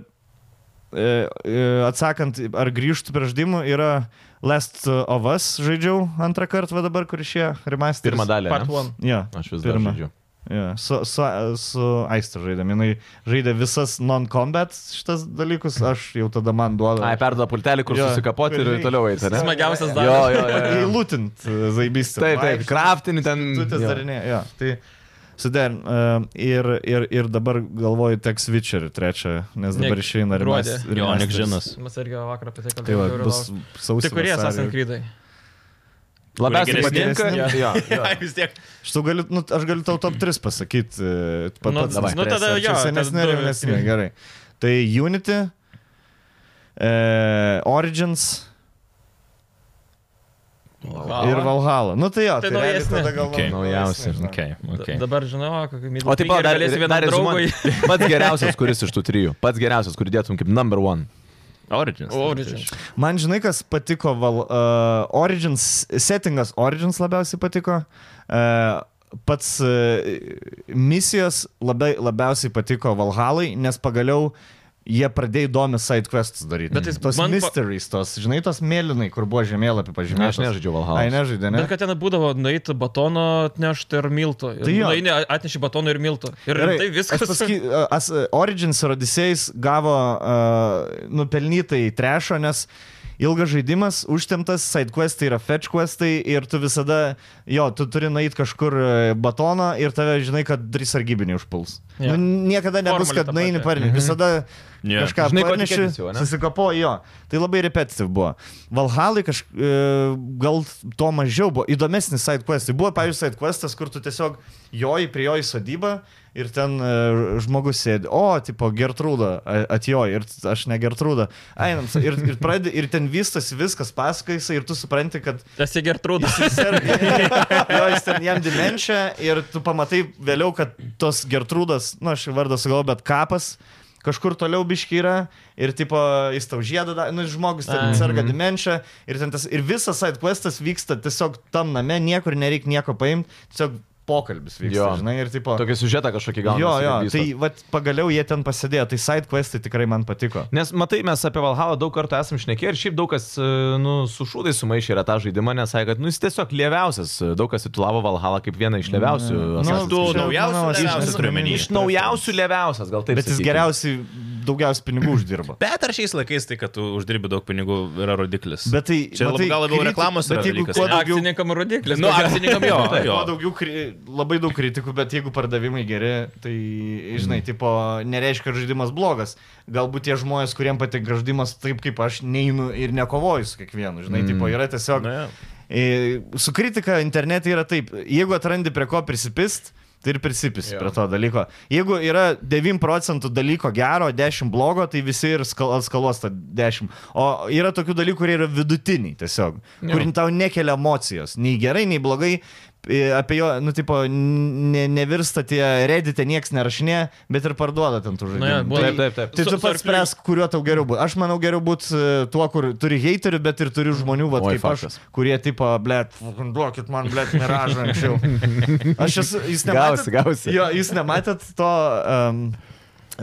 A: e, atsakant, ar grįžtų prie žaidimų, yra Last of Us žaidžiau antrą kartą, va dabar, kur išėjo remasteris.
D: Pirmą dalį.
C: Part
D: ne?
C: 1.
A: Jo,
D: Aš vis dar
A: Pirmą.
D: žaidžiu.
A: Jo, su, su, su Aistra žaidėm. Jis žaidė visas non-combat šitas dalykus, aš jau tada man duoda.
D: Ai, perda pultelį, kur
A: Jo.
D: susikapoti ir
A: Gražiai.
D: toliau eiti, ne?
C: Smagiausias
D: Jo,
C: darbas.
D: jo, jo. jo.
A: Įlūtint zaibystę.
D: Taip, taip, kraftinį ten.
A: Tu tas
D: jo.
A: darinė, jo. Tai sudėn. Ir, ir, ir dabar galvoju, teks Witcher trečią, nes
C: Nek-
A: dabar išeina
C: gruodį.
A: remaster-
B: Jo,
A: remasteris.
B: nek žinas.
C: Mes irgi vakar apie tai
A: Tai va,
C: kalbėjome. ir
A: bus
C: laukiu.
A: sausio.
C: Tik kurie
A: vasario.
C: esame krydai.
D: Labiausiai
B: Kurie
A: geresni?
D: patinka.
A: Jo.
D: Jo, jo.
B: Ai, vis tiek.
A: Aš, tau galiu, nu, aš galiu tau top 3 pasakyti. e, pa-
C: Nu,
A: pats
C: nu,
A: nuspręsi,
C: tada
A: ar čia
C: jo, tada
A: Senesnė,
C: du,
A: jaunesnė,
C: trys.
A: gerai. Tai Unity, e, Origins
C: Valhalla.
A: ir Valhalla. Nu tai jo,
C: Tai
A: tai, tai realiai
C: naujesni.
A: tada galvoju.
B: Okay.
A: naujausi, žinai.
B: Okay, okay.
C: Da- Dabar žinau,
A: tai
C: kokį
D: O
C: myliu.
D: tai taip pat dar,
C: galėsiu vienam
D: dar
C: draugui.
D: draugui. Pats geriausias, kuris iš tų trijų. Pats geriausias, kurį dėtum kaip number one.
B: Origins.
C: Origin.
A: Man žinai, kas patiko, val, uh, Origins, settingas Origins labiausiai patiko, uh, pats uh, misijos labai, labiausiai patiko Valhalai, nes pagaliau jie pradėjo įdomius side quests daryti.
C: Bet jis
A: tos
C: man pa-
A: mysteries, tos, žinai, tos mėlynai, kur buvo žemėlapį pažymėti.
D: Aš nežaidžiu Valhalos.
A: Ai, nežaidė, ne?
C: Bet kad ten būdavo nueiti batono atnešti ir miltų.
A: Tai jo.
C: Tai atneši batono ir miltų. Ir
A: Gerai,
C: tai viskas.
A: aš Pasky, as, Origins ir Odysseus gavo uh, nupelnytai trešo, nes ilgas žaidimas, užtemtas, sidequestai yra fetchquestai ir tu visada, jo, tu turi nueiti kažkur e, batoną ir tave žinai, kad trys sargybiniai užpuls. Yeah.
C: Jo.
A: Nu, niekada nebus,
C: Formulė
A: kad
C: ta
A: nueini
C: pati.
A: parni. Visada
B: Jo.
A: yeah. kažką
D: Žinai, ko
A: parneši,
D: tikėtis jau, ane?
A: susikapo jo. Tai labai repetitiv buvo. Valhalai kaž, e, gal to mažiau buvo. Įdomesnis sidequestai. Buvo, pavyzdžiui, sidequestas, kur tu tiesiog joji prie jo į sodybą ir ten e, žmogus sėdi. O, tipo, Gertrūda atjoji ir aš ne Gertrūda. Einam, sa- ir, ir, pradė, ir ten vystosi viskas paskaisa ir tu supranti, kad
C: Tas jie gertrūdas.
A: serga. jo, jis ten jam dimenšia ir tu pamatai vėliau, kad tos Gertrūdas, na, nu, aš vardą sugalvoju, bet kapas kažkur toliau biški yra ir tipo, jis tau žiedą, da- nu, žmogus ten
C: Ai.
A: serga dimenšia ir, ten tas, ir visas sidequestas vyksta tiesiog tam name, niekur nereikia nieko paimti, tiesiog pokalbis vyksta,
D: Jo.
A: žinai, ir tipo...
D: Tokį siužetą kažkokį gal.
A: Jo, jo, tai vat, pagaliau jie ten pasidėjo, tai sidequestai tikrai man patiko.
D: Nes matai, mes apie Valhalą daug kartų esam šnekėję ir šiaip daug kas e, nu, su šūdai sumaišė yra tą žaidimą, nes sakė, kad nu, jis tiesiog lieviausias, daug kas titulavo Valhalą kaip vieną iš lieviausių.
A: Nu,
D: Assassin's
B: Du
A: Čia,
D: Creed.
B: naujausius,
A: manau,
B: naujausius
A: iš-
B: turiu menį.
D: iš naujausių lieviausias, gal taip.
A: Bet jis
D: sakykim.
A: geriausiai daugiausiai pinigų uždirba.
B: Bet ar šiais laikais tai, kad tu uždirbi daug pinigų, yra rodiklis?
A: Bet tai
B: Čia
A: matai,
B: lab- gal labiau
A: kriti-
B: reklamos
A: bet
B: yra
A: jeigu
B: dalykas,
A: kuo
B: ne?
A: daugiau
C: Akcininkam rodiklis.
B: Nu, akcininkam jo. jo.
A: Kuo daugiau, kri- labai daug kritikų, bet jeigu pardavimai geri, tai,
B: Mm.
A: žinai, tipo, nereiškia, kad žaidimas blogas. Galbūt tie žmonės, kuriems patinka žaidimas taip, kaip aš, neinu ir nekovoju su kiekvienu, žinai, mm. tipo, yra tiesiog...
B: Na, jo.
A: E, Su kritika internete yra taip, jeigu atrandi prie ko prisipist, tai ir prisipist prie to dalyko. Jeigu yra 9 procentų dalyko gero, 10 blogo, tai visi ir skal- atskalos tą 10. O yra tokių dalykų, kurie yra vidutiniai tiesiog, kur tau nekelia emocijos, nei gerai, nei blogai. e, Apie jo, nu, tipo, ne, nevirsta tie redite, nieks nerašinė, bet ir parduoda ten tų žaidimų.
C: Nu, jo, būna-
A: tai,
D: Taip, taip, taip.
A: Tai
C: Su-
A: tu
C: su
A: pats
C: arkliais.
A: spręs, kuriuo tau geriau būti. Aš manau, geriau būti tuo, kur turi heiterių, bet ir turi žmonių, va,
D: Oi,
A: kaip
D: faktas.
A: aš, kurie, tipo, blėt, duokit man, blėt, miražą anksčiau. Aš esu, jūs
D: Gausi,
A: nematėt,
D: gausi.
A: jo, jūs nematėt to um,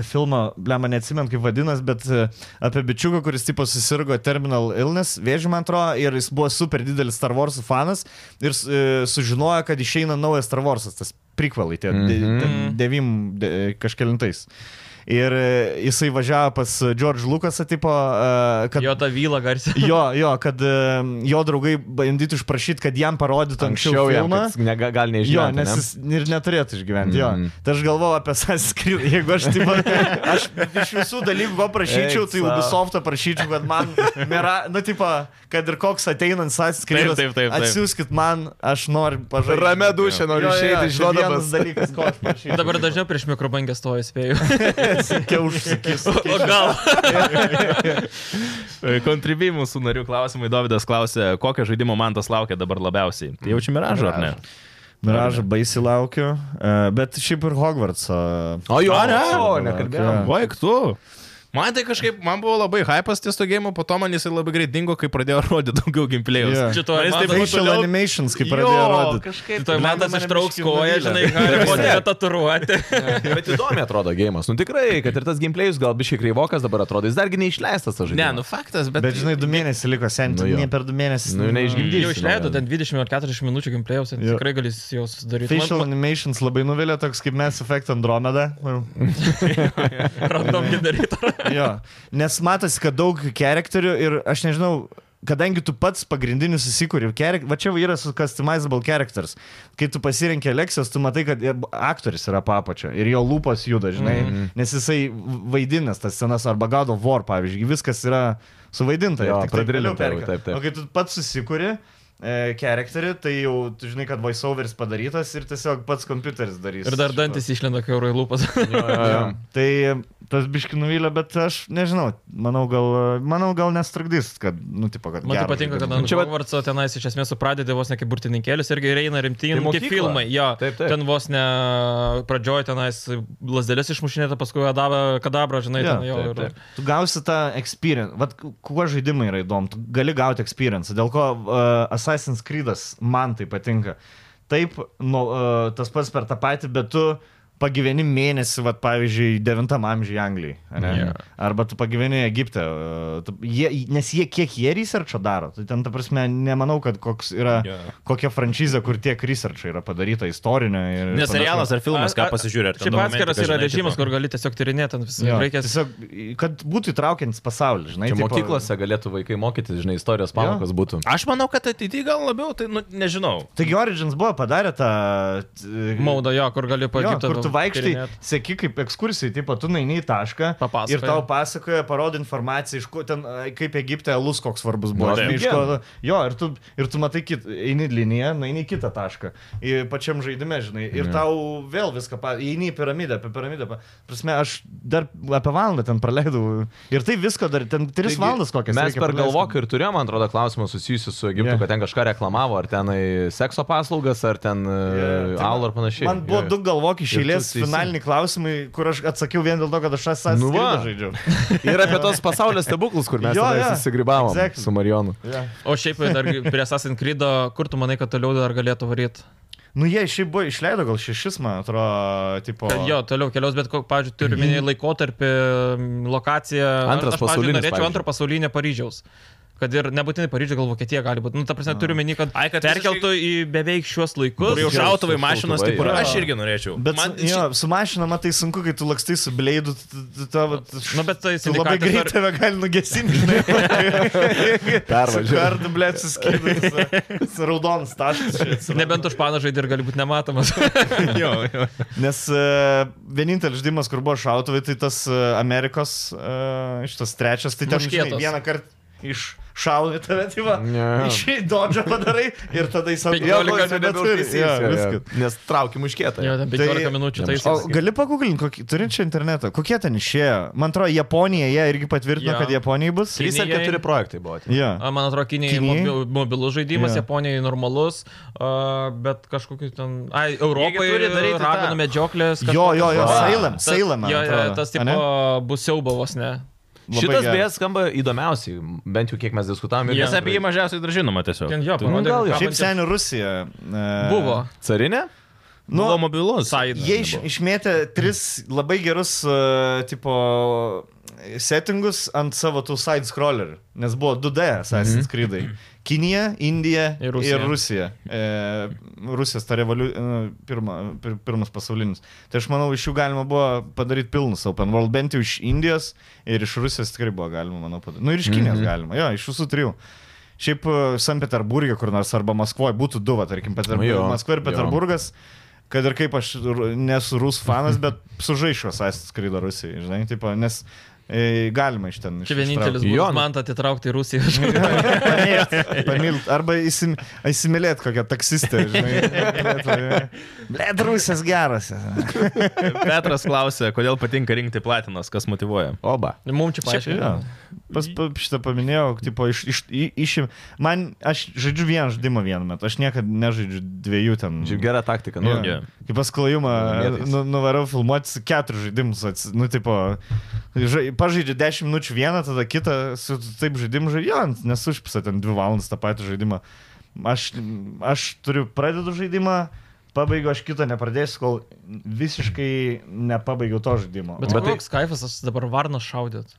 A: filmo, blė, man neatsimint, kaip vadinas, bet e, apie bičiuką, kuris, tipo, susirgo terminal illness, vėžį, man atrodo, ir jis buvo super didelis Star Wars fanas ir e, sužinojo, kad
D: Mhm.
A: išeina naujas Star Warsas, tas prikvalai, tie mm -hmm. devim de, kažkėlintais. Ir e, jisai važiavo pas George Lucasą, tipo, e, kad...
C: Jo tą vylą garsiai.
A: Jo, jo, kad e, jo draugai bandytų išprašyti, kad jam parodytų anksčiau,
D: Anksčiau jam
A: filmą.
D: kad nega- gal
A: Jo,
D: neišgyventi.
A: nes
D: ne?
A: jis ir neturėtų išgyventi. Mm.
D: Mhm.
A: Jo. Tai aš galvoju apie Saskrid, jeigu aš taip pat, aš iš visų dalykų ko prašyčiau,
D: Eik
A: tai
D: sau.
A: Ubisoft'o prašyčiau, kad man, mera, nu, tipo, kad ir koks ateinant Saskrid,
B: Taip, taip, taip, taip.
A: atsiųskit man, aš noriu pažaisti.
D: Ramia dušė noriu išeiti, žinodamas.
A: Vienas dalykas, ko aš prašyčiau.
C: Dabar dažniau prieš mikrobangę stoju, spėju.
A: Sakiau, užsikis.
C: O gal.
B: Kontribį mūsų E, narių klausimai, Davidas klausė, kokio žaidimo man tas laukia dabar labiausiai. Tai jaučiu miražą, ar ne?
A: Miražą baisiai laukiu, e, bet šiaip ir Hogwarts.
D: O jo,
B: A, ne?
D: o, nekalbėjom.
A: Jo.
B: Vaik tu. Man tai kažkaip, man buvo labai hypas ties to gėjimo, po to man jisai labai greit dingo, kai pradėjo rodyti daugiau gameplay'us.
A: Jo.
C: Čia to
B: Man jis taip
C: Armando-
A: Facial
B: toliau-
A: animations, kai pradėjo rodyti.
D: Kažkaip.
C: Tai man tas
A: mane
C: ištrauks
A: biškį
C: koją,
A: nuvylė.
C: žinai, Harry Potterio tatuiruotę.
D: Bet įdomiai atrodo gėjimas. Nu tikrai, kad ir tas gameplayus gal biškai kreivokas dabar atrodo, jis dargi neišleistas, aš
B: Ne, nu faktas, bet...
A: Bet žinai, du mėnesiai liko senti,
D: Nu jo.
A: nu, ne per du mėnesius.
D: Nu, neišgimdysi.
C: Jau išleido ten 20 ar 40 minučių gameplayaus,
A: Jo.
C: tikrai galis jau susidaryti.
A: Facial
C: Man
A: animations labai nuvilia, toks kaip Mass Effect Andromeda. Nu.
C: random generator.
A: jo. Nes matosi, kad daug charakterių ir aš nežinau, kadangi tu pats pagrindinius įsikūri, va čia va yra su customizable characters. Kai tu pasirenki Aleksijos, tu matai, kad ir aktorius yra papačio ir jo lūpos juda, žinai, mm
D: Mhm.
A: -hmm. nes jisai vaidinęs tas scenas arba God of War, pavyzdžiui, viskas yra suvaidinta. ir
D: Jo,
A: tik tai
D: pradrilinta
A: vėliau perka.
D: jau, taip, taip.
A: O kai tu pats susikūri, Charakterį, tai jau tu žinai, kad voiceoveris padarytas ir tiesiog pats kompiuteris darys.
C: Ir dar
A: šitą.
C: dantis išlenda, kai eurų lūpas.
A: Jo.
D: ten.
A: Tai tas biški nuvylė, bet aš nežinau, manau gal, manau, gal nestragdys, kad, nu, tipo, kad...
C: Man tai
A: geras
C: patinka, kad
A: žaidimas.
C: ant
D: Čia vat-
C: Hogwartso tenais iš esmės supradė vos ne kaip burtininkėlis irgi ir eina rimtyn,
D: Tai
C: nu, kaip
D: mokykla.
C: filmai. Jo,
D: Taip, taip.
C: Ten vos ne pradžioje tenais lasdelės išmušinėta, paskui adavę kadabrą, žinai,
A: Jo,
C: ten jau.
D: taip,
C: ir-
D: taip.
A: Tu gausi tą experience. Vat kuo žaidimai yra įdomu, tu gali gauti experience. Dėl ko uh, Assassin's Creed'as man tai patinka. Taip, nu, uh, tas pats per tą patį, bet tu pagyveni mėnesį, vat, pavyzdžiui, 9 amžiuje Anglijai.
B: Jo.
A: Yeah. Arba tu pagyveni Egipte. Uh, tu, jie, nes jie kiek jie researcho daro. Tai ten, ta prasme, nemanau, kad koks yra...
B: Jo.
A: Yeah. Kokia franšizė, kur tiek researcho yra padaryta, istorinė ir...
B: Ne serialas ar filmas,
C: A-
B: ką
C: a-
B: pasižiūrė, ar ten
C: Šiaip
B: dokumentika,
C: atskiras yra
B: žinai,
C: režimas,
B: tipo.
C: kur gali tiesiog tyrinėti ant visų.
A: Jo,
C: Reikia
A: tiesiog, kad būtų įtraukiantis pasaulį, žinai.
D: Čia
A: tipo-
D: mokyklose galėtų vaikai mokytis, žinai, istorijos pamokas būtų.
B: Aš manau, kad ateityje gal labiau, tai nu, nežinau.
A: Taigi Origins buvo padarę tą... e, t-
C: maudą, jo, kur gali
A: Jo,
C: pagyventi.
A: kur tu vaikštai, seki kaip ekskursijai, tipo, tu naini į tašką
C: Papasakoja.
A: ir tau pasakoja, parodo informaciją, iš ko ten, e, kaip Egipte alus koks svarbus buvo.
B: Na,
A: žinai,
B: taip.
A: iš ko, jo, ir tu, ir tu matai, kit, eini liniją, naini į kitą tašką, į pačiam žaidime, žinai,
B: Mhm.
A: ir tau vėl viską, pa, eini į piramidę, apie piramidę. pa- Prasme, aš dar apie valandą ten praleidau ir tai visko dar, ten 3
D: Taigi,
A: valandas kokias.
D: Mes
A: reikia
D: per
A: praleist.
D: galvoką ir turėjom, man atrodo, klausimą susijusiu su
A: Jo.
D: Egiptu, yeah. kad ten kažką reklamavo, ar ten sekso paslaugas, ar ten
A: Jo,
D: yeah.
A: tai
D: e, alų ar panašiai.
A: Man buvo
D: Jo, jo.
A: du galvokiai
D: Ir tu
A: išėlės
D: teisi.
A: finaliniai klausimai, kur aš atsakiau vien dėl to, kad aš esu
D: Nu va.
A: žaidžiu.
D: Ir apie tos pasaulio stebuklus, kur mes
A: Jo,
D: yeah,
A: jo.
D: yeah. susigribavom
A: Exactly.
D: exactly. su Marijonu.
A: Yeah.
C: O šiaip dar prie Assassin's Creed, kur tu manai, kad toliau dar galėtų varyti?
A: Nu jie šiaip buvo išleido gal šešis, man atrodo, tipo. Mhm.
C: Kad jo, toliau keliaus, bet, kok- pavyzdžiui, turiu minį laikotarpį, m, lokaciją.
D: Antras
C: aš, pavyzdžiui,
D: pasaulinis,
C: Norėčiau
D: pavyzdžiui.
C: antro pasaulinio Paryžiaus. Kad ir nebūtinai Paryžiaus, gal Vokietija gali būti. Na, nu, ta prasme, turiu minį, kad,
B: Ai, kad
C: perkeltų į beveik šiuos laikus.
B: Kur jau
D: Geras
B: šautuvai
D: tas
B: mašinos, tai
D: šautuvai,
B: kur
D: jo.
B: aš irgi norėčiau.
A: Bet
B: Man
A: man, jo, su mašina, matai, sunku, kai tu lakstai su bleidu, tavo...
C: Nu, bet tai
A: Tu labai
C: sindikatas
A: greit
C: dar-
A: tave gali nugesinti, žinai.
D: Pervažiuoju.
A: Kardu, blė, suskidus. Raudonas taškas. čia atsirado.
C: Nebent už panažai ir gali būti nematomas.
A: Tai
B: jo, jo.
A: Nes uh, vienintelis žaidimas, kur buvo šautuvai, tai tas uh, Amerikos, uh, šitas trečias, tai ten žinai,
C: Muškietos.
A: vieną kartą iš šauni tave, tai va,
D: Jo.
A: iš dodžio padarai ir tada jis savo
C: 15
D: Nes traukim užkėtą.
C: jo, ten 15 tai, minučių tai
A: O gali paguglinti, kokį turint čia internetą, kokie ten išėjo? Man atrodo, Japonija, jie irgi patvirtino,
C: Jo.
A: kad Japonijai bus.
D: Trys ar
C: Kinijai-
D: keturi projektai buvo. tai ten.
A: Jo.
C: A, Man atrodo, Kinijai
A: Kinijai?
C: mobi- mobilus žaidimas,
A: Jo.
C: yeah. Japonijai normalus, a, bet kažkokiu ten... Ai, Europai
B: turi daryti tą.
C: raganų medžioklės.
A: Jo, jo, jo,
D: Va.
A: Sailem, Sailem. man
C: Jo, jo,
A: atrodo,
C: tas
A: ane?
C: tipo bus siaubavos, ne?
A: Labai
D: Šitas
A: geras.
D: beje skamba įdomiausiai, bent jau kiek mes diskutavom. ir
C: Jo.
B: Nes
D: mes
B: apie jį mažiausiai dar žinoma tiesiog.
C: Ten jo,
D: Tu-
C: parodė,
D: gal
C: kad
D: jo.
C: kabantis-
A: Nu, Šiaip senių Rusija. e,
C: Buvo.
D: Carinė?
A: Nu,
B: Buvo mobilus.
C: Saidas
A: Jie iš, išmėtė tris labai gerus, uh, tipo,
D: Mhm.
A: settingus ant savo tų side scrollerių, nes buvo 2D Assassin's Creed'ai. Kinija, Indija
C: Ir
A: ir
C: Rusija.
A: Rusija. Ir Rusija. E, Rusijos ta revoliu... e, Pirma, pir, pirmas pasaulinis. Tai aš manau, iš jų galima buvo padaryti pilnus open world, bent jau iš Indijos ir iš Rusijos tikrai buvo galima, manau, padaryti. Nu ir iš
D: Mhm.
A: Kinijos mm -hmm. galima, jo, iš visų trijų. Šiaip e, Sankt Peterburgė kur nors arba Maskvoje būtų du, va, tarkim, Peterburg...
D: Nu jo,
A: nu, Maskva ir
D: jo.
A: Peterburgas. Kad ir kaip aš ru- nesu rus fanas, bet sužaišos Aistas skrido Rusijai, žinai, tipo, nes e, galima iš ten. iš-
C: Čia vienintelis
A: ištraukt.
D: Jo,
C: būdas
D: nu-
C: man tą atitraukti į Rusiją.
A: Pamėgt, pamilt, arba įsim, įsimylėt kokią taksistę, žinai. Bled, rusės geras.
B: Petras klausė, kodėl patinka rinkti platinas, kas motivuoja.
D: Oba.
C: Mums Nu, čia paaiškino.
A: Jo. Pas pa- šitą paminėjau, tipo, iš, iš, i- išim. Man, aš žaidžiu vieną žaidimą vienu metu, aš niekada nežaidžiu dviejų ten.
D: Žiūrėk, gera taktika. Nu,
A: Nu,
B: Jo.
A: yeah. Kaip pasklajumą,
D: Mėtais.
A: nu, nuvarau filmuoti keturis žaidimus, ats- nu, tipo, ža- pažaidžiu 10 minučių vieną, tada kitą, su taip žaidimu žaidžiant, nes užpisa ten 2 valandas tą patį žaidimą. Aš, aš turiu pradedu žaidimą, pabaigiu, aš kito nepradėsiu, kol visiškai nepabaigiau to žaidimo.
C: Bet,
A: O-
C: Bet koks kaifas, aš dabar varną šaudėt.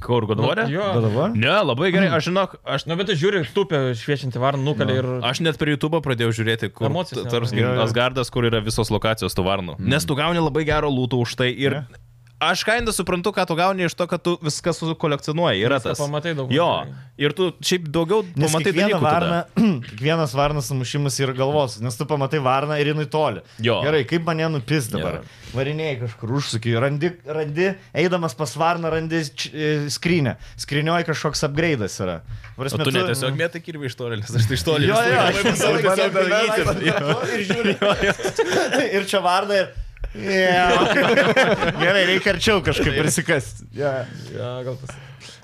B: Kur godvorė?
C: Jo.
A: Bet dabar?
B: Ne, labai gerai, aš žinok, aš,
C: Na, bet tu žiūri, tupė šviečianti varną nukalė ir...
B: aš net per YouTube pradėjau žiūrėti, kur
C: Emocijos
B: t-
C: nėra.
B: tarsi
A: Jo, jo.
B: Asgardas, kur yra visos lokacijos tų varnų. Nes tu gauni labai gero lūtų už tai ir...
A: Ne.
B: Aš kainą suprantu, ką tu gauni iš to, kad tu viską sukolekcionuoji.
C: Viską
B: Yra tas.
C: pamatai daug
B: Jo.
C: mažiau.
B: Ir tu šiaip daugiau
A: Nes
B: pamatai
A: kiekvieną
B: dalykų.
A: varną,
B: tada.
A: kiekvienas varnas sumušimas yra galvos, nes tu pamatai varną ir jinai toli.
B: Jo.
A: Gerai, kaip mane nupis dabar.
B: Jo.
A: Varinėjai kažkur užsukiai, randi, randi, eidamas pas varną randi č- e, skrynę. Skrynioji kažkoks upgraidas yra.
B: O
A: Prasme,
B: tu ne tiesiog mėtai kirvi iš tolėlės, aš tai iš
A: Jo,
B: tolėlės.
A: jo, aš
B: visą laiką
A: tiesiog
B: tiesiog
A: dabar- Ir žiūri. Ir čia varna ir... Yeah. Gerai, reikia arčiau kažkaip prisikasti. Yeah.
C: Ja, gal tas.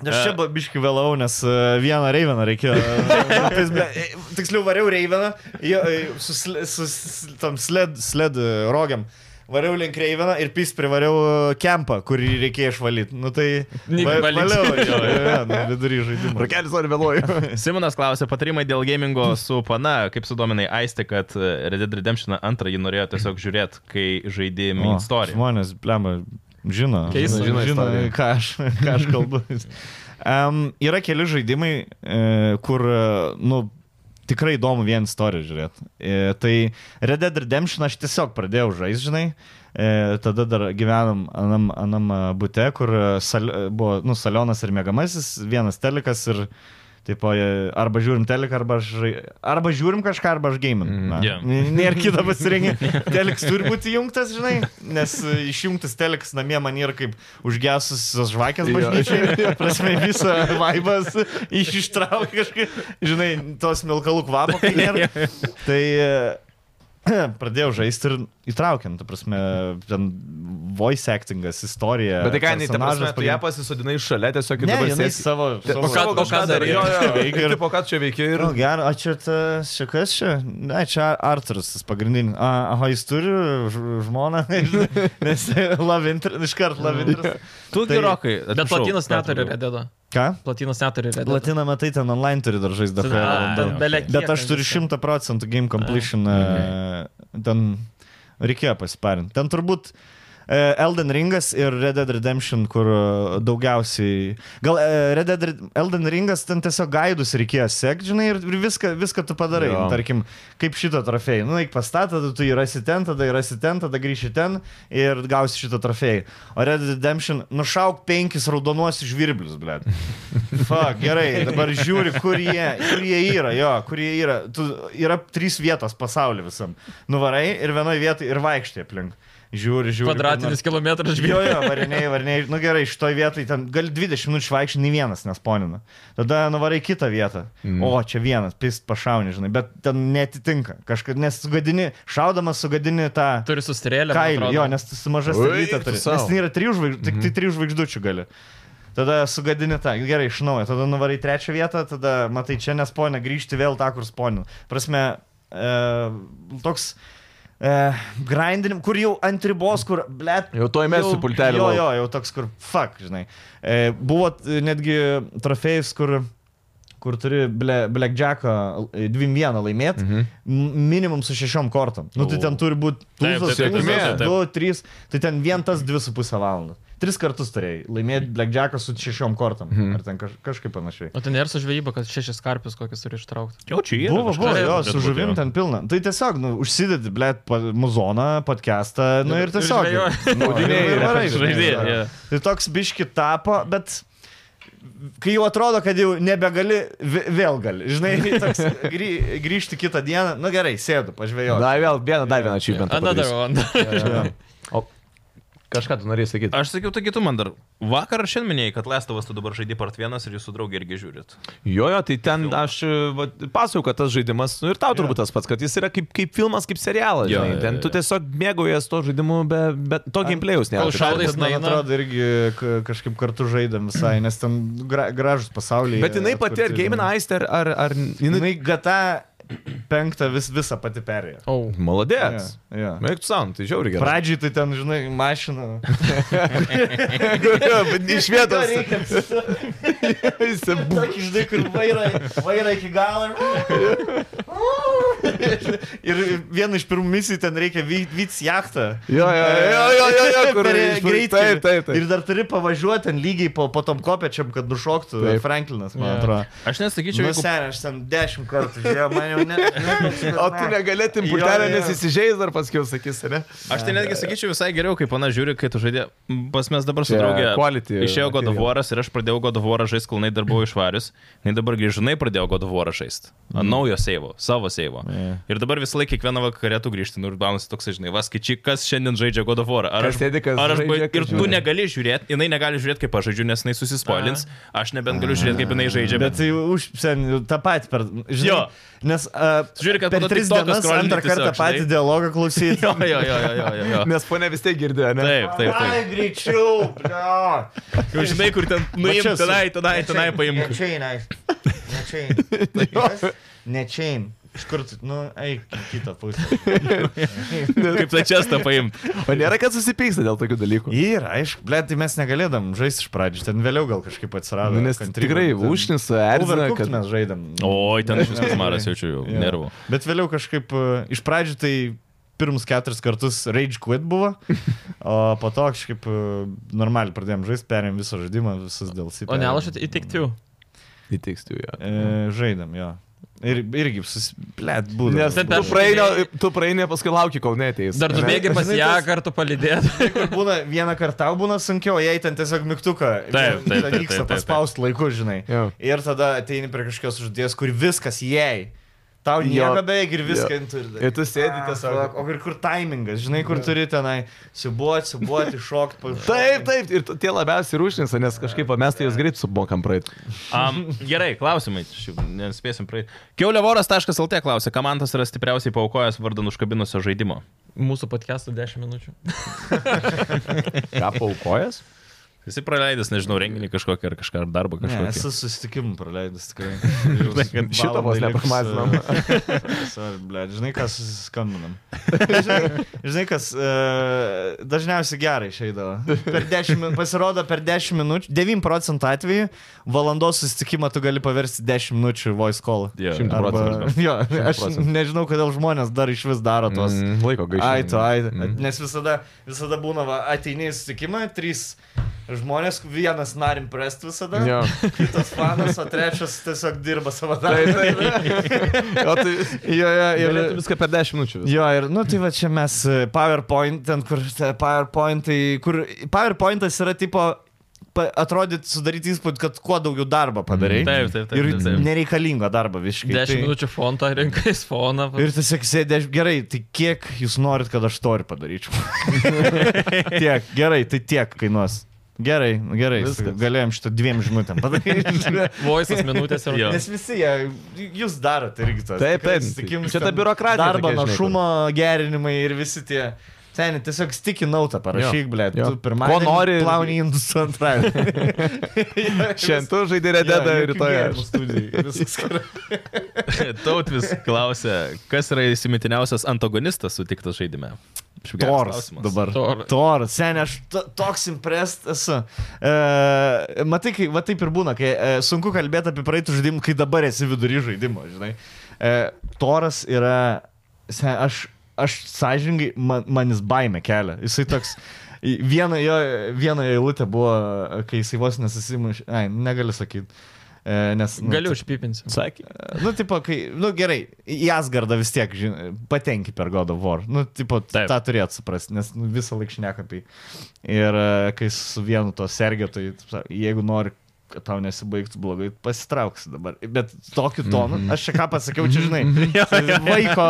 A: Aš čia buvo biški vėlau, nes e, vieną Reiveną reikėjo. e, be- e, Tiksliau, variau Reiveną jo, e, su, sle- su s- tam sled, sled e, rogiam. Variau link Reivena ir pys privariau e, kempą, kurį reikėjo išvalyti. Nu tai...
C: Nei,
A: va-
C: valyt.
A: valiau, jo, jo, jo, nu, vidury žaidimo.
D: Rakelis ar vėluoju.
B: Simonas klausė patarimai dėl gamingo su pana, kaip sudominai Aisti, kad e, Red Dead Redemption 2 jį norėjo tiesiog žiūrėti, kai žaidė
A: O,
B: Main Story.
A: Žmonės, blemba, žino.
C: Keista.
A: žino,
D: Žino
A: žino
D: istoriją.
A: ką, aš, ką aš kalbu. um, yra keli žaidimai, e, kur, e, nu, tikrai įdomu vien istoriją žiūrėti. E, tai Red Dead Redemption aš tiesiog pradėjau žaisti, žinai. E, tada dar gyvenam anam, anam e, bute, kur e, sal, e, buvo, nu, salionas ir mėgamasis, vienas telikas ir... Taip, arba žiūrim teleką, arba, žai- arba žiūrim kažką, arba aš gaimin. Mm,
B: jo.
A: Nėra kito pasirinkimo. Telekas turi būti įjungtas, žinai, nes e, išjungtas telekas namie man yra kaip užgesusios žvakės
D: Jo.
A: bažnyčiai. Prasme, visą vaibas iš ištraukia kažkaip, žinai, tos milkalų kvapo. kai nėra. Tai e, pradėjau žaisti ir įtraukiam, ta prasme, ten voice actingas, istorija.
D: Bet tai ką, jinai, ta
A: personažas
D: prasme, tu ją pasisodinai šalia, tiesiog į
A: Ne,
D: dabar
A: jinai
D: sėsi-
A: savo,
D: Te-
A: savo
C: ką- o ką
D: kažką
C: darai?
D: Jo, jo,
A: Veikia ir-
D: Tai ir po ką tu čia veikia ir...
A: Ir... Nu, gerai, o čia tas, čia kas čia? Ne, čia Arturas, tas pagrindinis. A, aha, jis turi ž- žmoną, žinai, nes lavintras, iškart lavintras.
B: Tu
A: Tai-
B: gerokai.
C: Bet platinas neturi redėdo.
A: Ką?
C: Platinas neturi redėdo.
A: Latina, matai, ten online turi dar žaisti dar
C: A,
A: valandų.
C: ten bele
A: Bet
C: kiek
A: aš
C: ten
A: turiu
C: visko.
A: 100 procentų game completion. e, Ten reikėjo pasiparinti. Ten turbūt e, Elden Ringas ir Red Dead Redemption, kur e, daugiausiai... Gal e, Red Dead Red- Elden Ringas ten tiesiog gaidus reikėjo sekti, žinai, ir ir viską, viską tu padarai.
D: Jo.
A: Tarkim, kaip šitą trofėjį. Nu, eik pastatą, tada tu jį rasi ten, tada jį rasi ten, tada grįši ten ir gausi šitą trofėjį. O Red Dead Redemption, nušauk penkis raudonuosius žvirblius, blėt. Fuck, gerai, dabar žiūri, kur jie, kur jie yra, jo, kur jie yra. Tu, yra trys vietos pasaulyje visam. Nuvarai ir vienoje vietoje ir vaikštai aplink. Žiūri, žiūri. kur nors.
C: Kvadratinis kilometras
A: Jo,
C: žvėjo.
A: jo, variniai, variniai. Nu gerai, šitoj vietoj ten gal 20 minučių vaikščiai, nei vienas nesponina. Tada nuvarai į kitą vietą. Mm. O, čia vienas, pist pašauni, žinai, bet ten netitinka. Kažkaip, nes sugadini, šaudamas sugadini tą
C: Turi sustrėlę. man
A: kailį.
C: atrodo.
A: Jo, nes tu su maža
D: Ui,
A: strėlytė
D: tu
A: turi.
D: sau. Mhm.
A: Nes ten yra trijų žvaigždžių, tik tai trijų žvaigždžių gali. Tada sugadini tą, gerai, iš naujo, tada nuvarai į trečią vietą, tada matai čia nesponė, grįžti vėl tą, kur sponė. Prasme, e, toks... E, grindinim, kur jau ant ribos, kur, blėt,
D: Jau tuoj mesiu pultelį
A: Jo,
D: lauk.
A: jo, jau toks, kur, fuck, žinai. E, buvo e, netgi trofėjus, kur kur turi ble, e, Blackjacką 2-1 laimėti, mhm. minimum su šešiom kortom. Nu, tai ten turi būti
B: Taip, taip, taip,
D: taip, taip,
A: tūkstantis,
B: taip.
A: du, trys, tai ten vien tas dvi su pusę valandą. Tris kartus turėjai laimėti Blackjacką su šešiom kortom. Mhm. Ar ten kaž, kažkaip panašiai.
C: O ten ir su žvejyba, kad šešias karpius kokias turi ištraukti.
B: Jau čia yra.
A: Buvo, buvo,
B: kažkas.
A: jo,
B: Bet
A: su
B: būtų,
A: žuvim
B: jo.
A: ten pilna. Tai tiesiog, nu, užsidedi, blėt, muzoną, podcastą, nu ir tiesiog.
C: žvejoji.
A: Naudiniai
D: Žaidėjai,
A: ir varai.
B: žaidėjai,
A: žinai,
B: jo.
A: Tai toks biški tapo, bet kai jau atrodo, kad jau nebegali, vė- vėl gali. Žinai, toks grį, grįžti kitą dieną, nu gerai, sėdu, pažvėjau.
D: Dar vėl vieną, dar vieną
A: Nu,
D: achievement.
C: Another one.
D: Kažką tu norėjai sakyti.
B: Aš sakiau, taigi tu man dar vakar ar šiandien minėjai, kad Lestovas tu dabar žaidži part vienas ir jūsų draugė irgi žiūrit.
D: Jo, jo, tai ten aš pasakau, kad tas žaidimas, nu ir tau turbūt tas pats, kad jis yra kaip, kaip filmas, kaip serialas.
B: Jo,
D: Žinai,
B: jo,
D: ten
B: jo,
D: tu
B: jo.
D: tiesiog mėgaujas to žaidimu, bet be, to gameplayus nėra.
C: kol šaudai
A: Bet, man
C: nueina.
A: atrodo, irgi ka- kažkaip kartu žaidėm visai, nes ten gra, gražus pasaulyje.
D: Bet jinai pati ar Game Night, ar, ar, ar jinai...
A: Jinai gata penktą vis, visą pati perėjo.
C: O,
D: Maladės.
A: Jo, jo.
D: Mėgtų sound, tai žiauri gerai.
A: Pradžiai tai ten, žinai, mašina.
D: Iš vietos.
A: Tokį žinai, kur vaira, vaira iki galo. Ir, ir vieną iš pirmų misijų ten reikia vytis jachtą.
D: Jo, jo, jo, jo, jo, jo, kur iš-
A: greitai.
D: Taip, taip, taip.
A: Ir dar turi pavažiuoti ten lygiai po, po tom kopečiam, kad nušoktų
D: Taip.
A: taip. Franklinas, man
C: Jo.
A: atrodo.
B: Aš nesakyčiau,
A: Nu,
B: jeigu...
A: sen, aš ten dešimt kartų žiūrėjau, man jau ne. ne
D: O tu negalėtum
A: Jo,
D: būtelę,
A: jo.
D: nes įsižeis dar paskui, sakys, ne?
B: Aš tai netgi sakyčiau visai geriau, kai pana žiūri, kai tu žaidė. Pas mes dabar su
D: Čia
B: draugė.
D: quality
B: Išėjo
D: material.
B: Godovoras ir aš pradėjau Godovorą žaisti, kol jinai dar buvo išvarius. Jis dabar grįžinai pradėjo Godovorą žaisti. Mm. Naujo seivo, savo seivo.
A: Jo.
B: Ir dabar visą laiką kiekvieną vakarę tu grįžti, nu ir baunasi toks, žinai, vaskyčiai, kas šiandien žaidžia Godovorą. Ar
D: Kas sėdi, kas
B: ar aš
D: žaidžia,
B: žaidžia,
D: kas
B: ir tu
D: žiūri.
B: negali žiūrėti, jinai negali žiūrėti, kaip aš žaidžiu, nes jinai susispoilins. Aš nebent galiu žiūrėti, kaip jinai žaidžia.
A: Bet
B: Bet...
A: tai už sen, tą patį per... Žinai,
B: Jo.
A: Nes uh,
B: Žiūri, kad
A: per
B: po to
A: tris
B: TikToką
A: dienas
B: scrollini
A: antrą kartą
B: tiesiog,
A: patį
B: žinai.
A: dialogą klausyti.
B: Jo, jo, jo, jo, jo, jo, jo.
D: Nes ponia vis tiek girdėjo, ne?
B: Taip, taip,
A: Ai,
B: taip.
A: greičiau, bro.
B: Jau žinai, kur ten nuimti,
A: čia su-
B: tenai, tenai, tenai
A: Ne
B: paimti.
A: čia einai. Ne čia einai. Ne čia einai. Iš kur tu, nu, eik į kitą pusę.
B: Kaip tą čestą paimti.
D: O nėra, kad susipyksta dėl tokių dalykų.
A: Ir, aišku, blėt, tai mes negalėdam žaisti iš pradžių, ten vėliau gal kažkaip atsirado.
D: Nu, nes
A: kantrybė.
D: tikrai
A: Ten
D: ušnis erzina,
A: Overcooked
D: kad...
A: mes žaidėm.
B: Oi, ten iš viskas maras jaučiu jau.
A: Jo.
B: Nervų.
A: Bet vėliau kažkaip e, iš pradžių tai pirmus keturis kartus rage quit buvo, o po to kažkaip e, normaliai pradėjom žaisti, perėm visą žaidimą, visas dėl sipio.
C: o tai- nelašit į tik tu.
D: Įtikstu jo.
A: E, žaidėm, jo. Ir, irgi, susiplėt būdavo.
D: Nes
C: Ten
D: tu
C: aš-
D: praeini, tu praeini, paskui lauki, kol neteis.
C: Dar du bėgi pas
A: Žinai,
C: ją
A: tas-
C: kartu palidėti.
A: Kur būna vieną kartą tau būna sunkiau, jei ten tiesiog mygtuką
B: taip, taip, taip,
A: vyksta
B: taip, taip.
A: paspausti laiku, žinai.
D: Jo.
A: Ir tada ateini prie kažkokios uždės, kur viskas jei. Tau
D: Jo.
A: nieko beveik ir viską
D: Jo.
A: jin turi. daryt.
D: Ir tu sėdi
A: Ah, fuck,
D: tiesiog.
A: O ir kur taimingas, žinai, kur turi tenai siubuoti, siubuoti, šokti,
D: Taip, taip, ir t- tie labiausiai rūšnis, nes kažkaip va, mes tai jūs greit subokam praeit.
B: Um, gerai, klausimai. Šiaip Nespėsim praeiti. Kiauliavoras.lt klausė, ką man tas yra stipriausiai paukojęs vardan užkabinusio žaidimo.
C: Mūsų podcast'o 10 minučių.
D: Ką paukojas?
B: Jisai praleidęs, nežinau, renginį kažkokį ar kažką, ar darbą
A: Ne,
B: kažkokį.
A: esu susitikimų praleidęs tikrai.
D: šito vos nepramatinam.
A: Sorry, žinai, kas susiskambinam. žinai, žinai, kas e, dažniausiai gerai išeidavo. Per 10 min- Pasirodo, per 10 minučių, 9 procentų atveju, valandos susitikimą tu gali paversti 10 minučių voice call.
B: Jo.
D: Šimtą
A: Arba,
D: procentų.
A: jo, aš
D: 100%.
A: nežinau, kodėl žmonės dar iš vis daro tos. Mm.
D: Mm, Laiko gaišta.
A: Ai, tu, ai. Mm. Nes visada, visada būna, va, ateini į susitikimą, trys žmonės, vienas narim prest visada,
D: Jo.
A: kitas fanas, o trečias tiesiog dirba savo
D: Taip,
A: darbą.
D: taip. O tu
A: Jo, jo,
D: ir
A: ir,
D: viską per 10 minučių. vis.
A: jo, ir, nu tai va čia mes e, PowerPoint, ten kur te PowerPoint, tai kur PowerPointas yra tipo, atrodyti, sudaryti įspūdį, kad kuo daugiau darbo padarai.
B: Mm, Taip, taip, taip,
A: ir
B: taip, taip.
A: nereikalingo darbo visiškai.
B: tai-
A: Tai
C: 10 minučių fontą, rinkais foną.
A: Ir tiesiog sėdė, aš- gerai, tai kiek jūs norit, kad aš to ir padaryčiau? tiek, gerai, tai tiek kainuos. Gerai, gerai,
D: Viskas.
A: galėjom šitą dviem žinutėm padaryti.
C: Voices minutės ir...
B: Jo.
A: Nes visi jie, jūs darote irgi tas.
D: Taip, taip. Čia ta biurokratija
A: Darbo
D: tokia, žinai,
A: našumo gerinimai ir visi tie. Seniai, tiesiog sticky nautą parašyk, ble,
D: jo.
A: tu pirmąjį.
D: Ko nori-
A: Plauni indus antrąjį.
D: Šiandien tu žaidė rededa ir rytoj. aš.
A: studijai. Viskas gerai.
B: Tautvis klausė, kas yra įsimitiniausias antagonistas sutiktas žaidime. Šiaip geras
A: Toras
B: klausimas.
A: dabar.
C: Toras.
A: Toras, seniai, aš to- toks imprest esu. E, matai, kai, va taip ir būna, kai e, sunku kalbėti apie praeitų žaidimų, kai dabar esi vidury žaidimo, žinai. E, toras yra, sen, aš, aš sąžininkai, man, man jis baime kelia. Jisai toks. į- Viena jo, viena jo eilutė buvo, kai jisai vos nesusimušė. Ai, negaliu sakyti. E, nes, nu,
C: Galiu užpipinsiu.
D: Sakė.
A: Nu, tipo, kai, nu gerai, į Asgardą vis tiek žin, patenki per God of War. Nu, tipo, Taip.
B: Taip.
A: tą turėtų suprasti, nes nu, visą laiką šneka apie jį. Ir e, kai su vienu to sergio, tai taip sa- jeigu nori, kad tau nesibaigtų blogai, pasitrauksi dabar. Bet tokiu tonu, mm -hmm. aš čia ką pasakiau, čia žinai, vaiko,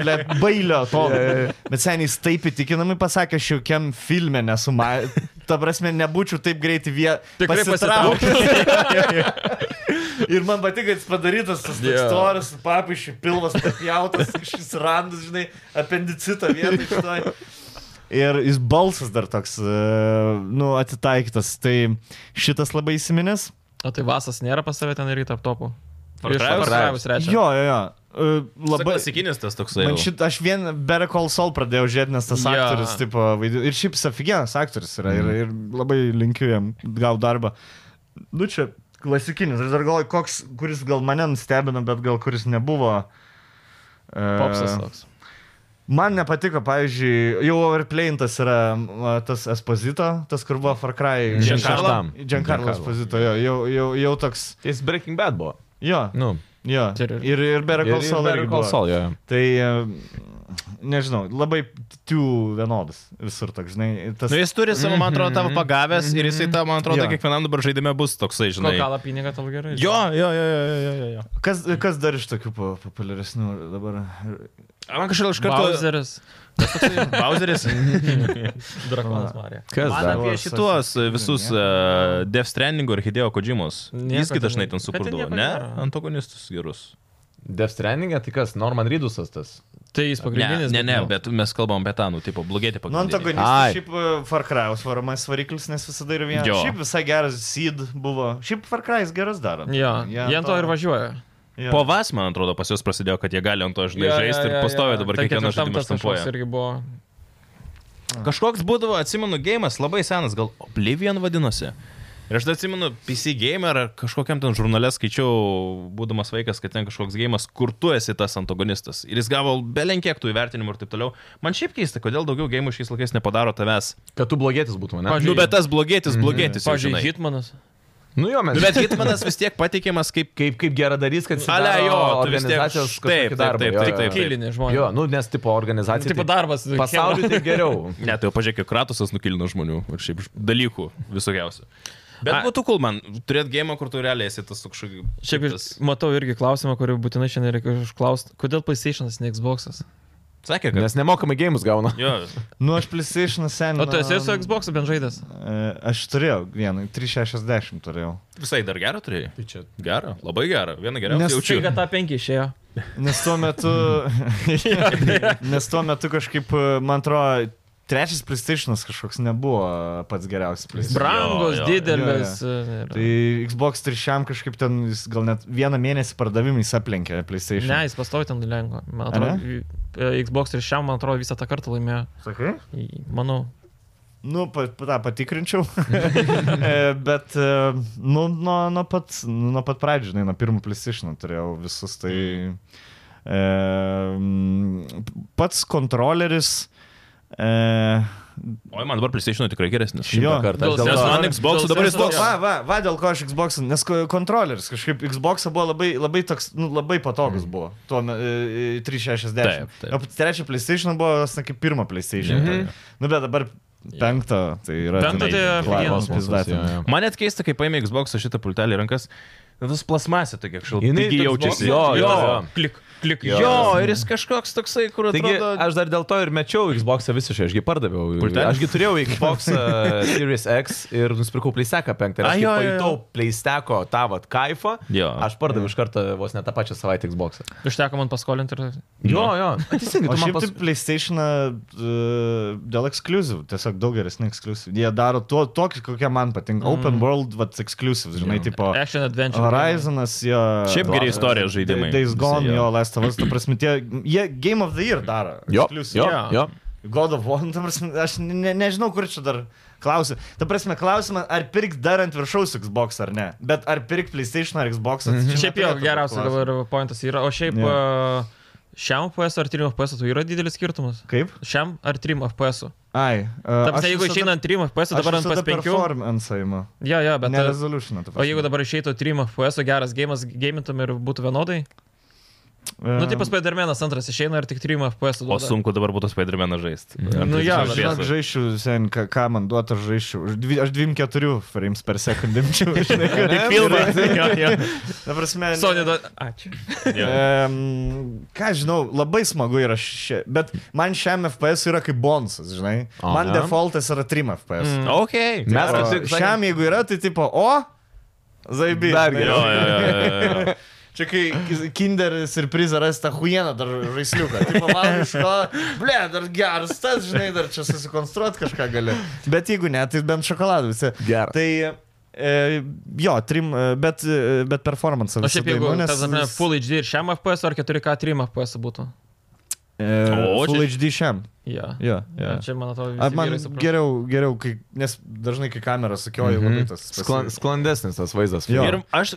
A: ble, bailio tonu. Bet seniai jis taip įtikinamai pasakė, aš jokiam filme nesu, ma- ta prasme, nebūčiau taip greitai vie...
C: Tikrai
A: pasitraukęs. Ir man patinka, kad jis padarytas tas yeah.
C: Jo.
A: storas, papišė, pilvas papjautas, šis randas, žinai, apendicitą vietą iš to. Ir jis balsas dar toks, e, nu, atitaikytas. Tai šitas labai įsiminęs.
C: O tai Vasas nėra pas save ten ryto aptopų.
B: Fortraius?
C: Fortraivus trečią.
A: Jo, jo, jo. E, Labai.
B: Klasikinis tas toksai.
A: Man
B: jau.
A: šit, aš vien Better Call Saul pradėjau žiūrėti, nes tas
C: Jo.
A: yeah. aktorius, tipo, vaidino. Ir šiaip jis aфиgenas aktorius yra. Mm. Ir, ir labai linkiu jam gauti darbą. Nu, čia klasikinis. Aš dar galvoju, koks, kuris gal mane nustebino, bet gal kuris nebuvo. e,
C: Popsas toks.
A: Man nepatiko, pavyzdžiui, jau overplayintas yra m, tas Esposito, tas, kur buvo Far Cry.
B: Giancarlo?
A: Giancarlo Esposito, jo, jau, jau, jau toks.
D: Jis Breaking Bad buvo.
A: Jo,
D: Nu,
A: jo.
C: Ir- ir-
A: Ir, ir Better Call Saul. irgi buvo.
D: Konsol, jo.
A: Tai e, nežinau, labai tiu vienodas visur toks, žinai. Tas... Mhm.
B: Nu, jis turi savo, man atrodo, tavo pagavęs ir jisai tą, man atrodo,
A: Jo.
B: kiekvienam dabar žaidime bus toksai, žinai.
C: Kokala pinigą tau gerai.
B: Jo, jo, jo, jo, jo, jo, jo.
A: Kas, kas dar iš tokių po- populiaresnių dabar? Nu,
B: A, Man kažkaip iš karto...
C: Bowseris.
B: Bowseris.
A: Mhm.
C: Drakonas Marija.
D: Kas
B: Man
D: dar?
A: buvo?
B: apie šituos e, visus uh,
A: Mhm.
B: Death Stranding ir Hideo Kojimus.
C: Nieko
B: Jisgi
C: ten-
B: dažnai
C: bet
B: ten
C: ten
B: supurdavo,
C: nieko
B: ne?
C: nėra.
B: Antagonistus gerus.
D: Death Stranding, tai kas? Norman Reedusas tas.
C: Tai jis
B: Ne,
C: pagrindinis.
B: ne, ne,
C: nu.
B: bet mes kalbam apie tą, nu, tipo, blogėti
A: Nu,
B: pagrindinį.
A: antagonistas
D: Ai.
A: šiaip e, Far Cry'us varomas variklis, nes visada yra vienas.
B: Jo.
A: Šiaip visai geras Seed buvo. Šiaip Far Cry'us geras daro.
C: Jo, jie ant to ir važiuoja.
A: Jo.
B: Po vas, man atrodo, pas juos prasidėjo, kad jie gali ant to žinai žaisti ir pastovė
C: Tai
B: dabar kiekvieną žaidimą štampuoja.
C: irgi buvo.
B: Kažkoks būdavo, atsimenu, gėjimas labai senas, gal Oblivion vadinosi. Ir aš dar atsimenu, PC gamer ar kažkokiam ten žurnale skaičiau, būdamas vaikas, kad ten kažkoks gėjimas, kur tu esi tas antagonistas. Ir jis gavo belenkiek tų įvertinimų ir taip toliau. Man šiaip keista, kodėl daugiau gėjimų šiais laikais nepadaro tavęs.
D: Kad tu blogėtis būtum, ne?
C: Paž-
B: Nu, bet tas blogėtis, blogėtis. jau,
C: Mhm. Pavyzdžiui,
B: žinai.
C: Hitmanas.
D: Nu jo, mes.
B: Nu, bet Hitmanas vis tiek pateikiamas kaip
D: kaip, kaip gera darys, kad
B: Ale,
D: daro
B: jo, tu vis tiek-
D: organizacijos
B: taip, taip,
D: kažkokį darbą.
B: taip,
D: jo,
B: taip,
D: jo,
B: taip, taip.
C: Kilinė tai
D: jo.
C: žmonės.
D: Jo, nu nes tipo organizacija.
C: Tipo darbas.
D: Pasauliu tai geriau.
B: Ne, tai jau pažiūrėk, kiek Kratosas nukilino žmonių ir šiaip ž- dalykų visokiausių. Bet A... būtų cool man turėti gėjimą, kur tu realiai esi tas toks kažkoks.
C: Šiaip iš-
B: tas-
C: matau irgi klausimą, kurį būtinai šiandien reikia užklausti. Kodėl PlayStation'as, ne Xbox'as?
B: Sakė, kad. Nes...
D: Nes nemokamai gėjimus gauna.
B: Jo,
A: Nu, aš PlayStation seniai.
C: O tu esi su Xbox'u bent žaidęs?
A: Aš turėjau vieną, 360 turėjau.
B: visai dar gerą turėjai.
D: Tai čia.
B: Gerą, labai gerą, vieną geriausią
A: Nes-
B: jaučiu.
C: Čia GTA 5 išėjo.
A: Nes tuo metu. nes tuo metu kažkaip, man atrodo, trečias PlayStation'as kažkoks nebuvo pats geriausias PlayStation.
C: Brangus,
B: jo, jo.
C: didelis. ir-
A: Tai Xbox 300 kažkaip ten jis gal net vieną mėnesį pardavimais aplenkė PlayStation.
C: Ne, jis pastovi ten lengva. Man atrodo,
A: Ar
C: e, Xbox ir šiam, man atrodo, visą tą kartą laimėjo.
A: Sakai?
C: Į- Manau.
A: Nu, pa, pa- tą patikrinčiau. E, Bet, e, nu, nuo, nuo pat, nuo pat pradžių, žinai, nuo pirmo PlayStation turėjau visus. Tai e, m, pats kontroleris. E,
B: O man dabar PlayStation tikrai geresnis.
A: Jo.
D: Šimtą kartą. Aš
C: Dėl-
D: dėl
B: Nes
D: to-
B: man Xbox
C: Dėl
B: dabar jis
C: senso-
B: toks.
A: va, va, va, dėl ko aš Xbox, nes ko- kontroleris kažkaip Xbox buvo labai, labai toks, nu, labai patogus buvo. Tuo me- e, e, 360.
B: Taip, taip.
A: O trečio PlayStation buvo, na, kaip pirmo PlayStation.
D: Mhm.
A: Nu, bet dabar penktą, tai yra.
C: Penktą
A: ten- kosmosas,
C: tai aфиgenas
A: pizdatė.
D: Jo, jo.
B: Man net keista, kai paėmė Xbox šitą pultelį į rankas. Vis plasmasė tokia kažkokia.
D: Jinai
B: Jinai
D: toks
B: jaučiasi.
D: boks- Jo, jo, jo.
B: Klik, klik.
D: Jo.
B: Jo. jo, ir jis kažkoks toksai, kur
D: Taigi,
B: atrodo...
D: aš dar dėl to ir mečiau Xbox e visiškai, ašgi pardaviau.
B: Pultelį?
D: Ašgi turėjau Xbox uh, Series X ir nusipirkau PlayStation 5. Ir aš
B: Ai,
D: jau
B: jo, jo, jo.
D: pajutau PlayStation tą vat kaifą.
B: Jo.
D: Aš pardaviau iš karto vos ne tą pačią savaitę Xbox. Ą.
C: Užteko man paskolinti ir...
D: Jo, jo. Teisingai,
A: O
D: tu man
A: šiaip
D: pas...
A: tai PlayStation e, dėl ekskluziv, tiesiog daug geresni ekskluziv. Jie daro to, tokį, kokie man patinka. Open World, vat ekskluziv, žinai, tipo
C: Action Adventure.
A: Horizonas, jo.
B: Šiaip geri istorija žaidimai.
A: Days Gone,
B: Visi,
A: jo,
B: jo.
A: Last of Us, tu prasme, tie, jie Game of the Year daro.
D: Jo,
A: exclusive.
D: jo, jo.
C: Jo.
A: God of War, nu, ta prasme, aš ne, nežinau, kur čia dar klausiu. Ta prasme, klausimas, ar pirk dar ant viršaus Xbox ar ne, bet ar pirk PlayStation ar Xbox.
C: Mhm.
A: Mm -hmm.
C: Šiaip jau geriausia gal ir pointas yra, o šiaip
A: Jo.
C: yeah. šiam FPS ar 3 FPS tu tai yra didelis skirtumas?
A: Kaip?
C: Šiam ar 3 FPS?
A: Ai. Uh,
C: Tapsi, jeigu išeina ant 3 FPS, o dabar ant PS5.
A: Performance įima.
C: Jo, jo, bet...
A: Ne
C: uh,
A: resolution.
C: O jeigu dabar išeitų 3 FPS, o geras gėjimas gėjimintum ir būtų vienodai? Nu, tai pas Spidermanas antras išeina ir tik 3 FPS.
B: O
C: duoda.
B: sunku dabar būtų Spider-Man žaisti.
C: Nu, jo,
A: Aš žinok, žaišiu, sen, ką, ką man duot, aš žaišiu. Aš dvi- Aš 24 frames per sekundę imčiau. Žinai, kaip Na, prasme, ne-
C: Sony, duoda- ačiū.
A: Em, ką aš žinau, labai smagu yra šia, bet man šiam FPS yra kaip bonusas, žinai.
D: Aha.
A: Man defaultas yra 3 FPS. Mm.
B: Ok.
D: Mes
A: O
D: kaip tik sakėm-
A: šiam, jeigu yra, tai tipo, o, zaibi.
D: Dar
A: žinai.
B: Jo, jo, jo, jo, jo.
A: Čia kai Kinderis ir prizaras tą huieną dar žaisliuką. Tai pamatai iš ko, ble, dar geras tas, žinai, dar čia susikonstruoti kažką gali. Bet jeigu ne, tai bent šokoladų visi.
D: Gera.
A: Tai e, jo, trim, e, bet, e, bet performance.
C: Na šiaip jeigu, nes... Tazame, Full HD ir šiam FPS ar 4K 3 FPS būtų?
A: O,
B: O,
A: e, Full
B: čia-
A: HD šiam.
C: Jo.
A: Jo, jo.
C: Ja. Čia, man atrodo,
A: A,
C: visi
A: Man
C: vyrai supranta.
A: geriau, geriau kai, nes dažnai, kai kamera sukioja, mm -hmm. labai tas.
D: Sklan, sklandesnis tas vaizdas.
A: Jo.
B: Ir aš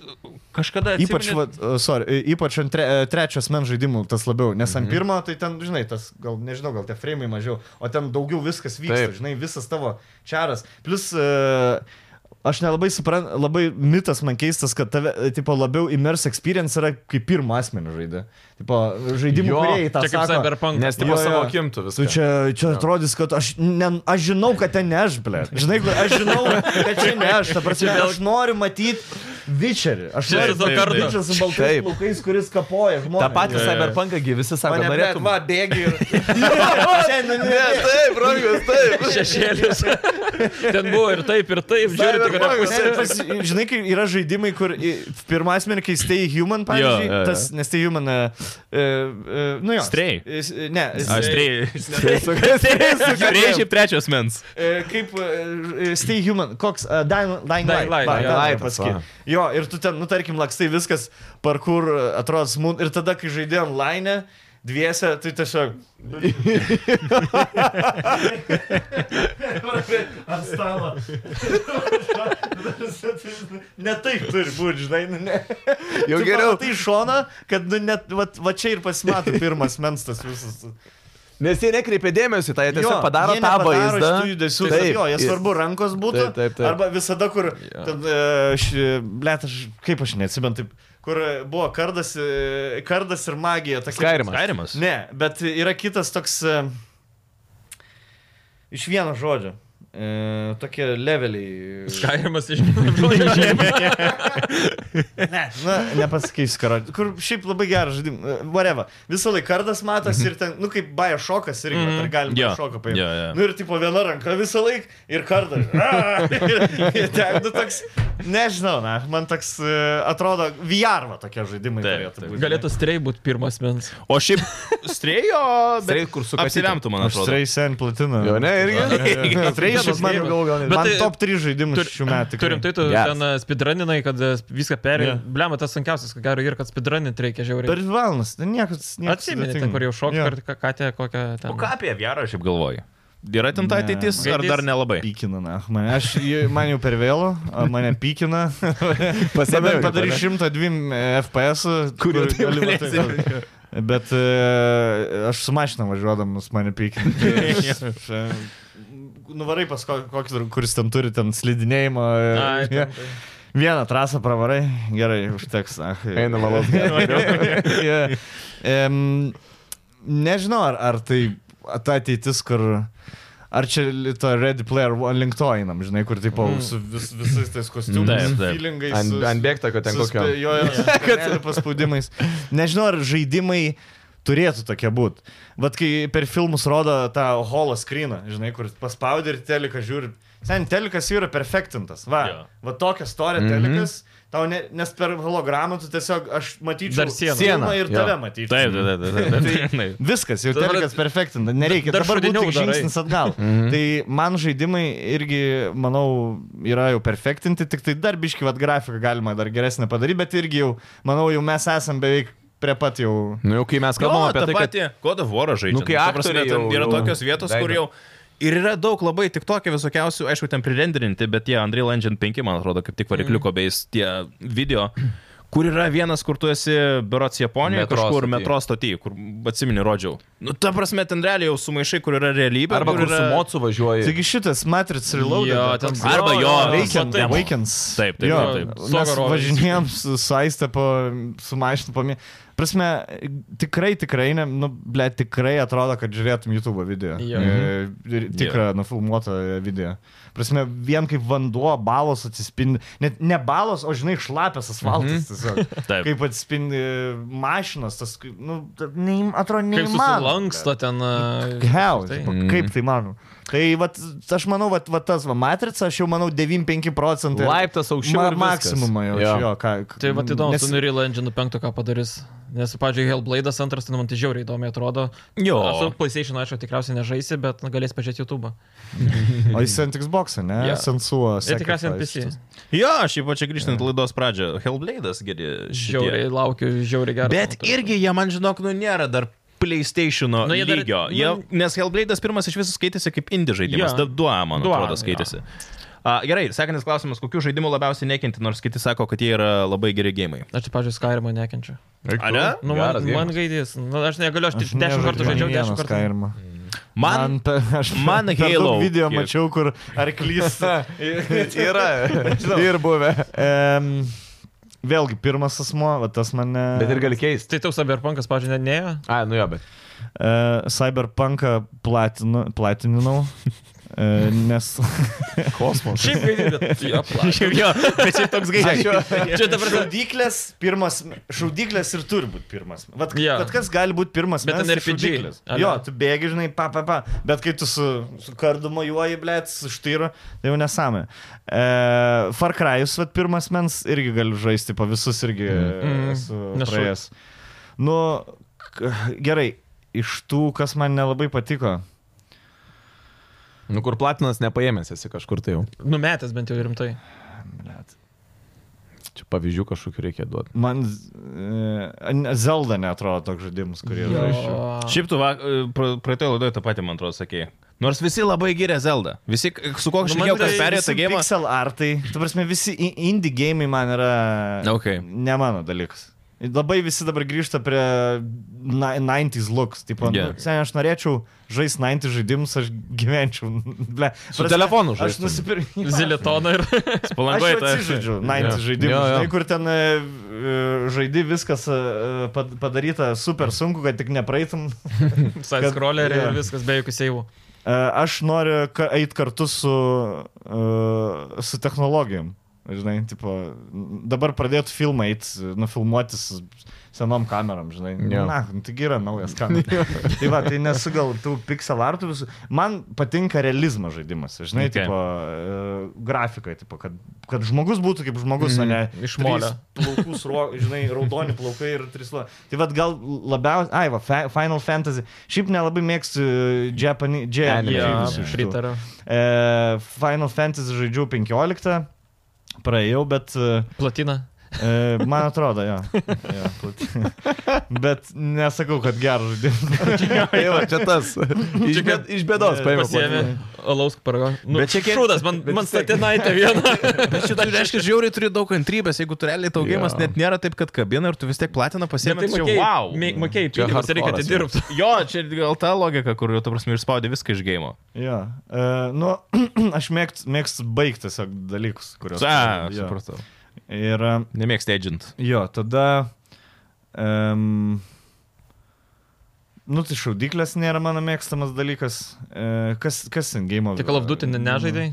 B: kažkada...
A: Ypač,
B: atsimeni-
A: va, sorry, e, ypač ant tre, trečios men žaidimų tas labiau, nes
D: Mhm.
A: ant pirmo, tai ten, žinai, tas, gal nežinau, gal tie freimai mažiau, o ten daugiau viskas vyksta,
D: Taip.
A: Taip. žinai, visas tavo čaras. Plus, e, aš nelabai suprantu, labai mitas man keistas, kad tave, e, tipo, labiau immerse experience yra kaip pirmo asmenį žaidė. Tipo, žaidimų
D: Jo,
A: kūrėjai tą
C: Čia kaip
A: sako.
C: Cyberpunk.
D: Nes
A: Jo,
D: tipo
A: jo.
D: savo kimtų
A: Tu
D: visų čia.
A: čia, čia atrodys, kad aš, ne, aš žinau, kad ten ne aš, ble. Žinai, kad aš žinau, kad čia ne aš. Ta prasme,
C: Čia vėl-
A: aš noriu matyti Vičerį. Aš
C: Čia
A: noriu
C: to kardo.
A: matyti Vičerį su baltais
D: Taip.
A: plaukais, kuris kapoja žmonės.
D: Ta pati
C: Jo, jo.
D: Cyberpunkagy visi sako,
A: Mane norėtum...
D: norėtum.
A: va, bėgi ir... Šiandien ne.
D: Taip, rankas, taip.
C: Šešėlis. Ten buvo ir taip, ir taip. Žiūrėk, tik yra pusė.
A: Ne, pas- Žinai, kai yra žaidimai, kur pirmas asmenį, kai Stay Human, pavyzdžiui,
B: jo, jo.
A: tas, nes Stay Human, e, e, e, nu jo.
B: Stray.
A: s- e, Ne,
B: Aš
A: e,
B: trejai. Trejai šiaip trečios mens.
A: E, kaip e, e, Stay Human, koks uh, Dying, dying,
C: Dying
A: dying Light.
C: Light,
A: va,
C: jo.
A: Dying
D: Light,
A: Light pasakyk.
D: va.
A: Jo, ir tu ten, nu tarkim, lakstai viskas, parkur atrodo smūn. Ir tada, kai žaidėjai online, dviese, tai tiesiog... Ant stalo. ne taip turi būti, žinai, nu ne.
D: Jau
A: Tu
D: geriau.
A: pamatai iš šona, kad, nu, net, va, va čia ir pasimato pirmas menstas visas.
D: Nes jie nekreipia dėmesio, tai jie
A: Jo,
D: tiesiog padaro
A: jie
D: tą
A: nepadaro
D: vaizdą.
A: šitų Judesių,
D: Taip,
A: taip, jo, jie
D: jis-
A: svarbu rankos būtų.
D: Taip, taip, taip.
A: Arba visada, kur... Tad, blėt, aš, kaip aš neatsimenu, taip, kur e, buvo kardas, e, kardas ir magija. tokie-
D: Skyrimas.
B: Skarimas.
A: Ne, bet yra kitas toks... e, Iš vieno žodžio. E, tokie leveliai.
C: Kairimas išmėgino.
A: Ne, na, nepasakysiu, karo. Kur šiaip labai geras žaidimas. Vareva. Visą laiką kardas
D: Mhm.
A: matas ir ten, nu kaip baja šokas irgi, mm. ar galima
B: Jo,
A: yeah. šoką paimti.
B: jo, jo.
A: Nu ir tipo viena ranka visą laiką ir kardas. A, ir, ir ten, nu toks, nežinau, na, man toks e, atrodo, viarva tokie žaidimai
B: Taip,
A: turėtų
B: taip.
A: būti.
C: Galėtų strei būti pirmas mens.
B: O šiaip strėjo,
D: Straight,
B: bet
D: kur su
B: apsivemtų, man atrodo.
A: Stray Sen platina.
D: Jau ne, irgi.
A: Atreišas, man, gal, gal,
C: Bet
A: man
C: tai-
A: top 3 žaidimas šių metų. tikrai.
C: Turim tai, tu
D: Geras.
C: ten e, speedruninai, kad e, viską perėjai.
A: Jo.
C: Yeah. Blema, tas sunkiausias, ko gero, ir kad speedruninti reikia
A: Per
C: žiauriai.
A: dvi valandas, tai niekas. niekas
C: Atsimeni, ten,
A: sudėtingo.
C: kur jau šokai,
A: Jo.
C: ar ką- katė, kokią ten.
B: O ką apie Vjarą šiaip galvoji? Yra ten ta
A: Ne.
B: ateitis, ar
C: Ateitis.
B: dar nelabai?
A: Pykina, na. Mane, aš, man jau per vėlų, mane pykina. Dabar
D: Pasidarė
A: padarys 102 FPS,
D: Kur jau taip
A: gali
D: galėsi.
A: matai. Bet e, aš su mašina važiuodamas mane pykina. e, Nuvarai pas ko- kokį, dra- kuris ten turi ten slidinėjimą. e,
C: Ai,
A: jie-
C: ten-
A: Vieną trasą pravarai, gerai, užteks. ah.
D: Eina malos.
A: Jo. Em, Nežinau, ar, ar tai ta ateitis, kur... Ar čia li- to Ready Player One link to einam, žinai, kur tipo su vis, visais tais kostiumais,
B: Mm. Taip, taip.
A: feelingais. su-
D: Ant bėgta, kad ten
A: su
D: kokio.
A: spe- Jo, jo, kad paspaudimais. Nežinau, ar žaidimai turėtų tokie būti. Vat kai per filmus rodo tą holo screeną, žinai, kur paspaudi ir teliką žiūri. Sen, telikas jau yra perfektintas. Va,
B: Jo.
A: va tokia storė
D: Mhm.
A: telikas. Tau ne, nes per hologramą tu tiesiog aš matyčiau
C: Dar sieną.
A: filmą ir
D: Jo.
A: tave matyčiau.
B: Taip, taip, taip, taip, taip.
A: Viskas, jau
C: Dabar-
A: telikas perfektintas, nereikia
C: Dar
A: dar dabar būti
C: šūdiniau
A: tik
C: darai.
A: žingsnis atgal. Tai man žaidimai irgi, manau, yra jau perfektinti, tik tai dar biški vat grafiką galima dar geresnį padaryti, bet irgi jau, manau, jau mes esam beveik prie pat jau.
D: Nu jau kai mes kalbam
B: Jo,
D: apie
B: tą
D: tai, kad...
B: patį God of War žaidžiant.
D: Nu, kai
B: Ta prasme,
D: aktoriai
B: ten
D: jau-
B: Yra
D: jau-
B: tokios vietos, kur
D: veidą.
B: jau... Ir yra daug labai tik tokio visokiausių, aišku, ten prirendrinti, bet tie Unreal Engine 5, man atrodo, kaip tik
D: Mm.
B: varikliuko beis tie video, kur yra vienas, kur tu esi biurots Japonijoje,
D: Metro
B: kažkur
D: stoty.
B: metro stoty, kur atsimini rodžiau. Nu, ta prasme, ten realiai jau sumaišai, kur yra realybė.
D: Arba kur su
B: yra...
D: mocu
B: Tai-
D: važiuoji.
A: Taigi šitas Matrix Reloaded.
C: Jo,
A: yra
C: ten
A: toks-
B: Arba jo,
A: Veikiant,
C: taip.
A: veikiant.
B: Taip, taip,
A: jo,
B: taip,
C: taip.
A: Mes
C: Sogaro
A: važinėjom su saistą, su mašinu pamė. Prasme, tikrai, tikrai, ne, nu, ble, tikrai atrodo, kad žiūrėtum YouTube video.
C: Jo.
A: E,
B: Mhm.
A: ir Tikrą nufilmuotą video. Prasme, vien kaip vanduo, balos atsispindi. Net ne balos, o žinai, šlapias asfaltas tiesiog.
B: Mhm. Taip.
A: Kaip atsispindi mašinas, tas, kaip, nu, neim, atrodo,
C: Kaip
A: neįmanoma.
C: susilanksta ten.
A: Hell,
C: Tai-
A: tipo,
B: Mhm.
A: kaip tai manau. Tai vat, aš manau, vat, vat tas va, matrica, aš jau manau 9-5 procentai.
D: Laiptas aukščiau ir viskas.
A: maksimumą jau.
D: Jo.
A: Jo. Jo, ką, k-
C: Tai va įdomu,
A: nes-
C: su Unreal Engine 5 ką padarys. Nes, pavyzdžiui, Hellblade'as antras, tai nu, man tai žiauriai įdomiai atrodo.
B: Jo.
C: Aš su PlayStation, aišku, tikriausiai nežaisi, bet nu, galės pažiūrėti YouTube.
A: O jis ant Xbox, ne?
C: Jo.
A: Yeah. Sensuo.
C: Tai tikriausiai NPC.
B: Jo, aš ypač čia grįžtant į laidos pradžią. Hellblade'as geri. šitie.
C: Žiauriai laukiu, žiauriai gerai.
B: Bet irgi jie man žinok, nu nėra dar
C: Nu,
B: PlayStation'o nu,
C: jie dar-
B: lygio.
C: nu-
B: Dar, jie, nes Hellblade'as pirmas iš viso skaitėsi kaip indie žaidimas.
C: Jo.
B: Ja. Dua, man
C: Dua,
B: atrodo,
C: jo.
B: skaitėsi. A, gerai, sekantis klausimas, kokių žaidimų labiausiai nekinti, nors kiti sako, kad jie yra labai geri gėjimai.
C: Aš, tai, pavyzdžiui, Skyrimą nekenčiu.
B: Are?
C: Nu, man, man gaidys. Nu, aš negaliu, aš tik 10 kartų žaidžiau, 10 kartų.
A: Skyrimą.
B: Man,
A: Man, pe- aš
B: man
A: per daug
B: Halo
A: video
B: kiek-
A: mačiau, kur arklys.
D: Yra. Ir buvę.
A: um, vėlgi, pirmas asmo, va, tas mane.
D: Bet ir gali keisti.
C: Tai tau Cyberpunkas, pavyzdžiui, net neėjo.
D: A, nu jo, bet.
A: E, Cyberpunką platinu, platininau, e, nes
D: Kosmos.
C: Šiaip gaidys, bet jo, plačiai.
B: Šiaip jo, bet čia toks gaidas.
C: Čia dabar
A: šaudyklės, pirmas, šaudyklės ir turi būti pirmas. Vat,
C: Jo.
A: yeah. vat kas gali būti pirmas,
C: Bet
A: mes
C: ten
A: ir
C: RPG,
A: šaudyklės.
C: ane?
A: Jo, tu bėgi, žinai, pa, pa, pa. Bet kai tu su, su kardu mojuoji, blėt, su štyru, tai jau nesame. E, Far Cryus, vat pirmas mens, irgi galiu žaisti, po visus irgi
C: Mm.
A: mm. esu
C: Nešu.
A: praėjęs. Nu, k- gerai, iš tų, kas man nelabai patiko.
D: Nu kur platinas nepaėmęs esi kažkur tai jau.
C: Numetęs Nu, bent jau rimtai.
D: Čia pavyzdžių kažkokiu reikia duoti.
A: Man e, Zelda netrodo toks žaidimas, kurį žaidžiu.
B: Šiaip tu va- e, pra- praeitoje laidoje tą patį, man atrodo, sakėjai. Nors visi labai giria Zeldą. Visi, k- su kokiu
C: Nu,
B: žinau,
C: man
B: kas
C: tai
B: perėjo tą
A: Visi
B: gėjimą.
A: Pixel artai, tu prasme, visi i- indie gėjimai man yra
B: Okay.
A: ne mano dalykas. Labai visi dabar grįžta prie na- 90s looks. Tipo, yeah.
B: Yeah.
A: nu, seniai, aš norėčiau žaisti 90s žaidimus, aš gyvenčiau. Ble,
D: Su telefonu
A: Aš
D: žaistum.
A: nusipirkau.
C: Zilitona ir...
A: Aš
B: Palangoje
A: jau atsižaidžiu 90
D: Jo.
A: žaidimų,
D: Jo, jo.
A: žinai, kur ten e, e, žaidi viskas e, e, pad- padaryta super sunku, kad tik nepraeitum.
C: Side scroller
A: jo.
C: ir viskas be jokių seivų.
A: E, Aš noriu ka- eit kartu su, e, su technologijom. Žinai, tipo, n- dabar pradėtų filmą eit, nufilmuoti su senom kameram, žinai.
D: Jo.
A: Yeah. Na, nu taigi yra naujas kamera. tai va, tai nesu gal tų pixel artų visų. Man patinka realizmo žaidimas, žinai, okay.
B: Okay.
A: tipo, e, grafika, tipo, kad, kad žmogus būtų kaip žmogus, mm, o ne
C: Mhm. iš molio.
A: Plaukus, žinai, raudoni plaukai ir trislo. Tai vad gal labiausiai, ai, va, Fa- Final Fantasy. Šiaip nelabai mėgstu e, Japani, J, J,
D: Anime.
C: Jo,
D: žaidžiu
A: visų šitų.
C: pritariu.
A: E, Final Fantasy žaidžiau 15, praėjau, bet e,
C: Platina.
A: E, man atrodo, jo. jo plati- Bet nesakau, kad geras žaidimas.
D: Tai va, čia tas. Iš, bėd, iš bėdos paėmė.
C: Pasiemi alaus parago. Nu,
B: Bet čia kiek-
C: Šūdas, man,
B: bet
C: man
B: vis tiek-
C: statinaitė viena. Tai
B: Bet čia turi, Tai reiškia, žiauriai turi daug kantrybės, jeigu tu realiai tau gėjimas
D: Jo.
B: net nėra taip, kad kabina ir tu vis tiek platiną pasiemi.
C: Tai
B: tai
C: mokėjai,
B: wow.
C: mė- mokėjai,
D: Čia
C: pinigus reikia
D: hardcore'as
C: atidirbti.
B: Jo, čia gal ta logika, kur jau, tu prasme, išspaudė viską iš gėjimo.
A: Jo. E, nu, aš mėgstu, mėgstu baigti tiesiog dalykus, kuriuos.
B: A,
A: Jo.
B: supratau.
A: Ir e,
B: Nemėgsti agent.
A: Jo, tada. Um, nu, tai šaudyklės nėra mano mėgstamas dalykas. E, kas, kas ten game of
C: Tik Call of Duty ne- nežaidai?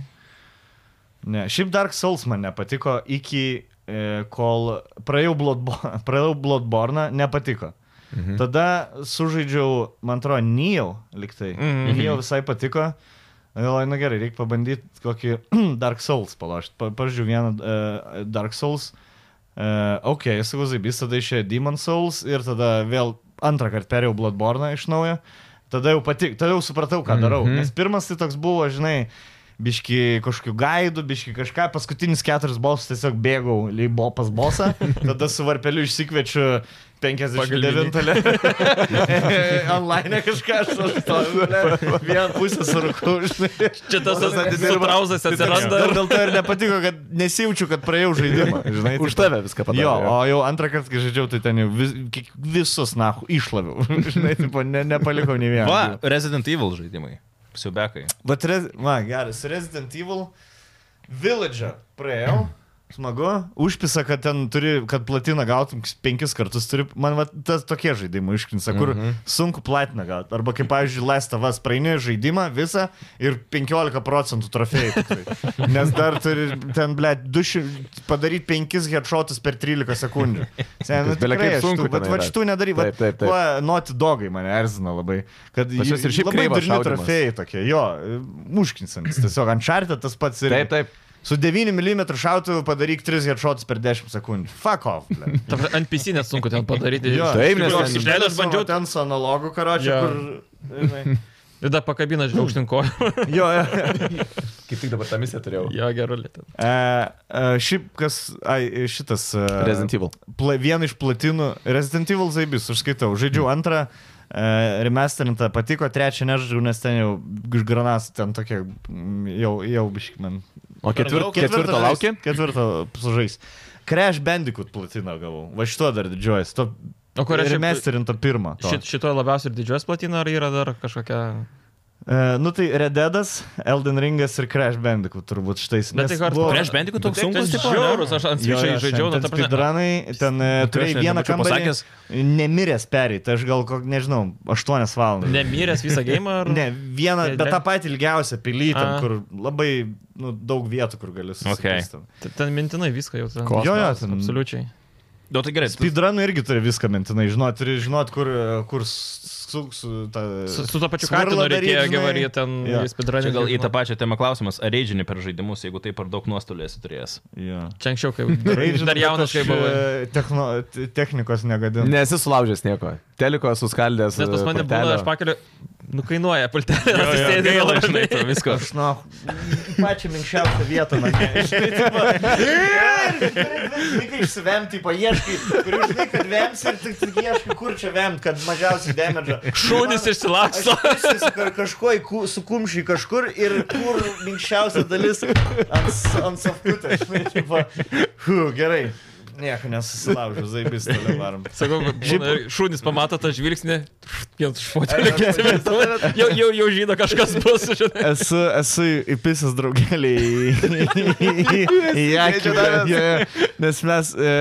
A: Ne, šiaip Dark Souls man nepatiko iki e, kol praėjau, Bloodborne, praėjau Bloodborne, nepatiko. Mhm. Tada sužaidžiau, man atrodo, Nijau liktai. Mhm.
C: Mhm.
A: Nijau visai patiko. Galvoju, na nu gerai, reikia pabandyti kokį Dark Souls palašti. Pa, Pažiūrėjau vieną uh, Dark Souls. Uh, ok, sakau, Zaibys, tada išėjo Demon Souls ir tada vėl antrą kartą perėjau Bloodborne iš naujo. Tada jau patik, tada jau supratau, ką darau. Mm
D: Mhm.
A: -hmm. Nes pirmas tai toks buvo, žinai, biški kažkokių gaidų, biški kažką. Paskutinis keturis bosus tiesiog bėgau lyg bo pas bosą, tada su varpeliu išsikviečiu 59 le- online kažką aš stoviu. ble. Vieną pusę surukau. žinai.
C: Čia tas sutrauzas
A: Tai
C: atsiranda.
A: Dėl, dėl to ir nepatiko, kad nesijaučiu, kad praėjau žaidimą. Žinai,
D: Už
A: tai-
D: tave viską padarė.
A: Jo, o jau antrą kartą, kai žaidžiau, tai ten jau vis, kiek- visus, na, išlaviau. Žinai, tipo, ne, nepalikau nei vieno.
B: Va, Resident Evil žaidimai. Siubekai.
A: Bet, Re- va, geras, Resident Evil Village praėjau. Smagu, užpisa, kad ten turi, kad platiną gautum penkis kartus, turi, man va, tas tokie žaidimai užkrinsa, kur
D: Mhm.
A: mm -hmm. sunku platiną gauti. Arba kaip, pavyzdžiui, Lestavas praeini žaidimą visą ir 15 procentų trofėjų. tiktai. Nes dar turi ten, ble, padaryti penkis headshotus per 13 sekundžių. Sen, nu,
D: Kas bele kaip
A: tikrai aš
D: sunku
A: tų- Bet va
D: tenai yra.
A: šitų nedaryk,
D: Taip, taip, taip.
A: va, noti dogai mane erzina labai. Kad
D: Pas juos ir šiaip
A: labai
D: kreivas
A: durni
D: šaudymas.
A: trofėjai tokie, jo, muškinsamis. Tiesiog anšartė tas pats ir...
D: Taip, taip.
A: Su 9 mm šautuvu padaryk 3 headshots per 10 sekundžių. Fuck off. ble.
C: Ta prasme, Ant PC net sunku ten padaryti.
A: Jo,
D: taip, nes
A: iš tikrųjų,
D: ten-
A: aš išleidau,
C: Aš bandžiau-
A: bandžiau ten su analogu karočiu,
C: Jo.
A: kur... žinai.
C: Ir dar pakabina žaukštinko.
A: Jo, jo.
D: Kaip tik dabar tą misiją turėjau.
C: Jo, gerai. ten.
A: E, e, Šiaip kas... Ai, šitas... e,
D: Resident Evil.
A: pla, vieną iš platinų Resident Evil Zaibis, aš skaitau, žaidžiau
D: Mm.
A: antrą, e, remasterintą patiko, trečią nežaidžiau, nes ten jau išgranas, ten tokie, mm, jau, jau biškai man.
D: O ketvir... ketvirtą laukia?
A: Ketvirtą sužais. Crash Bandicoot platiną gavau, va šito dar didžiuojas, to
C: O kur aš
A: remasterintą pirmą. to.
C: Šit, šitoje labiausiai ir didžiuojas platina, ar yra dar kažkokia...
A: E, nu tai Rededas, Elden Ringas ir Crash Bandicoot turbūt šitais.
C: Bet tai hard- Crash
B: Aš bent jau toks sunkus.
C: Tas
B: tipo, ne?
C: žiaurus, aš ant svičiai žaidžiau,
A: nu
C: nu, ta
A: taip.
C: prasme,
A: Speedrunai, ten e,
B: Nu, tai aš
A: turėjai
B: net
A: vieną
B: nebūčiau
A: kambarį,
B: pasakęs.
A: nemiręs perėti, aš gal, kok, nežinau, 8 valandas.
C: Nemiręs visą gėjimą? Ar...
A: Ne, vieną,
C: Ne,
A: bet
C: ne.
A: tą patį ilgiausią pilytą,
C: A.
A: kur labai nu, daug vietų, kur gali susikasti. Okay.
C: T- Ten mintinai viską jau. Ten...
A: Jo, jo, ten-
C: Absoliučiai.
B: Nu, tai gerai. tu-
A: Speedrun irgi turi viską mintinai, žinot, turi žinot, kur, kur su, su, ta,
C: Su, su to pačiu
A: Swirlą
C: katinu
A: daryt,
C: reikėjo
A: žinai.
C: gyvarį ten
A: Jo.
B: Čia
C: speedrunning.
B: gal į tą pačią temą klausimas, ar reidžini per žaidimus, jeigu tai per daug nuostolių esi turėjęs?
A: Ja.
C: Čia anksčiau, kai dar jaunas, kai buvau.
A: e, Techno, te- technikos negadinu. Ne.
D: Nesu sulaužęs nieko. Teliko suskaldęs.
C: Nes pas mane būna,
D: pultelio.
C: aš pakeliu, nu, nukainuoja pultelė,
B: Jo, jo,
C: atsisėdė
B: gaila,
C: labai
B: žinai,
C: žinai.
B: to visko.
A: Aš, na, pačią minkščiausią vietą, na, Tik išsivemti, paieškai, kur žinai, kad vemsi ir tik, tik ieškai, kur čia vemti, kad mažiausiai demedžą.
C: Šūnis išsilaksto.
A: Aš kažko sukumšį kažkur ir kur minkščiausia dalis ant, s- ant safkutės. žinai, tipo, Hu, gerai. Nieko nesusilaužiu, zaibis toliau varom.
C: Sakau, būna, šūnis pamato tą žvilgsnį, vienas šfotelį,
A: Ai,
C: kitas įsivaizduoja. Jau, jau, jau žino, kažkas bus, žinai.
A: Esu, esu įpisęs draugelį į, į, į, į akį, bet, jo, jo, nes mes e,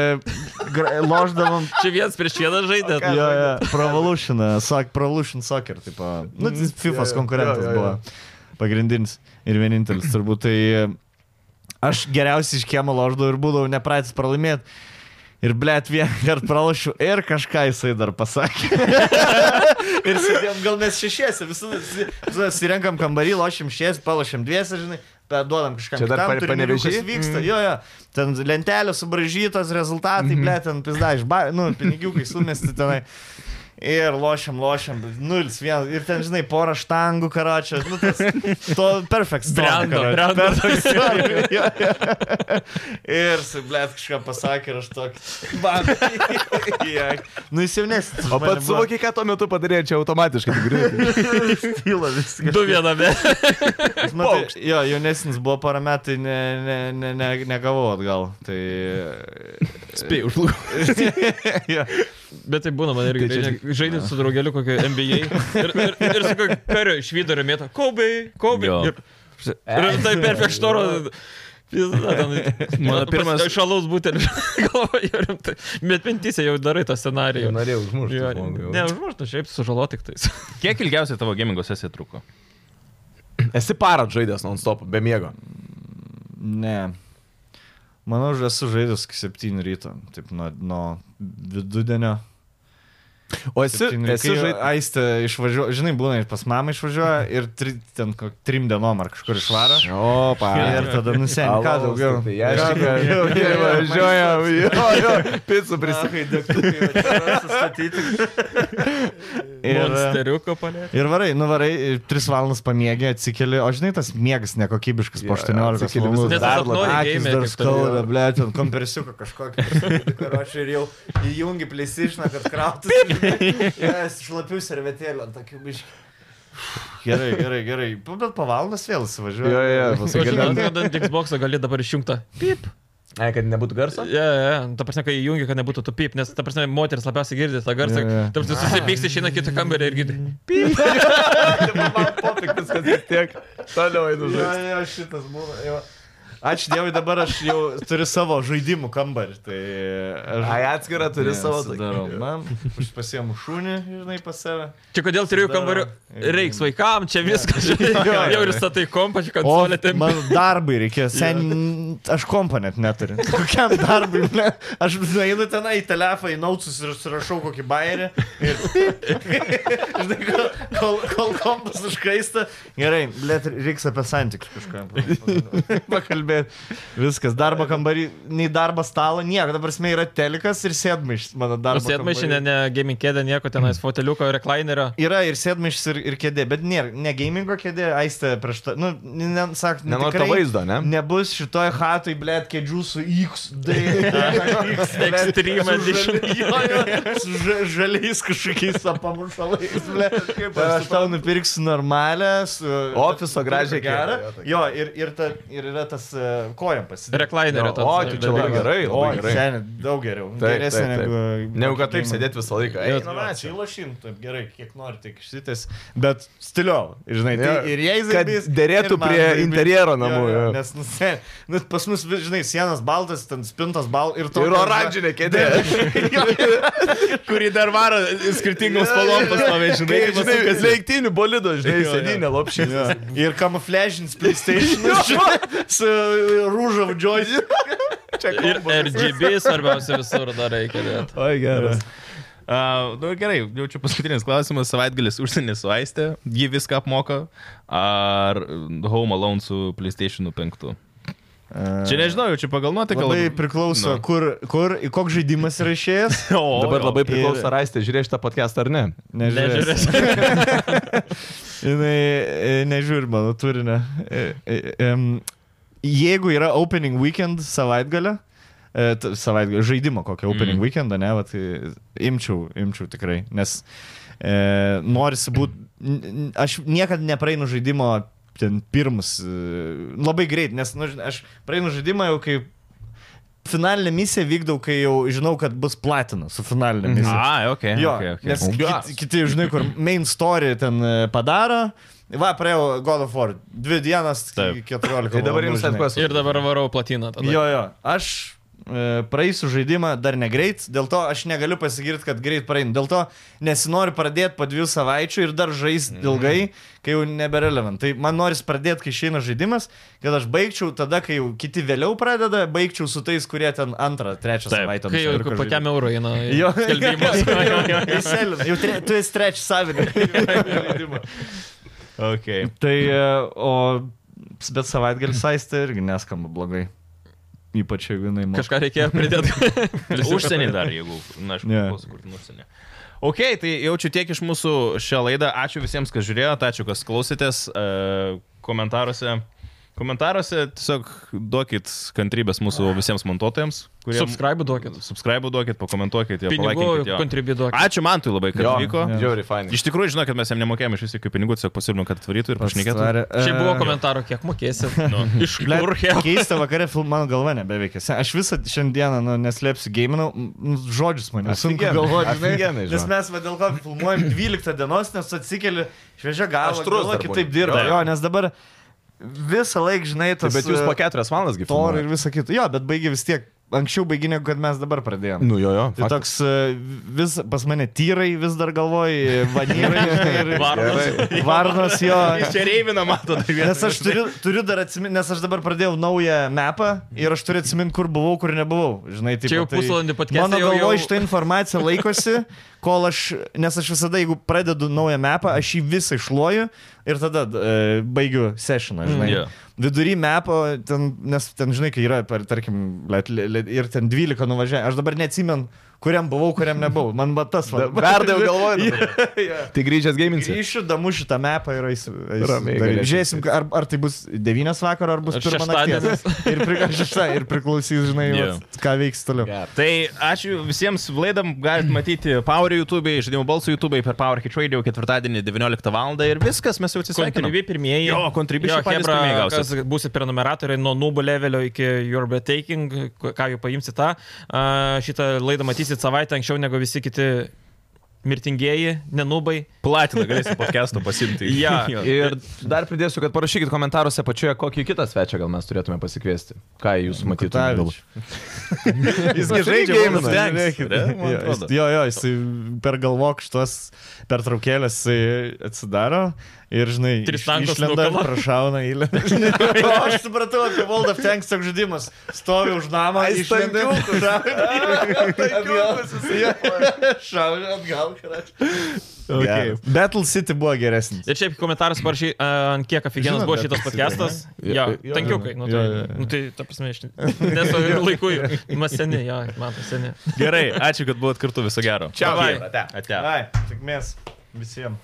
A: gra- loždavom
C: Čia vienas prieš vieną žaidė.
A: Jo, jo, Provolution, sak, Provolution Soccer, tipo. Nu, mm, FIFA's
D: jo,
A: konkurentas
D: jo, jo,
A: buvo. Pagrindinis ir vienintelis, turbūt. Tai aš geriausiai iš kiemo loždavau ir būdavau nepratęs pralaimėti. Ir blėt vieną kartą pralašiau ir kažką jisai dar pasakė. ir sėdėm, gal mes šešiesi, visada susirenkam kambarį, lošiam šešiesi, palašiam dviesi, žinai, duodam kažką.
D: Čia dar pa- Panevėžy?
A: vyksta. Jo, jo, ten lentelės subražytos, rezultatai,
D: Mhm.
A: blėt, ten pizda iš, ba... nu, pinigiukai sumesti tenai. Ir lošiam, lošiam, 0-1. Ir ten, žinai, pora štangų karočio. Nu, tas, to perfect storm.
C: Brendo,
A: karoče.
C: brendo.
A: Perfect storm. jo, jo. ir, blėt, kažką pasakė ir aš tokį. Bam. Jei. nu, jis jaunesnis.
D: O pats suvokė, ką tuo metu padarė, čia automatiškai. tik greitai.
A: tai stylą viską.
C: Du viename.
A: Matai, jo, jaunesnis buvo porą metų, ne, ne, ne, ne, negavau atgal. Tai...
B: Spėjau, užlūkau.
A: jo.
C: Bet tai būna man irgi.
D: Tai čia-
C: Tai Žaidžiu su draugeliu kokio NBA. Ir, ir, ir sakau, kario iš vidurio mėta. Kobai, kobai.
B: Jo.
C: Ir, ir tai perfektoro. Mano
B: Mano pirmas-
C: Iš alaus būtent. Bet mintise jau darai tą scenarijų.
D: Norėjau
C: Jo,
D: žmogų, jau.
C: Ne, užmuštų, šiaip sužalo tik tais.
B: Kiek ilgiausiai tavo gamingo sesija truko?
D: Esi parą žaidęs non-stop, be miego.
A: Ne. Manau, aš esu žaidęs 7 ryto, taip nuo, nuo vidudienio.
D: O esi,
A: Septyni
D: esi
A: ryto.
D: žaidęs.
A: Aistė išvažiuoja, žinai, būna ir pas mamą išvažiuoja ir tri, ten kok- trim dienom ar kažkur išvaro.
D: O, parą.
A: Ir tada nusenka, ką daugiau.
D: Tai
A: Ką
D: aš
A: daugiau? Jo,
D: tikrai
A: jo,
D: važiuojam. Jo, jo,
A: maistas.
D: pizza prisimenu.
A: Kai degtukai va čia yra sustatyti. Ir,
C: Monsteriuko palėtė.
A: ir varai, nu varai, ir tris valandas pamiegi, atsikeli, o žinai, tas miegas nekokybiškas po
D: Jo,
A: 18
D: atsikeli visas
A: valandų.
C: Nes
A: dar
C: sapnuoji
A: labiau akys
C: geime,
A: dar
C: kaip
A: skauda,
C: toliau.
A: ble, ten kompresiuką kažkokį. Karočiui ir jau įjungi plėsišną, kad krautis. Jas šlapių servetėlių ant tokių biškių. Gerai, gerai, gerai. Pa- Bet po valandas vėl įsivažiuoju.
D: Jo, jo, jo,
C: O
D: pasakyk.
C: žinot, kad ant Xbox gali dabar išjungta. Pip.
D: Ne, kad nebūtų garso?
C: Ja, ja, ta prasme, kai įjungi, kad nebūtų tu pip, nes ta prasme, moteris labiausiai girdi tą garsą.
A: Jo, jo.
C: Ta prasme, susipyksti, išeina į kitą kambarį ir girdi.
D: Man popik viskas vis tiek. Toliau einu
A: Jo, jo, šitas būna. Jo. Ačiū Dievui, dabar aš jau turiu savo žaidimų kambarį. Tai aš...
D: Ai, atskirą turi
A: Ne,
D: savo tokį.
A: Sudarau, man, aš pasiemu šunį, žinai, pas save.
C: Čia kodėl trijų
A: Susidaro.
C: kambarių reiks vaikam, čia viskas. Jau jau ir statai kompą, čia konsolė taip.
A: man darbai reikėjo, sen, aš kompo net neturiu. Kokiam darbui, ble? Aš einu tenai į telefą, į nautus ir surašau kokį bairį. Ir... Žinai, kol, kol, kol kompas užkaista. Gerai, ble, reiks apie santykius kažką pakalbėti. Viskas, darbo kambarį, nei darbo stalo, nieko, dabar smė yra telikas ir sėdmaišis mano darbo.
C: Sėdmaišė,
A: kambary.
C: ne, ne gaming kėdė, nieko tenais, foteliuko, reclinerio.
A: Yra ir sėdmaišis, ir, ir kėdė, bet nėra, ne gamingo kėdė, aistė prieš tą, nu, ne, sak, nu,
D: Nenori to
A: tikrai
D: vaizdo, ne?
A: Nebus šitoj hatoj, blėt, kėdžių su XD.
C: Extreme Edition.
A: Žaliais kažkokiais sa- pamušalais, blėt. Aš tau nupirksiu normalią, su...
D: Ofiso gražią
A: gerą.
D: kėdę, jo, tokią.
A: Jo, ir, ir, ta, ir yra tas e, kojam pasidėti.
C: Reclinerio.
D: Jo,
C: tas,
D: o, tai
C: e,
D: čia
C: dalykas.
D: labai gerai,
A: O,
D: labai gerai.
A: šiandien daug geriau.
D: Taip,
A: Geresnė
D: taip, taip.
A: negu...
D: Negu kad taip
A: gaming.
D: sėdėti visą laiką.
A: Jo,
D: Ei,
A: inovacija, įlošim, taip gerai, kiek nori, tik šitas, bet stiliau, žinai, tai
D: Jo,
A: ir jai
D: kad
A: zaibys,
D: derėtų
A: ir man
D: prie
A: zaibys.
D: interjero namų,
A: Jo, jo,
D: jo.
A: Nes, nu, se- nu, pas mus, vis, žinai, sienas baltas, ten spintas bal ir to.
D: Ir oranžinė kėdė.
B: Kurį dar varo skirtingom spalvom pastoviai, žinai.
D: Kai, žinai,
B: pasukas-
D: leiktinių bolido, žinai,
B: Jo, jo.
D: sėdinė lopšė.
A: Ir kamufležinis PlayStation su rūžav džoisi.
C: Ir RGB svarbiausia visur dar reikia dėti.
A: Oi, geras.
B: Uh, nu, ir gerai, jau čia paskutinis klausimas. Savaitgalis užsienį su Aistė, ji viską apmoka. Ar Home Alone su PlayStation 5? Čia nežinau, jau čia pagal nuotaiką.
A: Labai priklauso,
B: Nu.
A: kur, kur, į koks žaidimas yra išėjęs.
B: O,
D: Dabar
B: jo.
D: labai
A: priklauso,
D: priklauso, ar aistė žiūrėjo šitą podcastą ar ne.
A: Nežiūrės. Jis nežiūri mano turinio. E, e, em, Jeigu yra opening weekend savaitgalio, e, t- savaitgalio žaidimo kokio opening
B: Mm.
A: mm. weekendą, ne, vat, e, imčiau, imčiau tikrai, nes e, norisi būti, aš niekada nepraeinu žaidimo ten pirmus, e, labai greit, nes nu, žin- aš praeinu žaidimą jau kaip Finalinę misiją vykdau, kai jau žinau, kad bus platina su finalinė misija.
B: A, ok.
A: Jo,
B: okay, okay.
A: nes kiti, kiti, žinai, kur main story ten e, padaro. Va, praėjau God of War. Dvi dienas,
B: Taip.
A: 14.
D: Tai dabar jums atkuos.
C: Ir dabar varau platiną. tada.
A: Jo, jo. Aš e, praeisiu žaidimą dar negreit, dėl to aš negaliu pasigirti, kad greit praeinu. Dėl to nesinori pradėti po dviejų savaičių ir dar žaisti ilgai, kai jau neberelevant. Tai man noris pradėti, kai išeina žaidimas, kad aš baigčiau tada, kai jau kiti vėliau pradeda, baigčiau su tais, kurie ten antrą, trečią
B: Taip.
A: savaitę.
C: Kai jau
A: nusipirko žaidimą.
C: kokiam eurui eina. į
A: Jo,
C: skelbimus.
A: Įselin, jau tre, tu esi trečias savininkas.
B: Okay.
A: tai, e, o, s- bet savaitgalis aistė irgi neskamba blogai. Ypač jeigu jinai moka.
C: Kažką reikėjo pridėti.
B: Užsienį dar, jeigu, na, aš
A: Ne.
B: yeah. pasikurti užsienį. Ok, tai jaučiu tiek iš mūsų šią laidą. Ačiū visiems, kas žiūrėjote, ačiū, kas klausėtės. E, komentaruose. Komentaruose tiesiog duokit kantrybės mūsų visiems montuotojams, kurie...
C: Subscribe duokit.
B: subscribe duokit, pakomentuokit, jo, palaikinkit
C: Pinigų
B: jo.
C: kontribiduokit.
B: Ačiū Mantui labai, kad atvyko.
D: Žiauri, fainai.
B: Iš tikrųjų, žinau, kad mes jam nemokėjome iš visų jokių pinigų, tiesiog pasiūlymų, kad atvarytų ir pašnekėtų.
A: Pasidarė, e,
C: Čia buvo komentaro, kiek mokėsit. Iš
A: blet,
C: kur hell?
A: Keista vakarė, film, mano galva nebeveikia. Se- Aš visą šiandieną, nu, neslėpsiu, gėminau, žodžius man sunku
D: Afigenai,
A: galvoti, žinai.
D: afigenai,
A: Nes
D: žinok.
A: mes va dėl ko filmuojam 12 dienos, nes atsikeli šviežia galva,
D: Aštrus
A: galva
D: dar būni.
A: kitaip dirba.
B: Taip.
A: Jo, nes dabar visą laiką, žinai, tas...
D: Tai bet jūs
A: e,
D: po keturias valandas
A: Tor ir
D: gyvenate.
A: visa kita. Jo, bet baigi vis tiek. Anksčiau baigi negu kad mes dabar pradėjome.
D: Nu jo, jo.
A: Tai
D: faktas.
A: toks e, vis, pas mane tyrai vis dar galvoj, vanyrai ir
C: Varnos.
A: Gerai. varnos jo.
B: Čia reivina, matot, tai
A: Nes aš turiu, turiu dar atsiminti, nes aš dabar pradėjau naują mapą ir aš turiu atsiminti, kur buvau, kur nebuvau. Žinai, taip, tai
C: Čia jau pusvalandį podcast'e
A: Mano
C: jau-
A: galvoje
C: jau-
A: šitą informaciją laikosi, kol aš, nes aš visada, jeigu pradedu naują mapą, aš jį visą išloju ir tada e, baigiu
C: Mm,
A: sesioną, žinai.
B: jo.
A: Vidury mepo, ten, nes ten, žinai, kai yra, per, tarkim, let, let, ir ten 12 nuvažiavę, aš dabar neatsimenu, kuriam buvau, kuriam nebuvau. Man va tas va.
D: Verdai galvoju. Tai grįžęs gaminsi.
A: Išdamu šitą mapą ir eisiu. eisiu
D: Ramiai
A: daryt.
D: galėsi
A: Žiūrėsim, ar, ar tai bus 9 vakaro, ar bus
C: Ar
A: 1 nakties. Ir, pri, ar šešta, ir priklausys, žinai,
B: Jo.
A: yeah. vat, ką veiks toliau.
D: Gerai.
B: Tai ačiū visiems laidam, galite matyti Power YouTube, žaidimų balsų YouTube per Power Hit Radio ketvirtadienį 19 val. ir viskas, mes jau atsisveikiname.
C: Kontribui pirmieji.
B: Jo, Contribui šiaip patys
C: chebra,
B: pirmieji gausit.
C: kas Būsit per numeratorių nuo nubo levelio iki your bet taking, k- ką jau paimsit tą. A, Šitą laidą matysit savaitę anksčiau negu visi kiti mirtingieji, nenubai.
B: Platiną galėsite podcast'o pasimti.
C: Ja.
B: Jo.
D: Ir dar pridėsiu, kad parašykit komentaruose pačioje, kokį kitą svečią gal mes turėtume pasikviesti. Ką jūs matytumėte?
A: Kutavič. Jisgi
D: Jisai
A: žaidžia
D: gamina.
A: mums, žiūrėkit.
B: Ne, man
A: Jo, jis-
B: atrodo.
A: Jo, jo, jis pergalvok šitos pertraukėlės jisai atsidaro ir, žinai,
C: Tris
A: iš-
C: tankus
A: išlenda,
C: nukala.
A: prašauna įlenda. O aš supratau apie World of Tanks toks žaidimas. Stovi už namą,
D: Ai,
A: išlenda.
D: stankiukus.
A: Atgal. Šauna atgal, karai. Battle City buvo geresnis.
C: Ir šiaip komentaras parašy, a, ant kiek aфиgenas
A: Žinot,
C: buvo
A: bet
C: šitas podcastas.
D: Jo,
C: Jo,
D: jo,
C: tankiukai. Nu
A: jo,
C: tai,
A: jo, jo.
C: nu, tai ta prasme, aš nesu laiku. Mes seni, jo, man tai seni.
B: Gerai, ačiū, kad buvot kartu, viso gero.
C: Bye.
D: Ate.
B: Ate.
A: Ai, sėkmės visiems.